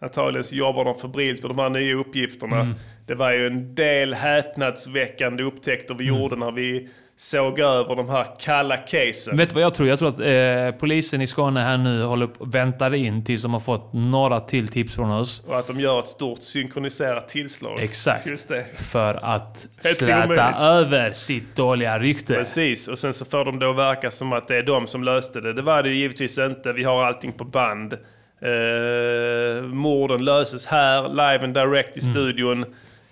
Speaker 3: Antagligen så jobbar de febrilt med de här nya uppgifterna.
Speaker 4: Mm.
Speaker 3: Det var ju en del häpnadsväckande upptäckter vi
Speaker 4: Mm.
Speaker 3: gjorde när vi såg över de här kalla casen.
Speaker 4: Vet du vad jag tror? Jag tror att eh, polisen i Skåne här nu håller på, väntar in tills de har fått några till tips från oss.
Speaker 3: Och att de gör ett stort synkroniserat tillslag.
Speaker 4: Exakt.
Speaker 3: Just det.
Speaker 4: För att
Speaker 3: Helt
Speaker 4: släta
Speaker 3: omöjligt.
Speaker 4: över sitt dåliga rykte.
Speaker 3: Precis, och sen så får de då verka som att det är de som löste det. Det var det ju givetvis inte. Vi har allting på band. Eh, morden löses här, live and direct i
Speaker 4: Mm.
Speaker 3: studion.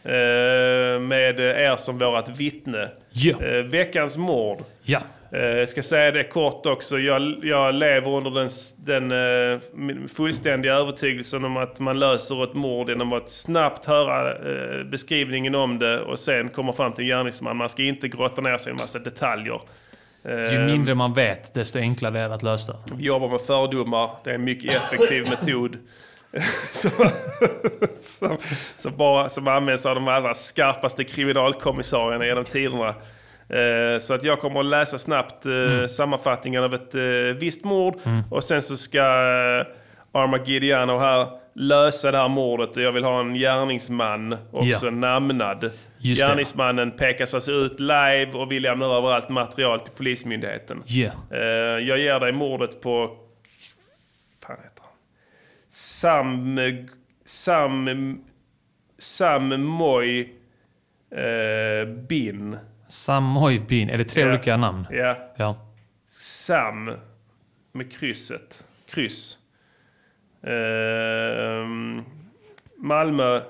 Speaker 3: Eh, med er som vårat vittne.
Speaker 4: Ja.
Speaker 3: Eh, veckans mord.
Speaker 4: Ja.
Speaker 3: Eh, ska säga det kort också. Jag, jag lever under den, s- den eh, min fullständiga övertygelsen om att man löser ett mord genom att snabbt höra eh, beskrivningen om det och sen komma fram till en gärningsman. Man ska inte grotta ner sig i en massa detaljer. Eh,
Speaker 4: Ju mindre man vet, desto enklare är det att lösa.
Speaker 3: vi jobbar med fördomar. Det är en mycket effektiv metod. som, som, som, bara, som används av de allra skarpaste kriminalkommissarierna genom tiderna. Eh, Så att jag kommer att läsa snabbt eh, sammanfattningen av ett eh, visst mord.
Speaker 4: Mm.
Speaker 3: Och sen så ska eh, Armageddon här lösa det här mordet. Och jag vill ha en gärningsman också
Speaker 4: Ja.
Speaker 3: namnad.
Speaker 4: Just det.
Speaker 3: Gärningsmannen pekas alltså ut live och vi lämnar över allt material till Polismyndigheten.
Speaker 4: Yeah.
Speaker 3: Eh, jag ger dig mordet på... fan heter han? Sam... Sam... Sam Moy eh, Bin.
Speaker 4: Samoy Bin. Är det tre
Speaker 3: Ja.
Speaker 4: olika namn?
Speaker 3: Ja.
Speaker 4: Ja.
Speaker 3: Sam med krysset. Kryss. Eh, Malmö.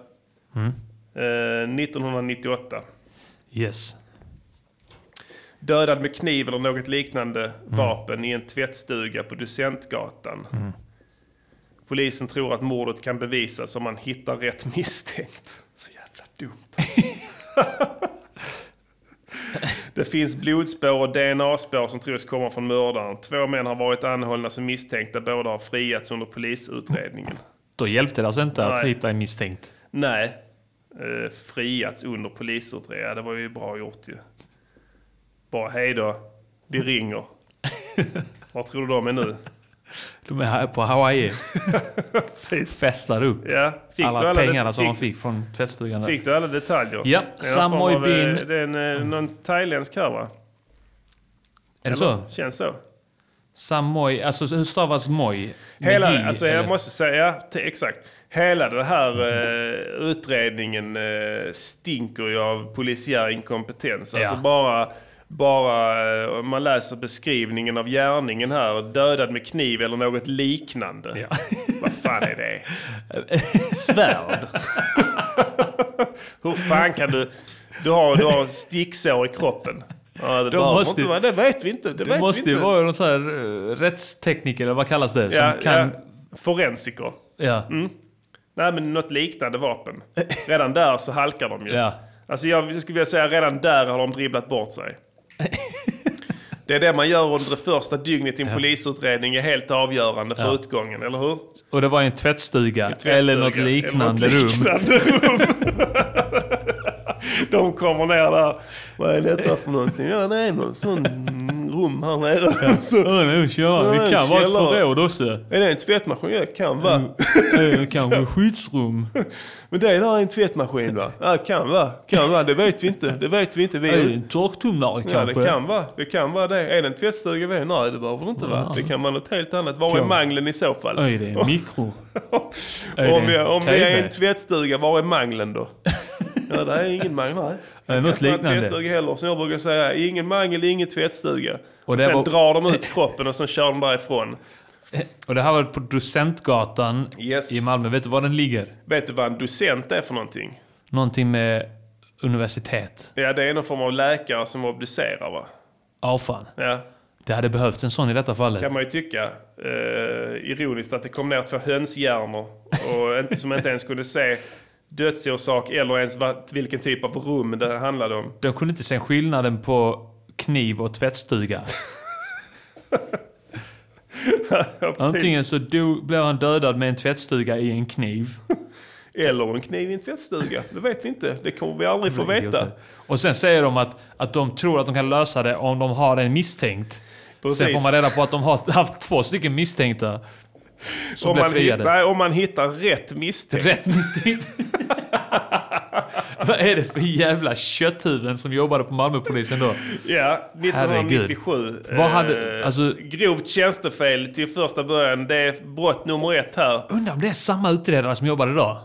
Speaker 4: Mm.
Speaker 3: Eh, 1998.
Speaker 4: Yes.
Speaker 3: Dödad med kniv eller något liknande vapen i en tvättstuga på Ducentgatan.
Speaker 4: Mm.
Speaker 3: Polisen tror att mordet kan bevisas om man hittar rätt misstänkt. Så jävla dumt. Det finns blodspår och DNA-spår som tros komma från mördaren. Två män har varit anhållna som misstänkta. Båda har friats under polisutredningen.
Speaker 4: Då hjälpte det alltså inte att
Speaker 3: Nej.
Speaker 4: hitta en misstänkt.
Speaker 3: Nej. Eh, friats under polisutredningen. Ja, Det var ju bra gjort ju. Bara hej då.
Speaker 4: Mm.
Speaker 3: Vi ringer. Var tror du de är nu?
Speaker 4: De är här på Hawaii. Festar upp
Speaker 3: Ja, fick
Speaker 4: alla,
Speaker 3: du alla det-
Speaker 4: pengarna som
Speaker 3: fick-
Speaker 4: de fick från tvättstugan. där.
Speaker 3: Fick du alla detaljer?
Speaker 4: Ja,
Speaker 3: Det är någon
Speaker 4: Samoy
Speaker 3: form av, eh,
Speaker 4: Bin. Mm.
Speaker 3: Det är en, eh, någon thailändsk här va?
Speaker 4: Är
Speaker 3: Eller?
Speaker 4: det så?
Speaker 3: Känns så.
Speaker 4: Samoy, alltså hur stavas moj? Med J,
Speaker 3: Hela, alltså
Speaker 4: eller?
Speaker 3: jag måste säga, ja, te- exakt. Hela den här eh, utredningen eh, stinker ju av polisiär inkompetens. Alltså
Speaker 4: Ja.
Speaker 3: bara, bara eh, om man läser beskrivningen av gärningen här, dödad med kniv eller något liknande. Vad fan är det? Svärd. Hur fan kan du... Du har, du har sticksår i kroppen. Ja, det,
Speaker 4: De
Speaker 3: behöver
Speaker 4: måste-
Speaker 3: inte vara- det vet vi inte. Det,
Speaker 4: Det
Speaker 3: vet
Speaker 4: måste
Speaker 3: vi
Speaker 4: ju
Speaker 3: inte.
Speaker 4: vara någon sån här eh, rättstekniker, eller vad kallas det? Som
Speaker 3: Ja,
Speaker 4: kan...
Speaker 3: ja. Forensiker.
Speaker 4: Ja.
Speaker 3: Mm. Nej, men något liknande vapen. Redan där så halkar de ju.
Speaker 4: Ja.
Speaker 3: Alltså jag skulle vilja säga redan där har de dribblat bort sig. Det är det man gör under det första dygnet i en
Speaker 4: Ja.
Speaker 3: polisutredning är helt avgörande för
Speaker 4: Ja.
Speaker 3: utgången, eller hur?
Speaker 4: Och det var i en tvättstuga,
Speaker 3: tvättstuga.
Speaker 4: eller något liknande
Speaker 3: Eller något
Speaker 4: rum.
Speaker 3: liknande rum. De kommer ner där. Vad är detta för någonting? Ja, det är någon sån rum här nere. Ja. Så,
Speaker 7: ja, det är en källare.
Speaker 3: Ja,
Speaker 7: Det
Speaker 3: en
Speaker 7: kan vara ett
Speaker 3: källare.
Speaker 7: förråd också.
Speaker 3: Är det en tvättmaskin? Ja, det kan vara.
Speaker 4: Mm.
Speaker 7: Eh, Kanske skyddsrum.
Speaker 3: Men det där är en tvättmaskin va? Ja, kan vara. Kan vara. Det vet vi inte. Det vet vi inte. Vi
Speaker 7: Är det en torktumlare
Speaker 3: Ja,
Speaker 7: kanske?
Speaker 3: det kan vara. Det kan vara det. Är det en tvättstuga? vi är? Nej, det behöver det inte vara. Det kan vara något helt annat. Var är
Speaker 7: Kan-
Speaker 3: mangeln i så fall?
Speaker 7: Är det en mikro? Är det
Speaker 3: Om, vi,
Speaker 7: en
Speaker 3: om vi är i
Speaker 7: TV?
Speaker 3: en tvättstuga, var är mangeln då? ja, det är ingen mangel. Nej.
Speaker 7: Är det
Speaker 3: Det
Speaker 7: något
Speaker 3: kanske inte är en
Speaker 7: liknande?
Speaker 3: tvättstuga heller. Som jag brukar säga, ingen mangel, ingen tvättstuga.
Speaker 4: Och
Speaker 3: Och
Speaker 4: det
Speaker 3: sen
Speaker 4: var-
Speaker 3: drar de ut kroppen och sen kör de därifrån.
Speaker 4: Och det här var på Docentgatan i Malmö. Vet du var den ligger?
Speaker 3: Vet du vad en docent är för någonting?
Speaker 4: Någonting med universitet.
Speaker 3: Ja, det är någon form av läkare som obducerar va?
Speaker 4: Ja, fan.
Speaker 3: Ja.
Speaker 4: Det hade behövts en sån i detta fallet.
Speaker 3: Kan man ju tycka. Eh, ironiskt att det kom ner två hönshjärnor och inte- som inte ens kunde se dödsorsak eller ens vad, vilken typ av rum det handlade om.
Speaker 4: De kunde inte se skillnaden på kniv och tvättstuga. Antingen så do, blev han dödad med en tvättstuga i en kniv.
Speaker 3: Eller en kniv i en tvättstuga. Det vet vi inte. Det kommer vi aldrig få veta.
Speaker 4: Och sen säger de att, att de tror att de kan lösa det om de har en misstänkt.
Speaker 3: Precis.
Speaker 4: Sen får man reda på att de har haft två stycken misstänkta. Som
Speaker 3: Om
Speaker 4: blev
Speaker 3: man, hit,
Speaker 4: friade.
Speaker 3: nej, om man hittar rätt misstänkt.
Speaker 4: Rätt misstänkt. Vad är det för jävla kötthuvuden som jobbade på Malmöpolisen då?
Speaker 3: Ja, 1997.
Speaker 4: Herregud. Vad hade-
Speaker 3: Eh,
Speaker 4: alltså-
Speaker 3: Grovt tjänstefel till första början. Det är brott nummer ett här.
Speaker 4: Undrar om det är samma utredare som jobbar idag?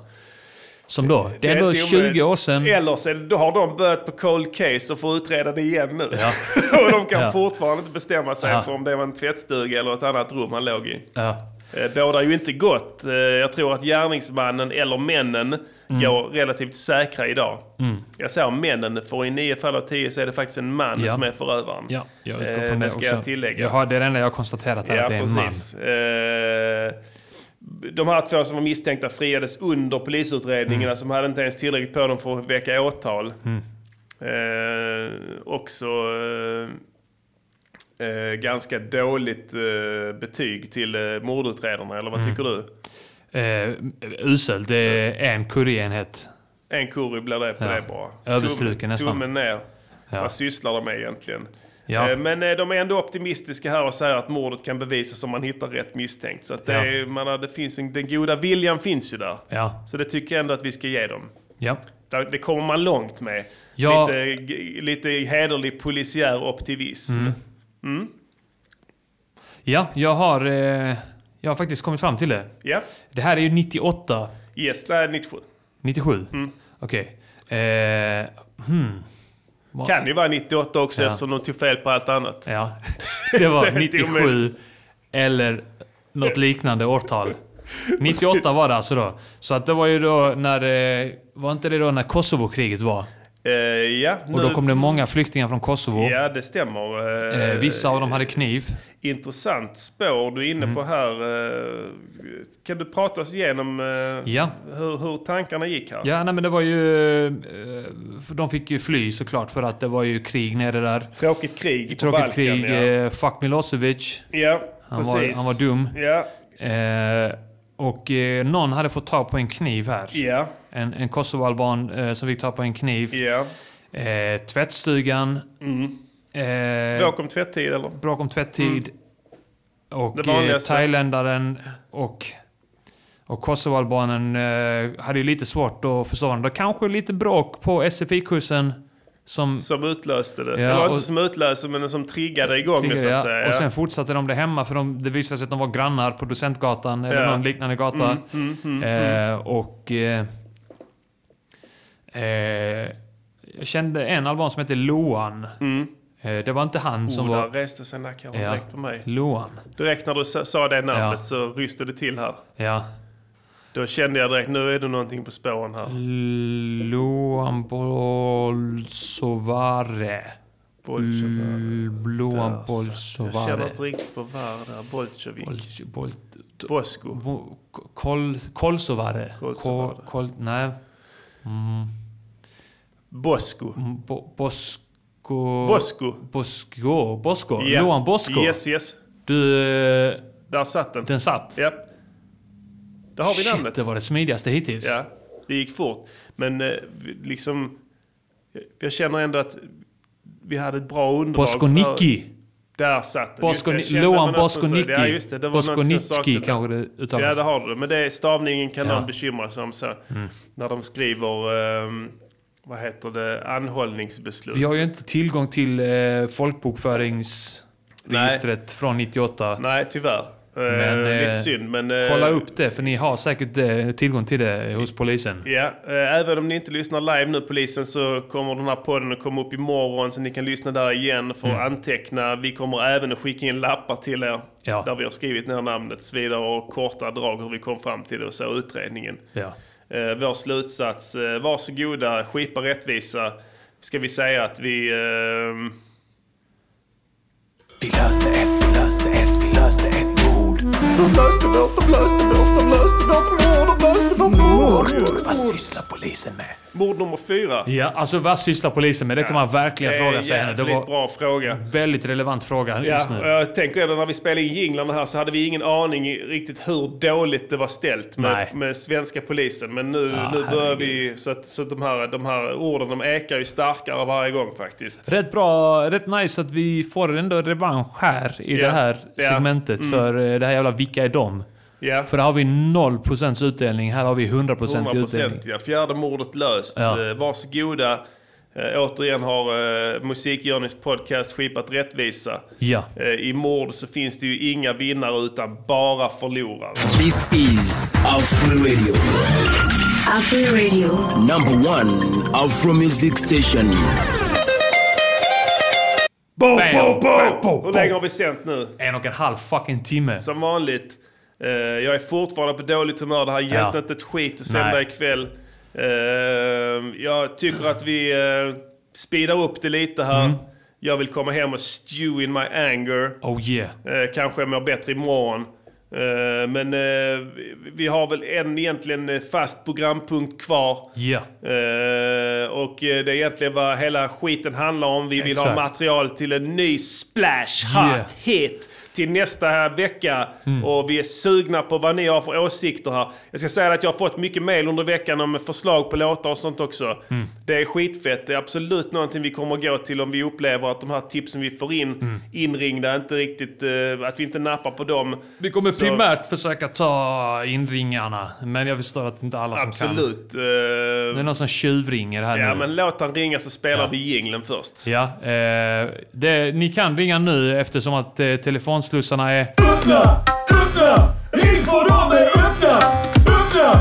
Speaker 4: Som då? Det är
Speaker 3: Det är
Speaker 4: ändå
Speaker 3: inte omöjligt.
Speaker 4: 20 år sedan.
Speaker 3: Eller så är det- då har de börjat på cold case och får utreda det igen nu. och de kan
Speaker 4: Ja.
Speaker 3: fortfarande inte bestämma sig
Speaker 4: Ja.
Speaker 3: för om det var en tvättstuga eller ett annat rum han låg i.
Speaker 4: Ja.
Speaker 3: Eh, Båda är ju inte gott. Eh, Jag tror att gärningsmannen eller männen
Speaker 4: Mm.
Speaker 3: går relativt säkra idag.
Speaker 4: Mm.
Speaker 3: Jag säger männen, för i nio fall av tio så är det faktiskt en man
Speaker 4: Ja.
Speaker 3: som är förövaren.
Speaker 4: Ja, jag utgår
Speaker 3: Eh,
Speaker 4: från det
Speaker 3: ska
Speaker 4: också.
Speaker 3: jag tillägga.
Speaker 4: Jag har, det är det enda jag har konstaterat här, att det är en man.
Speaker 3: Eh, De här två som var misstänkta friades under polisutredningen,
Speaker 4: Mm.
Speaker 3: alltså de hade inte ens tillräckligt på dem för att väcka åtal.
Speaker 4: Mm.
Speaker 3: Eh, också eh, eh, ganska dåligt eh, betyg till eh, mordutredarna, eller vad
Speaker 4: Mm.
Speaker 3: tycker du?
Speaker 4: Eh, uselt. Det är en kurirenhet.
Speaker 3: En curry blir det på
Speaker 4: Ja.
Speaker 3: det bara.
Speaker 4: Överstruken nästan.
Speaker 3: Tummen ner.
Speaker 4: Ja.
Speaker 3: Vad sysslar de med egentligen?
Speaker 4: Ja.
Speaker 3: Eh, Men eh, de är ändå optimistiska här och säger att mordet kan bevisas om man hittar rätt misstänkt. Så att det,
Speaker 4: Ja.
Speaker 3: är- man, har- det finns en, den goda viljan finns ju där.
Speaker 4: Ja.
Speaker 3: Så det tycker jag ändå att vi ska ge dem.
Speaker 4: Ja.
Speaker 3: Där- Det kommer man långt med.
Speaker 4: Ja.
Speaker 3: Lite, g- lite hederlig polisiär optimism.
Speaker 4: Mm.
Speaker 3: Mm.
Speaker 4: Ja, jag har, eh, jag har faktiskt kommit fram till det.
Speaker 3: Ja.
Speaker 4: Det här är ju 98,
Speaker 3: Yes, nej, 97.
Speaker 4: 97.
Speaker 3: Mm.
Speaker 4: Okej. Eh, hmm. Vad-
Speaker 3: Kan ju vara 98 också
Speaker 4: Ja.
Speaker 3: eftersom de tog fel på allt annat.
Speaker 4: Ja, det var
Speaker 3: Det är inte
Speaker 4: 97
Speaker 3: omöjligt.
Speaker 4: eller något liknande årtal. 98 var det alltså då. Så att det var ju då när... eh, Var inte det då när Kosovokriget var?
Speaker 3: Eh, ja,
Speaker 4: Och då kom det många flyktingar från Kosovo.
Speaker 3: Ja, det stämmer. Eh,
Speaker 4: Eh, vissa av dem hade kniv.
Speaker 3: Intressant spår du är inne
Speaker 4: Mm.
Speaker 3: på här. Eh, Kan du prata oss igenom eh,
Speaker 4: Ja.
Speaker 3: hur, hur tankarna gick här?
Speaker 4: Ja, nej, men det var ju... eh, för De fick ju fly såklart för att det var ju krig nere där.
Speaker 3: Tråkigt krig på
Speaker 4: Tråkigt
Speaker 3: Balkan,
Speaker 4: krig.
Speaker 3: ja.
Speaker 4: eh, Fuck Milosevic.
Speaker 3: Ja,
Speaker 4: han
Speaker 3: precis.
Speaker 4: Var, han var dum.
Speaker 3: Ja.
Speaker 4: Eh, och eh, någon hade fått tag på en kniv här.
Speaker 3: Ja.
Speaker 4: En, en kosovoalban eh, som fick tag på en kniv.
Speaker 3: Ja.
Speaker 4: Eh, tvättstugan.
Speaker 3: Mm.
Speaker 4: Eh,
Speaker 3: Bråk om tvättid eller?
Speaker 4: Bråk om tvättid.
Speaker 3: Mm. Det
Speaker 4: Och eh,
Speaker 3: vanligaste.
Speaker 4: thailändaren och, och kosovoalbanen eh, hade ju lite svårt att förstå varandra. Kanske lite bråk på SFI-kursen som...
Speaker 3: Som utlöste det.
Speaker 4: Ja,
Speaker 3: eller inte
Speaker 4: och-
Speaker 3: som utlöste men som triggade igång det så
Speaker 4: Ja,
Speaker 3: att säga.
Speaker 4: Och
Speaker 3: ja.
Speaker 4: sen fortsatte de det hemma för de, det visade sig att de var grannar på Docentgatan eller
Speaker 3: Ja.
Speaker 4: någon liknande gata.
Speaker 3: Mm, mm, mm,
Speaker 4: eh,
Speaker 3: mm.
Speaker 4: Och... Eh, eh, jag kände en alban som hette Loan. Eh, det var inte han som
Speaker 3: oh,
Speaker 4: var...
Speaker 3: där reste sig nacken
Speaker 4: Ja.
Speaker 3: direkt på mig.
Speaker 4: Loan.
Speaker 3: Direkt när du sa- sa det namnet
Speaker 4: Ja.
Speaker 3: så ryste det till här.
Speaker 4: Ja.
Speaker 3: Då kände jag direkt, nu är det någonting på spåren här.
Speaker 4: Mm. Loan Bolsovare. L- Loan
Speaker 3: Jag känner
Speaker 4: Bolsovare.
Speaker 3: inte riktigt på var där. Bolsjevik.
Speaker 4: Bosko. Kol, Kolsovare. Kol, kol, nej. Mm.
Speaker 3: Bosko.
Speaker 4: Bo, Bosko.
Speaker 3: Bosko.
Speaker 4: Bosko. Bosko.
Speaker 3: Ja.
Speaker 4: Loan Bosko.
Speaker 3: Yes, yes.
Speaker 4: Du... eh,
Speaker 3: Där satt den.
Speaker 4: Den satt.
Speaker 3: Ja. Där har vi
Speaker 4: Shit,
Speaker 3: namnet.
Speaker 4: det var det smidigaste hittills.
Speaker 3: Ja, det gick fort. Men eh, liksom... jag känner ändå att vi hade ett bra underlag.
Speaker 4: Boskonicki.
Speaker 3: för- Där satt den. Just det,
Speaker 4: Boskoni-
Speaker 3: jag kände
Speaker 4: Loan
Speaker 3: det var något som sa det. Ja,
Speaker 4: Boskonicki.
Speaker 3: just det. det var något som
Speaker 4: Boskonicki
Speaker 3: saknades.
Speaker 4: kanske det uttalas.
Speaker 3: Ja, det har du. Men det är stavningen kan
Speaker 4: Ja.
Speaker 3: någon bekymra sig om. Så,
Speaker 4: Mm.
Speaker 3: När de skriver, ehm, vad heter det, anhållningsbeslut.
Speaker 4: Vi har ju inte tillgång till eh, folkbokföringsregistret från 98.
Speaker 3: Nej, tyvärr. Men, lite synd, men, eh,
Speaker 4: kolla upp det, för ni har säkert eh, tillgång till det hos polisen.
Speaker 3: Ja, eh, även om ni inte lyssnar live nu polisen så kommer den här podden att komma upp imorgon så ni kan lyssna där igen för att
Speaker 4: Mm.
Speaker 3: anteckna. Vi kommer även att skicka in lappar till er
Speaker 4: Ja.
Speaker 3: där vi har skrivit ner namnet och så vidare och korta drag hur vi kom fram till det och så utredningen.
Speaker 4: Ja.
Speaker 3: Eh, vår slutsats, eh, varsågoda, skipa rättvisa. Ska vi säga att vi... ehm,
Speaker 14: Vi löste ett, vi löste ett, vi löste ett mord. De löste vårt, de löste vårt, de löste vårt mord, de löste vårt mord. Vad sysslar polisen med?
Speaker 3: Mord nummer fyra.
Speaker 4: Ja, alltså vad sysslar polisen med? Det kan man verkligen
Speaker 3: Det är
Speaker 4: fråga
Speaker 3: en
Speaker 4: sig henne. Det
Speaker 3: jävligt
Speaker 4: var
Speaker 3: bra fråga.
Speaker 4: väldigt relevant fråga
Speaker 3: Ja,
Speaker 4: just nu.
Speaker 3: och jag tänker ändå när vi spelade in jinglarna här så hade vi ingen aning i- riktigt hur dåligt det var ställt med,
Speaker 4: Nej.
Speaker 3: med svenska polisen. Men nu,
Speaker 4: Ja,
Speaker 3: nu börjar vi, så att, så att de, här, de här orden de ekar ju starkare varje gång faktiskt.
Speaker 4: Rätt bra, rätt nice att vi får ändå revansch här i
Speaker 3: Ja,
Speaker 4: det här
Speaker 3: ja,
Speaker 4: segmentet
Speaker 3: mm.
Speaker 4: för eh, det här jävla Vilka är de?
Speaker 3: Ja.
Speaker 4: För där har vi 0% utdelning, här har vi 100%, 100% utdelning.
Speaker 3: ja. Fjärde mordet löst.
Speaker 4: Ja.
Speaker 3: Eh, Varsågoda. Eh, återigen har eh, Musikjourneys podcast skipat rättvisa.
Speaker 4: Ja.
Speaker 3: Eh, I mord så finns det ju inga vinnare utan bara förlorare.
Speaker 6: This is Afro Radio.
Speaker 18: Afri Radio.
Speaker 6: Number one Afro Music Station.
Speaker 3: Bo,
Speaker 4: Bam,
Speaker 3: bo,
Speaker 4: bam,
Speaker 3: bo!
Speaker 4: bo,
Speaker 3: Hur
Speaker 4: bo.
Speaker 3: länge har vi sänt nu?
Speaker 4: En och en halv fucking timme.
Speaker 3: Som vanligt. Eh, jag är fortfarande på dåligt humör. Det har hjälpt
Speaker 4: Ja.
Speaker 3: inte ett skit att sända
Speaker 4: Nej.
Speaker 3: ikväll. Eh, jag tycker att vi uh, speedar upp det lite här.
Speaker 4: Mm.
Speaker 3: Jag vill komma hem och stew in my anger.
Speaker 4: Oh yeah.
Speaker 3: Eh, kanske jag mår bättre imorgon. Eh, men eh, vi- vi har väl en egentligen eh, fast programpunkt kvar.
Speaker 4: Ja.
Speaker 3: Eh, och eh, det är egentligen vad hela skiten handlar om. Vi vill ha
Speaker 4: Exakt.
Speaker 3: material till en ny splash hot
Speaker 4: Yeah.
Speaker 3: hit till nästa vecka.
Speaker 4: Mm.
Speaker 3: Och vi är sugna på vad ni har för åsikter här. Jag ska säga att jag har fått mycket mail under veckan om förslag på låtar och sånt också.
Speaker 4: Mm.
Speaker 3: Det är skitfett. Det är absolut någonting vi kommer att gå till om vi upplever att de här tipsen vi får in
Speaker 4: Mm.
Speaker 3: inringda inte riktigt, eh, att vi inte nappar på dem.
Speaker 4: Vi kommer
Speaker 3: Så-
Speaker 4: primärt försöka ta inringarna, men jag förstår att inte alla som kan.
Speaker 3: Absolut. Det
Speaker 4: är någon som tjuvringer här
Speaker 3: Ja,
Speaker 4: nu.
Speaker 3: men låt han ringa så spelar vi jinglen först.
Speaker 4: Ja, eh, det, ni kan ringa nu eftersom att eh, telefonslussarna är...
Speaker 14: Öppna, öppna, ring för dem är öppna. Öppna,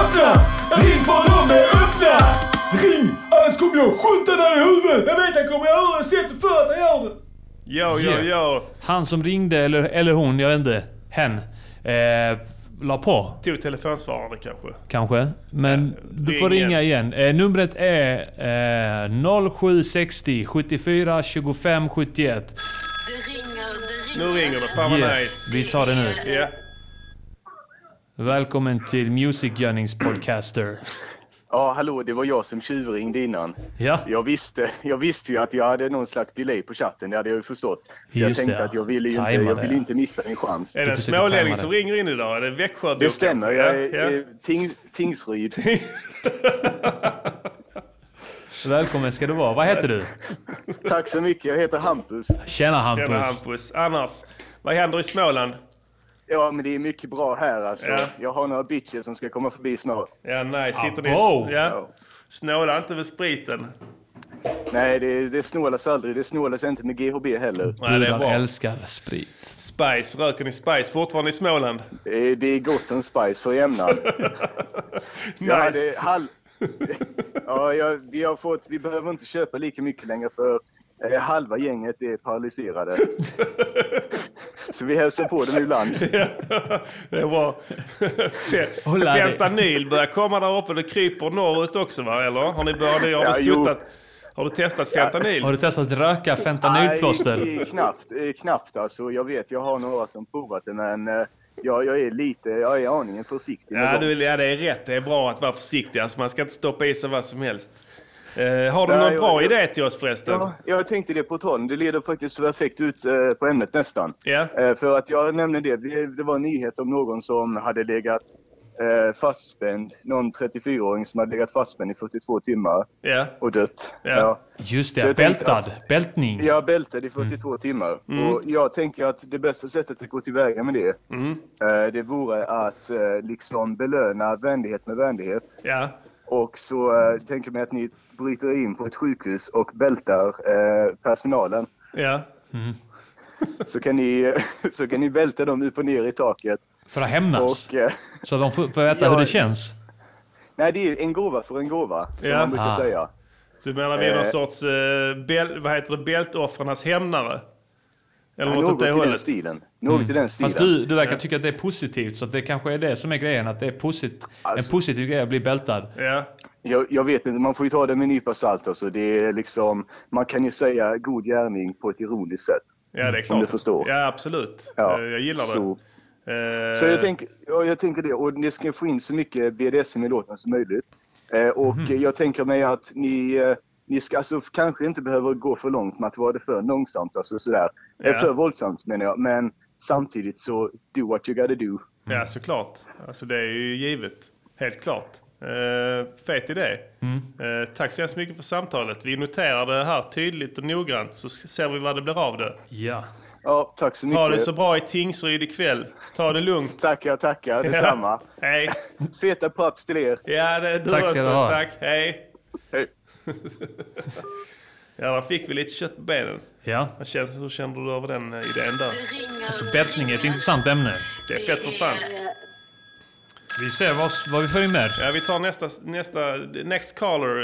Speaker 14: öppna, ring för dem är öppna. Ring, annars kommer jag skjuta dig i huvudet. Jag vet, jag kommer göra det. Sätt för att jag gör det.
Speaker 3: Ja, ja,
Speaker 4: Yeah.
Speaker 3: ja.
Speaker 4: Han som ringde, eller, eller hon, jag vet inte. Hen. Eh, la på,
Speaker 3: Tog telefonsvarande kanske.
Speaker 4: kanske. Men du får
Speaker 3: ring
Speaker 4: ringa igen. Eh, numret är eh, 0760 74 25 71.
Speaker 3: Nu ringer det. Fan vad
Speaker 4: Yeah,
Speaker 3: nice.
Speaker 4: vi tar det nu.
Speaker 3: Ja.
Speaker 4: Välkommen till Music Gunnings Podcaster.
Speaker 21: Ja, hallå, det var jag som tjuvringde innan.
Speaker 4: Ja.
Speaker 21: Jag, visste, jag visste ju att jag hade någon slags delay på chatten, det hade jag ju förstått. Så jag
Speaker 4: Just
Speaker 21: tänkte
Speaker 4: det, ja.
Speaker 21: att jag ville ju inte,
Speaker 4: Tajma
Speaker 21: jag
Speaker 4: det,
Speaker 21: ville
Speaker 4: ja.
Speaker 21: inte missa min chans.
Speaker 3: Är det en smålänning som ringer in idag? Är det Växjö?
Speaker 21: Det stämmer, jag är,
Speaker 3: Ja, ja.
Speaker 21: är ting, Tingsryd.
Speaker 4: Välkommen ska du vara. Vad heter du?
Speaker 21: Tack så mycket, jag heter Hampus.
Speaker 4: Tjena Hampus.
Speaker 3: Tjena Hampus. Annars, vad händer i Småland?
Speaker 21: Ja, men det är mycket bra här alltså.
Speaker 3: Ja.
Speaker 21: Jag har några bitches som ska komma förbi snart.
Speaker 3: Ja, nice. Sitter ni...
Speaker 21: wow.
Speaker 3: Ja. Snåla inte med spriten.
Speaker 21: Nej, det, det snålas aldrig. Det snålas inte med GHB heller.
Speaker 3: Nej, det är bra.
Speaker 4: älskar sprit.
Speaker 3: Spice, röker ni Spice fortfarande i Småland?
Speaker 21: Eh, Det, det är gott om spice för jämnan. Jag hade
Speaker 3: Nice.
Speaker 21: halv... ja, jag, vi, har fått, vi behöver inte köpa lika mycket längre för eh, halva gänget är paralyserade. Så vi hälsar på dem ibland.
Speaker 3: Det är bra.
Speaker 21: Hålla dig.
Speaker 3: Fentanyl börjar komma där uppe. Det kryper norrut också va? Eller? Har ni börjat? Har,
Speaker 21: Ja,
Speaker 3: du
Speaker 21: jo.
Speaker 3: suttat, har du testat fentanyl?
Speaker 4: Har du testat röka
Speaker 21: Nej,
Speaker 4: fentanylplåster?
Speaker 21: eh, knappt, eh, knappt alltså. Jag vet, jag har några som provat det men eh, jag, jag är lite, jag är aningen försiktig med
Speaker 3: Ja,
Speaker 21: dem.
Speaker 3: du, ja, det är rätt. Det är bra att vara försiktig. Alltså, man ska inte stoppa i sig vad som helst. Eh, har du
Speaker 21: Nej,
Speaker 3: någon
Speaker 21: jag-
Speaker 3: bra
Speaker 21: jag-
Speaker 3: idé till oss förresten?
Speaker 21: Ja, jag tänkte det på tal. Det leder faktiskt perfekt ut eh, på ämnet nästan.
Speaker 3: Ja.
Speaker 21: Eh, för att jag nämnde det, det, det var en nyhet om någon som hade legat eh, fastspänd. Någon 34-åring som hade legat fastspänd i 42 timmar
Speaker 3: Ja.
Speaker 21: och dött.
Speaker 4: Ja. Just
Speaker 21: Så
Speaker 4: det,
Speaker 21: jag tänkte
Speaker 4: bältad.
Speaker 21: att-
Speaker 4: Bältning.
Speaker 21: Jag bältade i 42 timmar.
Speaker 4: Mm.
Speaker 21: Och jag tänker att det bästa sättet att gå tillväga med det, eh, det vore att eh, liksom belöna vänlighet med vänlighet.
Speaker 3: Ja.
Speaker 21: Och så eh, tänker man att ni bryter in på ett sjukhus och bältar eh, personalen.
Speaker 3: Ja.
Speaker 21: Så kan, ni, så kan ni välta dem upp och ner i taket.
Speaker 4: För att hämnas.
Speaker 21: Och, eh,
Speaker 4: Så att de får, får veta
Speaker 21: Ja.
Speaker 4: hur det känns.
Speaker 21: nej, det är ju en gåva för en gåva, som man brukar
Speaker 4: Ah.
Speaker 21: säga.
Speaker 3: Så du menar vi är
Speaker 21: Eh.
Speaker 3: någon sorts, eh, bäl, vad heter det, bältoffrarnas hämnare? Eller
Speaker 21: Ja,
Speaker 3: något åt
Speaker 21: något i
Speaker 3: det
Speaker 21: den
Speaker 3: hållet?
Speaker 21: stilen. Något i den stilen.
Speaker 15: Fast du, du verkar tycka att det är positivt, så att det kanske är det som är grejen. Att det är posit-
Speaker 11: Alltså-
Speaker 15: en positiv grej att bli bältad.
Speaker 3: Ja.
Speaker 21: Jag, jag vet inte, man får ju ta det med en nypa salt. Alltså. Det är liksom, man kan ju säga god gärning på ett ironiskt sätt.
Speaker 3: Ja, det är klart.
Speaker 21: Om du förstår.
Speaker 3: Ja, absolut.
Speaker 21: Ja.
Speaker 3: Eh, Jag gillar det.
Speaker 21: Så-
Speaker 3: Eh,
Speaker 21: Så jag, tänk, ja, jag tänker det, och ni ska få in så mycket BDSM i låten som möjligt. Eh, och
Speaker 3: Mhm.
Speaker 21: eh, jag tänker mig att ni, eh, ni ska, alltså, kanske inte behöver gå för långt med att vara det för långsamt, alltså sådär. Eh,
Speaker 3: Ja.
Speaker 21: För våldsamt menar jag, men samtidigt så do what you gotta do.
Speaker 3: Ja, såklart. Alltså det är ju givet. Helt klart. Uh, fet idé. Eh, tack så hemskt mycket för samtalet. Vi noterar det här tydligt och noggrant så ser vi vad det blir av det.
Speaker 4: Ja.
Speaker 21: Ja, tack så mycket.
Speaker 3: Ha det så bra i Tingsryd ikväll. Ta det lugnt.
Speaker 21: Tackar, tackar. Detsamma.
Speaker 3: Hej.
Speaker 21: Feta props till er.
Speaker 3: Ja, det är du
Speaker 21: Tack ska
Speaker 3: också.
Speaker 21: du ha.
Speaker 3: Tack. Hej. Hej. ja, där fick vi lite kött på benen.
Speaker 4: Ja.
Speaker 3: Vad känns- Hur kände du över den eh, idén där?
Speaker 4: Alltså bältning är ett intressant ämne.
Speaker 3: Det är fett som fan.
Speaker 4: Vi ser vad, vad vi får in mer.
Speaker 3: Ja, vi tar nästa, nästa next caller.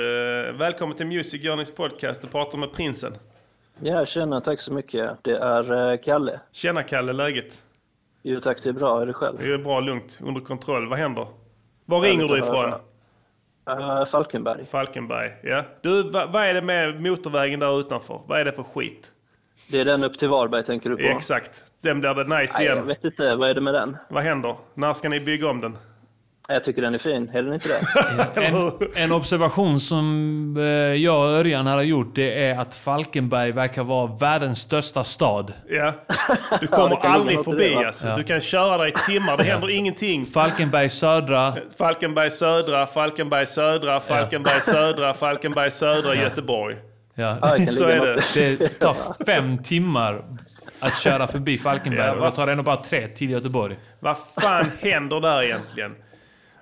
Speaker 3: Eh, välkommen till Music Journeys podcast. Du pratar med prinsen.
Speaker 22: Ja, tjena, tack så mycket. Det är eh, Kalle.
Speaker 3: Tjena Kalle, läget?
Speaker 22: Jo tack, det är bra. Är det själv?
Speaker 3: Det är bra, lugnt, under kontroll. Vad händer? Var
Speaker 22: Härligt
Speaker 3: ringer du
Speaker 22: att
Speaker 3: ifrån?
Speaker 22: höra. Eh, Falkenberg.
Speaker 3: Falkenberg, ja. Du, va, vad är det med motorvägen där utanför? Vad är det för skit?
Speaker 22: Det är den upp till Varberg tänker du på?
Speaker 3: Exakt. Den blir det nice
Speaker 22: Nej,
Speaker 3: igen.
Speaker 22: jag vet inte. Vad är det med den?
Speaker 3: Vad händer? När ska ni bygga om den?
Speaker 22: Jag tycker den är fin. Är den inte det?
Speaker 4: En, en observation som eh, jag och Örjan hade gjort, det är att Falkenberg verkar vara världens största stad.
Speaker 3: Ja. Du
Speaker 4: Ja, det
Speaker 3: kommer
Speaker 4: kan ligga
Speaker 3: aldrig
Speaker 4: något i
Speaker 3: förbi
Speaker 4: det, va?
Speaker 3: alltså.
Speaker 4: Ja.
Speaker 3: Du kan köra där i timmar, det händer ingenting.
Speaker 4: Falkenberg södra.
Speaker 3: Falkenberg södra, Falkenberg södra, Falkenberg södra, Falkenberg södra, Göteborg.
Speaker 4: Ja.
Speaker 3: Ja, det kan Så ligga är något det. i det.
Speaker 4: Det tar fem timmar att köra förbi Falkenberg
Speaker 3: Ja,
Speaker 4: och
Speaker 3: va?
Speaker 4: då tar det ändå bara tre till Göteborg.
Speaker 3: Vad fan händer där egentligen?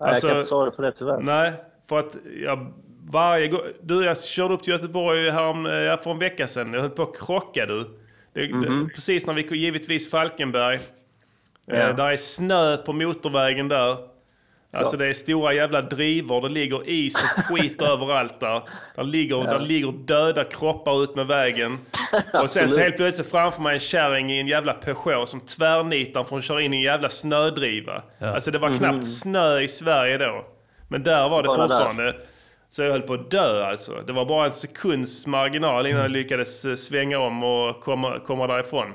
Speaker 3: Alltså,
Speaker 22: Nej, jag kan inte svara på det tyvärr.
Speaker 3: Nej, för att jag varje gång... Du, jag körde upp till Göteborg härom, eh, för en vecka sedan. Jag höll på att krocka du. Det,
Speaker 23: Mhm.
Speaker 3: det, precis när vi kom- givetvis Falkenberg.
Speaker 23: Ja.
Speaker 3: Eh, där är snö på motorvägen där. Alltså
Speaker 23: Ja.
Speaker 3: det är stora jävla drivor, det ligger is och skit överallt där. Där ligger,
Speaker 23: Ja.
Speaker 3: där ligger döda kroppar ut med vägen. Och sen så
Speaker 23: Absolut.
Speaker 3: helt plötsligt framför mig en kärring i en jävla Peugeot som tvärnitar för att köra in i en jävla snödriva.
Speaker 23: Ja.
Speaker 3: Alltså det var
Speaker 23: Mhm.
Speaker 3: knappt snö i Sverige då. Men där var det
Speaker 23: Bara där.
Speaker 3: fortfarande. Så jag höll på att dö alltså. Det var bara en sekunds marginal innan jag lyckades eh, svänga om och komma, komma därifrån.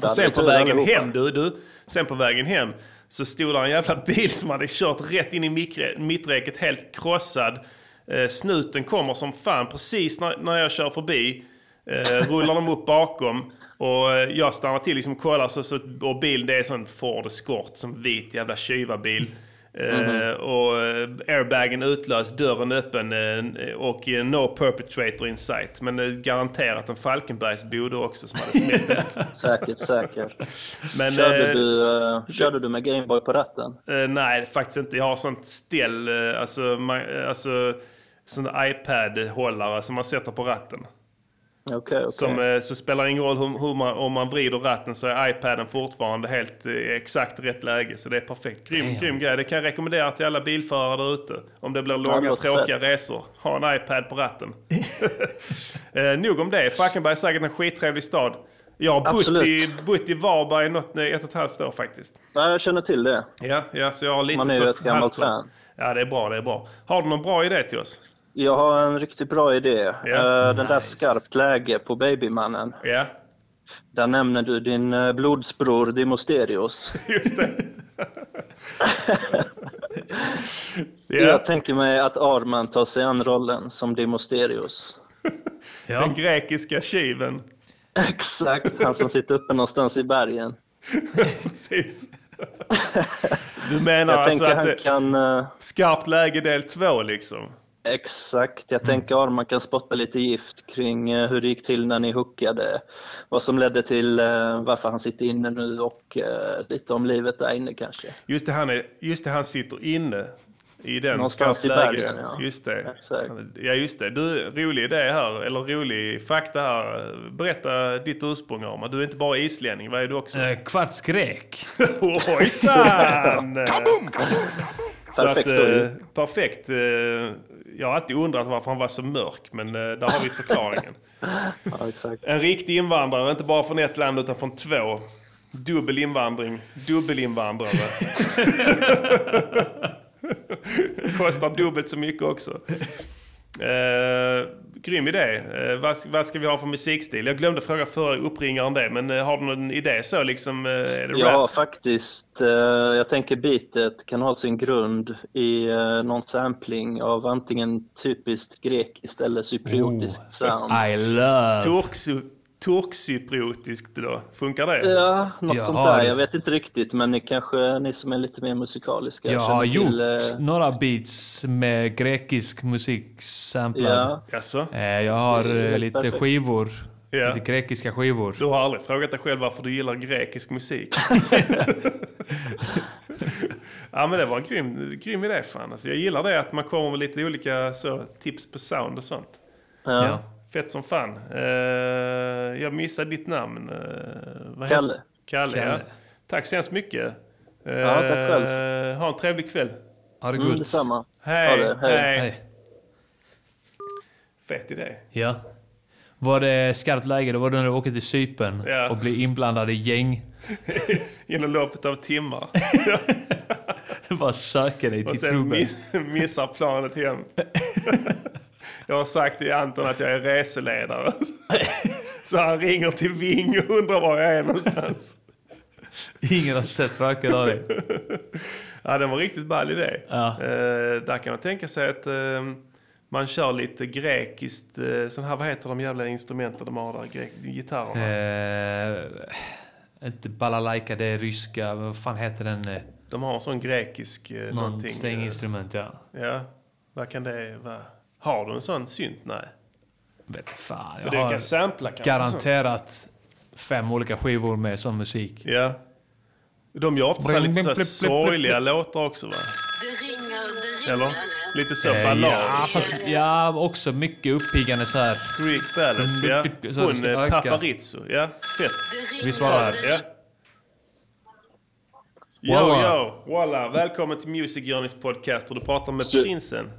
Speaker 23: där
Speaker 3: och sen
Speaker 23: hade
Speaker 3: på
Speaker 23: vi tur
Speaker 3: vägen
Speaker 23: allihopa.
Speaker 3: hem du, du. Sen på vägen hem så stod där en jävla bil som hade kört rätt in i mikre- mitträcket helt krossad. Eh, snuten kommer som fan precis när, när jag kör förbi. Eh, rullar de upp bakom. Och eh, jag stannar till liksom och kollar så, så, och bilen det är en sån Ford Escort, som vit jävla tjuvabil. Eh,
Speaker 23: Mhm.
Speaker 3: Och eh, airbagen utlöst, dörren öppen eh, och eh, no perpetrator in sight. Men eh, garanterat en Falkenbergsbo då också som hade smält den.
Speaker 22: Säkert, säkert.
Speaker 3: Men,
Speaker 22: körde,
Speaker 3: eh,
Speaker 22: du, eh, körde du med Gameboy på ratten?
Speaker 3: Eh, nej, faktiskt inte. Jag har sånt ställ, eh, alltså, man, eh, alltså sån iPad-hållare som man sätter på ratten.
Speaker 22: Okej, okej.
Speaker 3: Som, eh, så spelar det ingen roll hur, hur man, om man vrider ratten så är iPaden fortfarande helt eh, exakt rätt läge. Så det är perfekt. Grym,
Speaker 23: Damn.
Speaker 3: grym grej. Det kan jag rekommendera till alla bilförare där ute. Om det blir
Speaker 23: det
Speaker 3: långa,
Speaker 23: låter
Speaker 3: tråkiga resor. Ha en iPad på ratten. eh, nog om det. Falkenberg är säkert en skittrevlig stad. Jag har bott
Speaker 22: Absolut.
Speaker 3: i, bott i Varberg i något, eh, ett och ett halvt år faktiskt.
Speaker 22: Nej, jag känner till det.
Speaker 3: Ja, ja, så jag har lite
Speaker 22: Man är ju
Speaker 3: så-
Speaker 22: ett gammalt
Speaker 3: halvkoll.
Speaker 22: fan.
Speaker 3: Ja, det är bra, det är bra. Har du någon bra idé till oss?
Speaker 22: Jag har en riktigt bra idé. Eh, Den där
Speaker 3: Nice.
Speaker 22: skarpt läge på Babymannen.
Speaker 3: Ja.
Speaker 22: Där nämner du din eh, blodsbror Dimosterios.
Speaker 3: Just det.
Speaker 22: Jag tänker mig att Arman tar sig an rollen som Dimosterios.
Speaker 3: Den grekiska tjuven.
Speaker 22: Exakt, han som sitter uppe någonstans i bergen.
Speaker 3: Precis. Du menar
Speaker 22: jag
Speaker 3: alltså
Speaker 22: tänker
Speaker 3: att det-
Speaker 22: han kan... eh,
Speaker 3: Skarpt läge del två liksom.
Speaker 22: Exakt, jag tänker att man kan spotta lite gift kring eh, hur det gick till när ni hookade, vad som ledde till eh, varför han sitter inne nu och eh, lite om livet där inne kanske.
Speaker 3: Just det, han, är, just det, han sitter inne i den
Speaker 22: Någonstans
Speaker 3: skarpt
Speaker 22: i
Speaker 3: läge.
Speaker 22: bergen, ja.
Speaker 3: Just det. Han- Ja, just det. Du, rolig idé här, eller rolig fakta här. Berätta ditt ursprung, Arman. Du är inte bara islänning, vad är du också?
Speaker 4: Eh, kvartsgrek.
Speaker 3: Ojsan! Så att,
Speaker 4: Perfekt
Speaker 3: eh,
Speaker 4: ord.
Speaker 3: perfekt. Eh, jag har alltid undrat varför han var så mörk, men eh, där har vi förklaringen. En riktig invandrare, inte bara från ett land utan från två. Dubbel invandring, dubbelinvandrare. Kostar dubbelt så mycket också. Eh, grym idé. Eh, vad, vad ska vi ha för musikstil? Jag glömde fråga förra uppringaren det, men eh, har du någon idé så liksom? Eh, är det
Speaker 22: Ja,
Speaker 3: rap?
Speaker 22: faktiskt. eh, Jag tänker beatet kan ha sin grund i eh, någon sampling av antingen typiskt grekiskt eller cypriotiskt sound.
Speaker 3: Turksy- Turkcypriotiskt då? Funkar det?
Speaker 22: Ja, något sånt där. Jag vet inte riktigt, men ni kanske ni som är lite mer musikaliska
Speaker 4: Jag har
Speaker 22: känner
Speaker 4: gjort
Speaker 22: till, eh,
Speaker 4: några beats med grekisk musik samplad.
Speaker 22: Ja.
Speaker 4: Eh, Jag har
Speaker 3: Det är
Speaker 4: eh,
Speaker 3: helt
Speaker 4: lite
Speaker 3: perfekt. Mm,
Speaker 4: skivor.
Speaker 3: Ja.
Speaker 4: Lite grekiska skivor.
Speaker 3: Du har aldrig frågat dig själv varför du gillar grekisk musik? ja men det var en grym, grym idé fan. Alltså, jag gillar det att man kommer med lite olika så, tips på sound och sånt.
Speaker 22: Ja. Ja.
Speaker 3: Fett som fan. Eh, jag missade ditt namn. Eh, vad
Speaker 22: Kalle.
Speaker 3: heter- Kalle, Ja.
Speaker 22: Kalle.
Speaker 3: Tack så hemskt mycket. Eh,
Speaker 22: Ja, tack själv.
Speaker 3: Ha en trevlig kväll.
Speaker 4: Ha det
Speaker 22: Mm,
Speaker 4: gott.
Speaker 22: detsamma.
Speaker 3: Hej,
Speaker 4: Ha det.
Speaker 3: hej.
Speaker 4: Hej.
Speaker 3: Fet idé.
Speaker 4: Ja. Var det skarpt läge, då var det när du åkte till Cypern
Speaker 3: Ja.
Speaker 4: och blev inblandad i gäng.
Speaker 3: Inom loppet av timmar.
Speaker 4: Bara söker dig
Speaker 3: Och
Speaker 4: till
Speaker 3: sen
Speaker 4: trubben.
Speaker 3: miss, missar planet hem. jag har sagt till Anton att jag är reseledare. Så han ringer till Ving och undrar var jag är någonstans.
Speaker 4: Ingen har sett röken av dig.
Speaker 3: Ja, den var riktigt ball idé.
Speaker 4: Ja.
Speaker 3: Eh, där kan man tänka sig att eh, man kör lite grekiskt, eh, sån här, vad heter de jävla instrumenten de har där, grek, gitarrerna?
Speaker 4: Eh, inte balalaika, det är ryska. Vad fan heter den? eh?
Speaker 3: De har en sån grekisk eh,
Speaker 4: Någon
Speaker 3: någonting. eh,
Speaker 4: stränginstrument, ja.
Speaker 3: Ja, vad kan det vara? Har du en sån synt? Nej.
Speaker 4: Vet fan,
Speaker 3: Men du kan sampla kanske,
Speaker 4: garanterat fem olika skivor med sån musik.
Speaker 3: Ja. De gör ofta så här lite så här sorgliga låtar också va? Eller? Lite så,
Speaker 4: Eh,
Speaker 3: ballad.
Speaker 4: Ja, fast, ja, också mycket uppiggande så här.
Speaker 3: Greek ballads, ja. Hon, eh, Paparizou, ja. Fett.
Speaker 4: Vi svarar.
Speaker 3: Ja. Yo,
Speaker 24: Walla.
Speaker 3: yo, walla. Välkommen till Music Journeys podcast och du pratar med
Speaker 24: Tje-
Speaker 3: prinsen.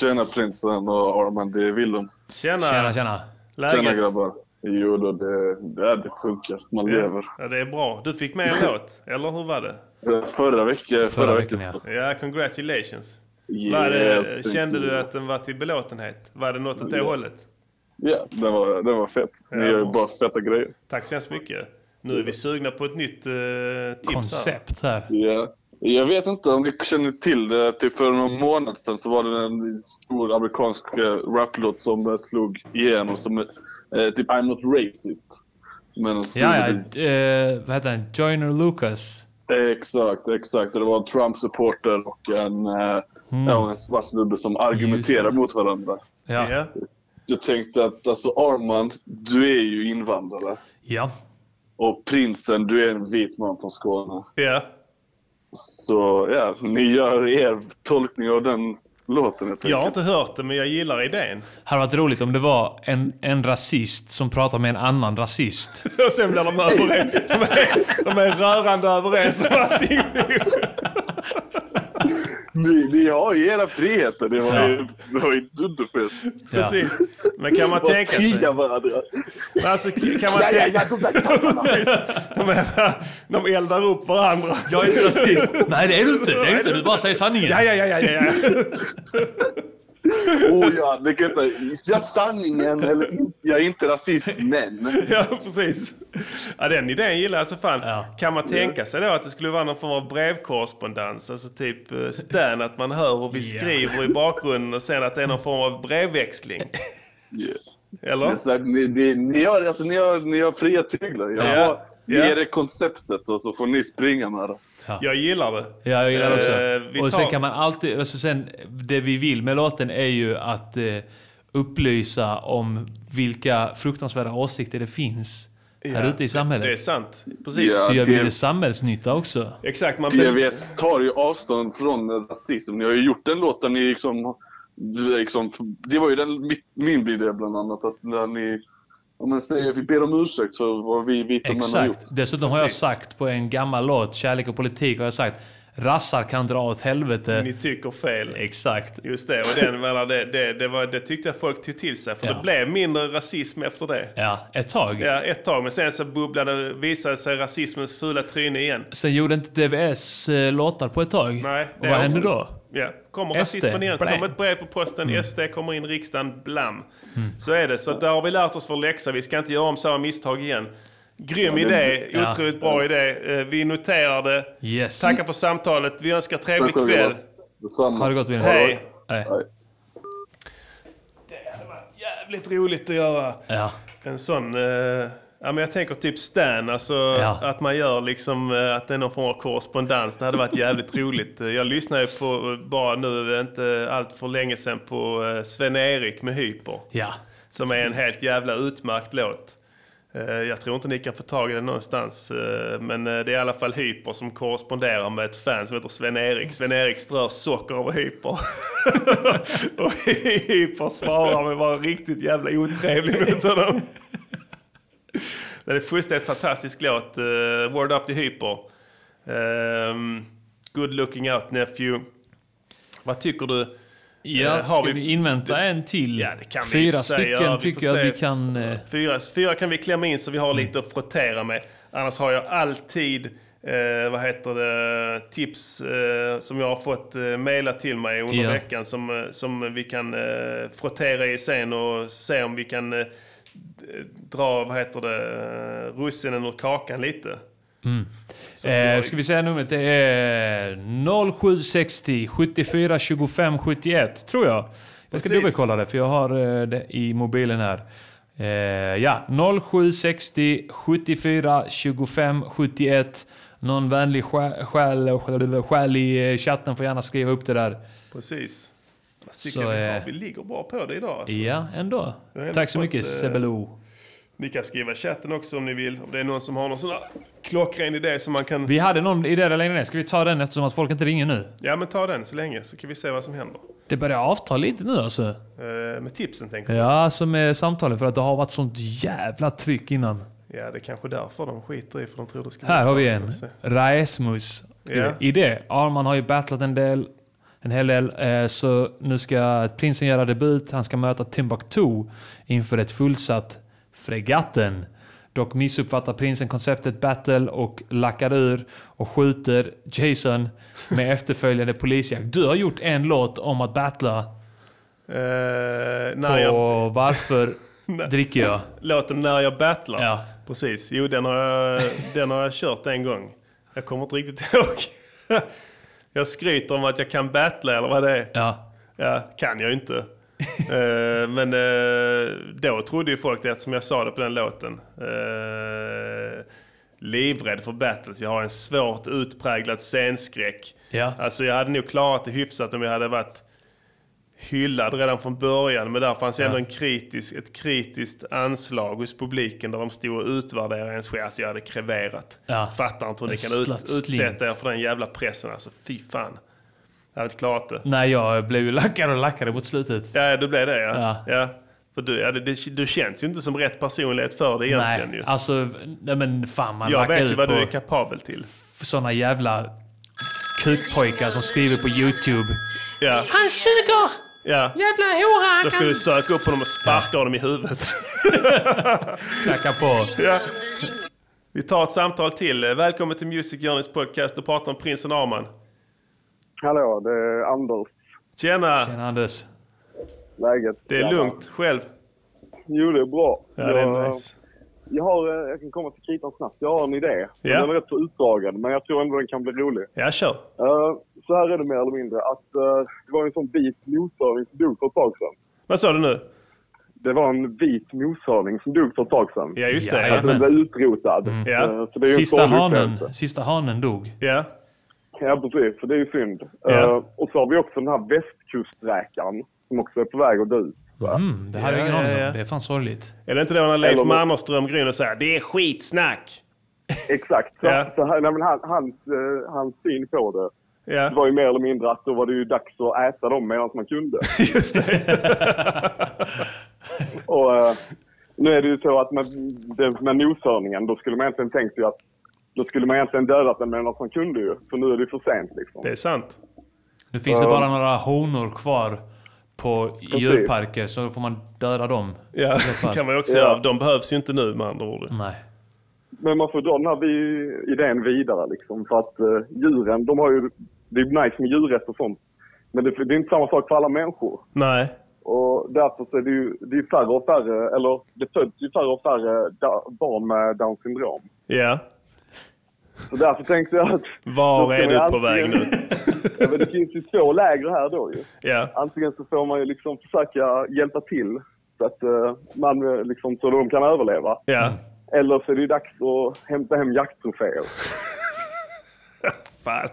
Speaker 24: Tjena prinsen och Arman, det är Willem.
Speaker 3: Tjena. Tjena, tjena. Läget?
Speaker 24: Tjena grabbar. Jo då, det, det, det funkar. Man lever.
Speaker 3: Ja, det är bra. Du fick med en låt, eller hur var det?
Speaker 24: Förra veckan... Förra veckan,
Speaker 3: Ja, congratulations.
Speaker 24: Yeah,
Speaker 3: var det,
Speaker 24: thank you.
Speaker 3: kände du att den var till belåtenhet? Var det något åt det
Speaker 24: Yeah.
Speaker 3: hållet?
Speaker 24: ja. Den var, den var fett. Ni gör ju bara feta grejer.
Speaker 3: Tack så hemskt mycket. Nu är vi sugna på ett nytt eh, tips här.
Speaker 4: här.
Speaker 24: Ja. Jag vet inte om ni känner till det. Typ för någon månad sedan så var det en stor amerikansk eh, raplåt som eh, slog igenom som eh, typ I'm not racist. Men en stor
Speaker 4: Ja, ja. eh, vad heter den? Joyner Lucas.
Speaker 24: Exakt, exakt. Och Det var en Trump-supporter och en, eh,
Speaker 4: Mm.
Speaker 24: ja, en svart snubbe som argumenterar mot varandra.
Speaker 4: Ja.
Speaker 24: Jag tänkte att alltså Armand, du är ju invandrare.
Speaker 4: Ja.
Speaker 24: Och prinsen, du är en vit man från Skåne.
Speaker 3: Ja.
Speaker 24: Så ja, ni gör er tolkning av den låten helt
Speaker 3: Jag har
Speaker 24: enkelt.
Speaker 3: inte hört det, men jag gillar idén.
Speaker 4: Hade varit roligt om det var en, en rasist som pratar med en annan rasist.
Speaker 3: Och sen blir de överens. De är, de är rörande överens om allting.
Speaker 24: Ni, ni har ju era friheter. Det var ju, det var ju ett dunderfest.
Speaker 3: Precis. Men kan man
Speaker 24: Och
Speaker 3: tänka sig-
Speaker 24: tiga varandra.
Speaker 3: Alltså, kan man
Speaker 24: Ja, ja, ja,
Speaker 3: tänka... de, är, de eldar upp varandra.
Speaker 4: Jag är inte rasist. Nej, det är du inte. Det är du inte. Du bara säger sanningen.
Speaker 3: Ja, ja, ja, ja, ja.
Speaker 24: Åh Oh ja, det kan inte... Ja, sanningen eller inte. Jag är inte rasist, men...
Speaker 3: Ja, precis. Ja, den idén gillar jag så fan. Kan man tänka sig då att det skulle vara någon form av brevkorrespondens? Alltså typ eh, Stan, att man hör hur vi
Speaker 24: Ja.
Speaker 3: skriver i bakgrunden och sen att det är någon form av brevväxling.
Speaker 24: Yeah.
Speaker 3: Eller?
Speaker 24: Exakt. Ni, ni, ni, har, alltså, ni, har, ni har fria tyglar. Jag,
Speaker 3: Ja.
Speaker 24: har, Ge det konceptet och så får ni springa med det.
Speaker 4: Ja.
Speaker 3: Jag gillar det.
Speaker 4: Ja, jag gillar det också.
Speaker 3: Eh, vi
Speaker 4: och sen
Speaker 3: tar-
Speaker 4: kan man alltid... Alltså sen, det vi vill med låten är ju att eh, upplysa om vilka fruktansvärda åsikter det finns här
Speaker 3: Ja,
Speaker 4: ute i samhället.
Speaker 3: Det är sant. Precis.
Speaker 4: Så gör vi
Speaker 24: det-
Speaker 4: det samhällsnytta också.
Speaker 3: Exakt. Man
Speaker 24: TVS tar ju avstånd från rasism. Ni har ju gjort den låten ni liksom... liksom det var ju den, mitt, min idé bland annat. Att när ni... Om man säger vi ber om ursäkt för vad vi vita män har gjort.
Speaker 4: Exakt. Dessutom har jag sagt på en gammal låt, Kärlek och politik, har jag sagt rassar kan dra åt helvete.
Speaker 3: Ni tycker fel.
Speaker 4: Exakt.
Speaker 3: Just det, och den, menar, det, det, det, var, det tyckte jag folk tog till sig. För
Speaker 4: Ja.
Speaker 3: det blev mindre rasism efter det.
Speaker 4: Ja, ett tag.
Speaker 3: Ja, ett tag. Men sen så bubblade, visade sig rasismens fula tryne igen.
Speaker 4: Sen gjorde inte DVS eh, låtar på ett tag.
Speaker 3: Nej,
Speaker 4: och vad hände
Speaker 3: också-
Speaker 4: då?
Speaker 3: Ja, kommer
Speaker 4: SD,
Speaker 3: rasismen igen.
Speaker 4: blä.
Speaker 3: Som ett brev på posten.
Speaker 4: Mm.
Speaker 3: SD kommer in i riksdagen, blam.
Speaker 4: Mm.
Speaker 3: Så är det. Så där har vi lärt oss vår läxa. Vi ska inte göra om samma misstag igen. Grym
Speaker 4: Ja, det-
Speaker 3: idé,
Speaker 4: Ja.
Speaker 3: otroligt bra idé. Eh, Vi noterar det.
Speaker 4: Yes.
Speaker 3: Tackar för samtalet. Vi önskar trevlig
Speaker 4: Tack, Oliver.
Speaker 3: kväll.
Speaker 24: Detsamma.
Speaker 4: Ha det gott, Wilhelm.
Speaker 3: Hej.
Speaker 4: Hej.
Speaker 3: Jävligt roligt att göra
Speaker 4: Ja.
Speaker 3: en sån... eh, ja, men jag tänker typ Stan, alltså att man gör liksom eh, att det är någon form av korrespondens. Det hade varit jävligt roligt. Eh, Jag lyssnade ju på, eh, bara nu, eh, inte allt för länge sedan, på eh, Sven-Erik med Hyper.
Speaker 4: Ja.
Speaker 3: Som är en helt jävla utmärkt låt. Eh, Jag tror inte ni kan få tag i den någonstans. eh, Men eh, det är i alla fall Hyper som korresponderar med ett fan som heter Sven-Erik. Sven-Erik strör socker över Hyper. och Hyper svarar med att vara riktigt jävla otrevlig mot honom. Det är en fullständigt fantastisk låt. eh, Word Up till Hyper. Ehm, good looking out nephew. Vad tycker du?
Speaker 4: Ja,
Speaker 3: Eh,
Speaker 4: ska vi, invänta en till?
Speaker 3: Ja, det kan vi i och
Speaker 4: Fyra
Speaker 3: för sig
Speaker 4: stycken
Speaker 3: göra. Vi
Speaker 4: tycker
Speaker 3: får
Speaker 4: jag
Speaker 3: se.
Speaker 4: att vi kan... eh, Mm.
Speaker 3: Fyra, fyra kan vi klämma in så vi har lite att frottera med. Annars har jag alltid eh, vad heter det, tips eh, som jag har fått eh, mejla till mig under
Speaker 4: Ja.
Speaker 3: veckan som, eh, som vi kan eh, frottera i sen och se om vi kan eh, d- dra vad heter det, eh, russinen ur kakan lite.
Speaker 4: Mm.
Speaker 3: Så att vi har-
Speaker 4: Eh, ska vi säga numret? Det är 0760 74 25 71, tror jag. Jag ska
Speaker 15: Precis.
Speaker 4: dubbelkolla det, för jag har eh, det i mobilen här. Eh, ja, 0760 74 25 71. Någon vänlig sjä- själ, själ, själ i eh, chatten får gärna skriva upp det där.
Speaker 3: Precis. Annars tycker
Speaker 4: Så,
Speaker 3: jag vi,
Speaker 4: eh,
Speaker 3: har, vi ligger bra på det idag. Alltså.
Speaker 4: Ja, ändå.
Speaker 3: Jag har ändå
Speaker 4: Tack så
Speaker 3: fått,
Speaker 4: mycket,
Speaker 3: eh,
Speaker 4: Sebelo.
Speaker 3: Ni kan skriva i chatten också om ni vill. Om det är någon som har någon sån här klockren idé som man kan...
Speaker 4: Vi hade någon idé där längre ner. Ska vi ta den eftersom att folk inte ringer nu?
Speaker 3: Ja men ta den så länge så kan vi se vad som händer.
Speaker 4: Det börjar avta lite nu alltså.
Speaker 3: Eh, med tipsen tänker jag.
Speaker 4: Ja, alltså med samtalen. För att det har varit sånt jävla tryck innan.
Speaker 3: Ja det är kanske därför de skiter i för de tror det ska
Speaker 4: Här
Speaker 3: bli
Speaker 4: har vi
Speaker 3: klart, alltså.
Speaker 4: en. Raesmus.
Speaker 3: Ja.
Speaker 4: I det. Arman har ju battlat en del. En hel del. Eh, så nu ska prinsen göra debut. Han ska möta Timbuktu inför ett fullsatt Fregatten. Dock missuppfattar prinsen konceptet battle och lackar ur och skjuter Jason med efterföljande polisjakt. Du har gjort en låt om att battla
Speaker 3: Eh,
Speaker 4: på
Speaker 3: när jag,
Speaker 4: varför dricker jag.
Speaker 3: låten När jag battlar.
Speaker 4: Ja.
Speaker 3: Precis. Jo den har, jag, den har jag kört en gång. Jag kommer inte riktigt ihåg. jag skryter om att jag kan battla eller vad det är.
Speaker 4: Ja.
Speaker 3: Ja, kan jag ju inte. Eh, men eh, då trodde ju folk det eftersom jag sa det på den låten. Eh, livrädd för battles. Jag har en svårt utpräglad scenskräck.
Speaker 4: Ja.
Speaker 3: Alltså jag hade nog klarat det hyfsat om jag hade varit hyllad redan från början. Men där fanns ju
Speaker 4: Ja.
Speaker 3: ändå en kritisk, ett kritiskt anslag hos publiken där de stod och utvärderade ens själ. Alltså jag hade kreverat.
Speaker 4: Ja.
Speaker 3: Fattar inte hur ni
Speaker 4: En
Speaker 3: kan ut,
Speaker 4: slatt slint.
Speaker 3: utsätta er för den jävla pressen. Alltså fy fan. Jag hade inte klarat det.
Speaker 4: Nej, jag blev ju lackare och lackare mot slutet.
Speaker 3: Ja, du blev det ja. ja. För du, ja, det, det, du känns ju inte som rätt personlighet för det egentligen
Speaker 4: nej,
Speaker 3: ju.
Speaker 4: alltså... Nej men fan, man
Speaker 3: jag
Speaker 4: lackar
Speaker 3: vet ju
Speaker 4: ut
Speaker 3: vad
Speaker 4: på
Speaker 3: du är kapabel till.
Speaker 4: såna jävla kukpojkar som skriver på YouTube.
Speaker 3: Ja,
Speaker 14: Han suger!
Speaker 3: ja.
Speaker 14: Jävla hora!
Speaker 3: Då ska du söka upp honom och sparka honom i huvudet.
Speaker 4: Knacka på.
Speaker 3: Ja. Vi tar ett samtal till. Välkommen till Music Journeys podcast. Du pratar om prinsen Arman.
Speaker 11: Hallå, det är Anders.
Speaker 3: Tjena!
Speaker 4: Tjena Anders.
Speaker 11: Läget?
Speaker 3: Det är lugnt. Själv?
Speaker 11: Jo, det är bra.
Speaker 3: Ja, det är nice.
Speaker 11: Jag, har, eh, jag kan komma till kritan snabbt. Jag har en idé.
Speaker 3: Ja.
Speaker 11: Den är rätt så utdragen, men jag tror ändå den kan bli rolig.
Speaker 3: Ja, kör.
Speaker 11: Eh, så här är det mer eller mindre. Att, eh, det var en sån vit notföring som dog för ett tag sedan.
Speaker 3: Vad sa du nu?
Speaker 11: Det var en vit mosörning som dog för ett tag sedan.
Speaker 3: Ja, just det.
Speaker 11: Alltså, den
Speaker 3: Jajamän.
Speaker 11: blev utrotad.
Speaker 3: Mm.
Speaker 11: Eh,
Speaker 3: Ja.
Speaker 11: Så det är ju en
Speaker 4: Sista
Speaker 11: sorglig
Speaker 4: hanen,
Speaker 11: upplevelse.
Speaker 4: sista hanen dog.
Speaker 3: Ja.
Speaker 11: Ja, precis. Så det är ju synd.
Speaker 4: Ja.
Speaker 11: Eh, och så har vi också den här västkusträkan som också är på väg att dö ut. va?
Speaker 4: Mm, det här är
Speaker 3: Ja,
Speaker 4: ingen aning
Speaker 3: ja,
Speaker 4: om.
Speaker 3: ja.
Speaker 4: Det är fan sorgligt.
Speaker 3: Är det inte då när Leif
Speaker 11: Eller-
Speaker 3: Mannerström går in och säger det är skitsnack?
Speaker 11: Exakt. Så, så här, nej, men han, hans, eh, hans syn på det
Speaker 3: Ja.
Speaker 11: var ju mer eller mindre att då var det ju dags att äta dem medan man kunde.
Speaker 3: Just
Speaker 11: det. och, eh, nu är det ju så att med, det- med noshörningen, då skulle man egentligen tänkt ju att då skulle man egentligen dödat den medan man kunde ju. För nu är det ju för sent liksom.
Speaker 3: Det är sant.
Speaker 4: Nu finns det
Speaker 11: Ja.
Speaker 4: bara några honor kvar på i djurparker, så då får man döda dem.
Speaker 3: Ja, det kan man ju också göra.
Speaker 11: Ja.
Speaker 3: De behövs ju inte nu med andra ord.
Speaker 4: Nej.
Speaker 11: Men man får dra den här vi- idén vidare liksom. För att eh, djuren, de har ju... Det är ju nice med djurrätt och sånt. Men det, det är inte samma sak för alla människor.
Speaker 3: Nej.
Speaker 11: Och därför så är det ju det är färre och färre, eller det föds ju färre och färre da, barn med Downs syndrom.
Speaker 3: Ja.
Speaker 11: Så därför tänkte jag att...
Speaker 3: Var
Speaker 11: då
Speaker 3: är
Speaker 11: ska
Speaker 3: du
Speaker 11: man
Speaker 3: på väg nu?
Speaker 11: antingen- Ja, men det finns ju två läger här då ju.
Speaker 3: Ja.
Speaker 11: Antingen så får man ju liksom försöka hjälpa till så att eh, man eh, liksom, så de kan överleva.
Speaker 3: Ja.
Speaker 4: Mm.
Speaker 11: Eller så är det ju dags att hämta hem jakttroféer.
Speaker 3: Fan.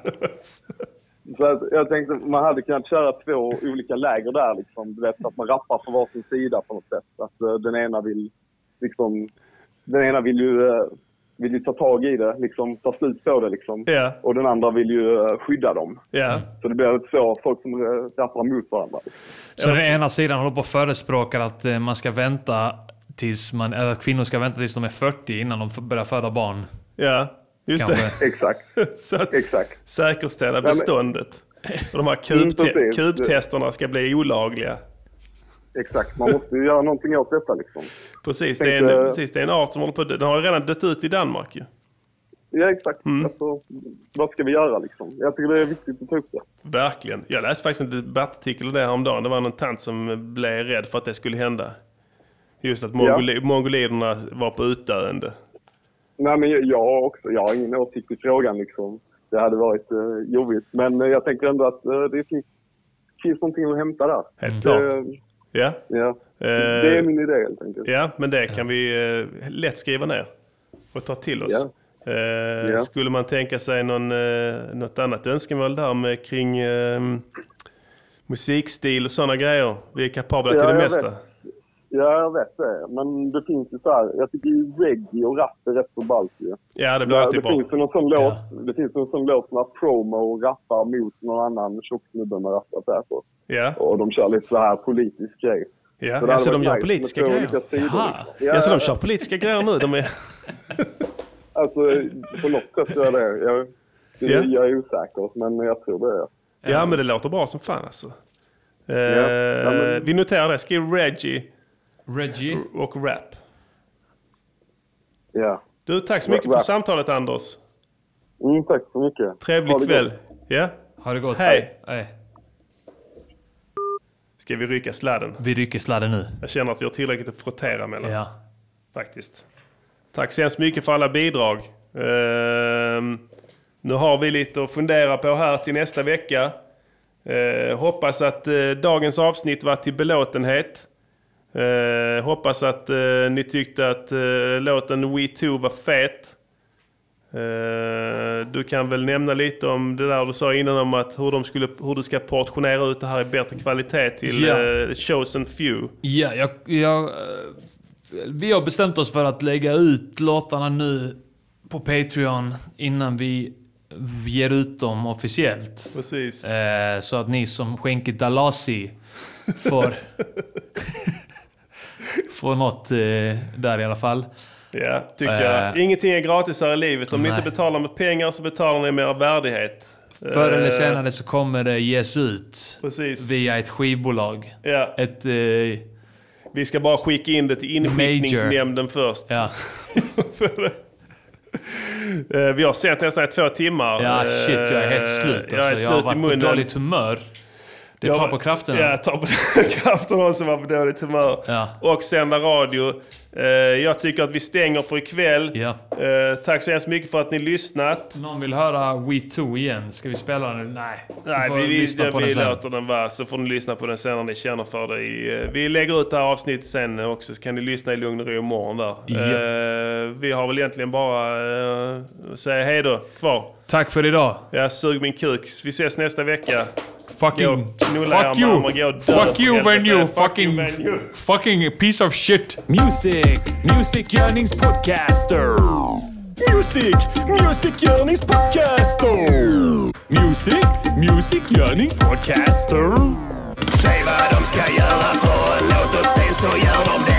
Speaker 11: Så att jag tänkte man hade kunnat köra två olika läger där liksom. Du vet att man rappar från varsin sida på något sätt. Att eh, den ena vill liksom... Den ena vill ju, eh, vill ju ta tag i det, liksom ta slut på det liksom.
Speaker 3: Ja.
Speaker 11: Och den andra vill ju eh, skydda dem.
Speaker 3: Ja.
Speaker 4: Mm.
Speaker 11: Så det blir så folk som eh, rappar mot varandra.
Speaker 4: Så den ena sidan håller på och förespråkar att eh, man ska vänta tills man, eller att kvinnor ska vänta tills de är 40 innan de f- börjar föda barn.
Speaker 3: Ja, just
Speaker 4: Kanske.
Speaker 3: det.
Speaker 11: Exakt.
Speaker 3: Så att
Speaker 11: Exakt.
Speaker 3: säkerställa
Speaker 4: Ja, men-
Speaker 3: beståndet. Och de här
Speaker 11: Mm,
Speaker 3: kubte-
Speaker 11: precis.
Speaker 3: kubtesterna ska bli olagliga.
Speaker 11: Exakt, man måste ju göra någonting åt detta liksom.
Speaker 3: Precis det, är en,
Speaker 11: Tänkte-
Speaker 3: precis, det är en art som håller på att dö. Den har ju redan dött ut i Danmark ju.
Speaker 11: Ja, exakt.
Speaker 3: Mm.
Speaker 11: Alltså, vad ska vi göra liksom? Jag tycker det är viktigt att ta upp det.
Speaker 3: Verkligen. Jag läste faktiskt en debattartikel om det häromdagen. Det var någon tant som blev rädd för att det skulle hända. Just att mongoli- mongoliderna var på utdöende.
Speaker 11: Nej, men jag- jag också. Jag har ingen åsikt i frågan liksom. Det hade varit eh, jobbigt. Men eh, jag tänker ändå att eh, det finns, finns någonting att hämta där.
Speaker 3: Helt
Speaker 11: Det-
Speaker 3: klart. Ja. eh,
Speaker 11: ja. Det är min idé helt enkelt.
Speaker 3: Ja, men det kan vi eh, lätt skriva ner och ta till oss. Eh,
Speaker 11: Ja.
Speaker 3: Skulle man tänka sig någon, eh, något annat önskemål där med, kring eh, musikstil och sådana grejer? Vi är kapabla till det
Speaker 11: jag
Speaker 3: mesta.
Speaker 11: Vet. Ja, jag vet det. Men det finns ju så här. Jag tycker ju reggae och rap är rätt så ballt ju.
Speaker 3: Ja, det blir alltid
Speaker 11: det
Speaker 3: bra.
Speaker 11: Finns ju någon sån låt, Det finns ju någon sån låt när promo rappar mot någon annan tjock snubbe med rattat där på.
Speaker 3: Ja.
Speaker 11: Och de kör lite så här politisk grej.
Speaker 3: Ja,
Speaker 11: det
Speaker 3: ja, så de
Speaker 11: hade varit
Speaker 3: gör
Speaker 11: nice
Speaker 3: politiska
Speaker 11: med två
Speaker 3: grejer.
Speaker 11: olika sidor, liksom.
Speaker 3: Ja, så de kör politiska grejer nu. De är...
Speaker 11: Alltså, på något sätt gör det. Jag, det
Speaker 3: Ja.
Speaker 11: jag är osäker, men jag tror det.
Speaker 3: Ja, men det låter bra som fan alltså. Eh,
Speaker 11: Ja, men-
Speaker 3: Vi noterar det. Skriv Reggie
Speaker 15: Reggie.
Speaker 3: och rap.
Speaker 11: Ja.
Speaker 3: Du, tack så mycket för
Speaker 11: Rap.
Speaker 3: samtalet Anders.
Speaker 11: Mm, tack så mycket.
Speaker 3: Trevlig
Speaker 11: Ha det
Speaker 3: kväll.
Speaker 11: gott.
Speaker 3: Ja.
Speaker 4: Ha det gott.
Speaker 3: Hej.
Speaker 4: Hej.
Speaker 3: Ska vi rycka sladden?
Speaker 4: Vi rycker sladden nu.
Speaker 3: Jag känner att vi har tillräckligt att frottera mellan.
Speaker 4: Ja.
Speaker 3: Faktiskt. Tack så hemskt mycket för alla bidrag. Ehm, nu har vi lite att fundera på här till nästa vecka. Eh, hoppas att eh, dagens avsnitt var till belåtenhet. Eh, hoppas att eh, ni tyckte att eh, låten We Two var fet. Eh, du kan väl nämna lite om det där du sa innan om att hur, de skulle, hur du ska portionera ut det här i bättre kvalitet till
Speaker 4: Ja.
Speaker 3: eh, chosen few.
Speaker 4: Ja, jag, jag, eh, vi har bestämt oss för att lägga ut låtarna nu på Patreon innan vi ger ut dem officiellt.
Speaker 3: Precis.
Speaker 4: Eh, så att ni som skänker Dalasi får, får något eh, där i alla fall.
Speaker 3: Ja, tycker jag. Ingenting är gratis här i livet. Om ni
Speaker 4: Eh. nej.
Speaker 3: inte betalar med pengar så betalar ni med er värdighet.
Speaker 4: Förr eller
Speaker 3: Eh,
Speaker 4: senare så kommer det ges ut via ett skivbolag.
Speaker 3: Ja.
Speaker 4: Ett... Eh,
Speaker 3: Vi ska bara skicka in det till inskickningsnämnden först.
Speaker 4: Ja.
Speaker 3: Eh, Vi har sänt nästan i två timmar.
Speaker 4: Ja,
Speaker 3: Eh,
Speaker 4: shit, jag är helt slut. Alltså,
Speaker 3: jag är
Speaker 4: jag har
Speaker 3: slut i
Speaker 4: varit på
Speaker 3: munnen.
Speaker 4: dåligt humör. Det
Speaker 3: Jag
Speaker 4: tar
Speaker 3: var-
Speaker 4: på krafterna.
Speaker 3: Ja, tar på krafterna också. Var på dåligt humör. Och sända radio. Eh, Jag tycker att vi stänger för ikväll. Eh, Tack så hemskt mycket för att ni lyssnat.
Speaker 4: Någon vill höra We Two igen. Ska vi spela den? Nej.
Speaker 3: Nej,
Speaker 4: får
Speaker 3: vi, vi,
Speaker 4: lyssna på
Speaker 3: vi
Speaker 4: den sen.
Speaker 3: låter den vara, så får ni lyssna på den sen när ni känner för det. i, eh, Vi lägger ut det här avsnittet sen också, så kan ni lyssna i lugn och ro imorgon där.
Speaker 4: Ja.
Speaker 3: Eh, Vi har väl egentligen bara eh, att säga hej då kvar.
Speaker 4: Tack för idag.
Speaker 3: Ja, sug min kuk. Vi ses nästa vecka.
Speaker 4: Fucking...
Speaker 3: Gå, knulla
Speaker 4: Fuck
Speaker 3: era mammor, gå
Speaker 4: you!
Speaker 3: och dö
Speaker 4: Fuck
Speaker 3: för
Speaker 4: you
Speaker 3: helvete.
Speaker 4: when you
Speaker 3: Fuck
Speaker 4: fucking... Fucking piece of shit!
Speaker 6: Music, musikgörningspodcaster. Music, musikgörningspodcaster. Music, musikgörningspodcaster.
Speaker 2: Säg vad de ska göra för en låt och sen så gör de det.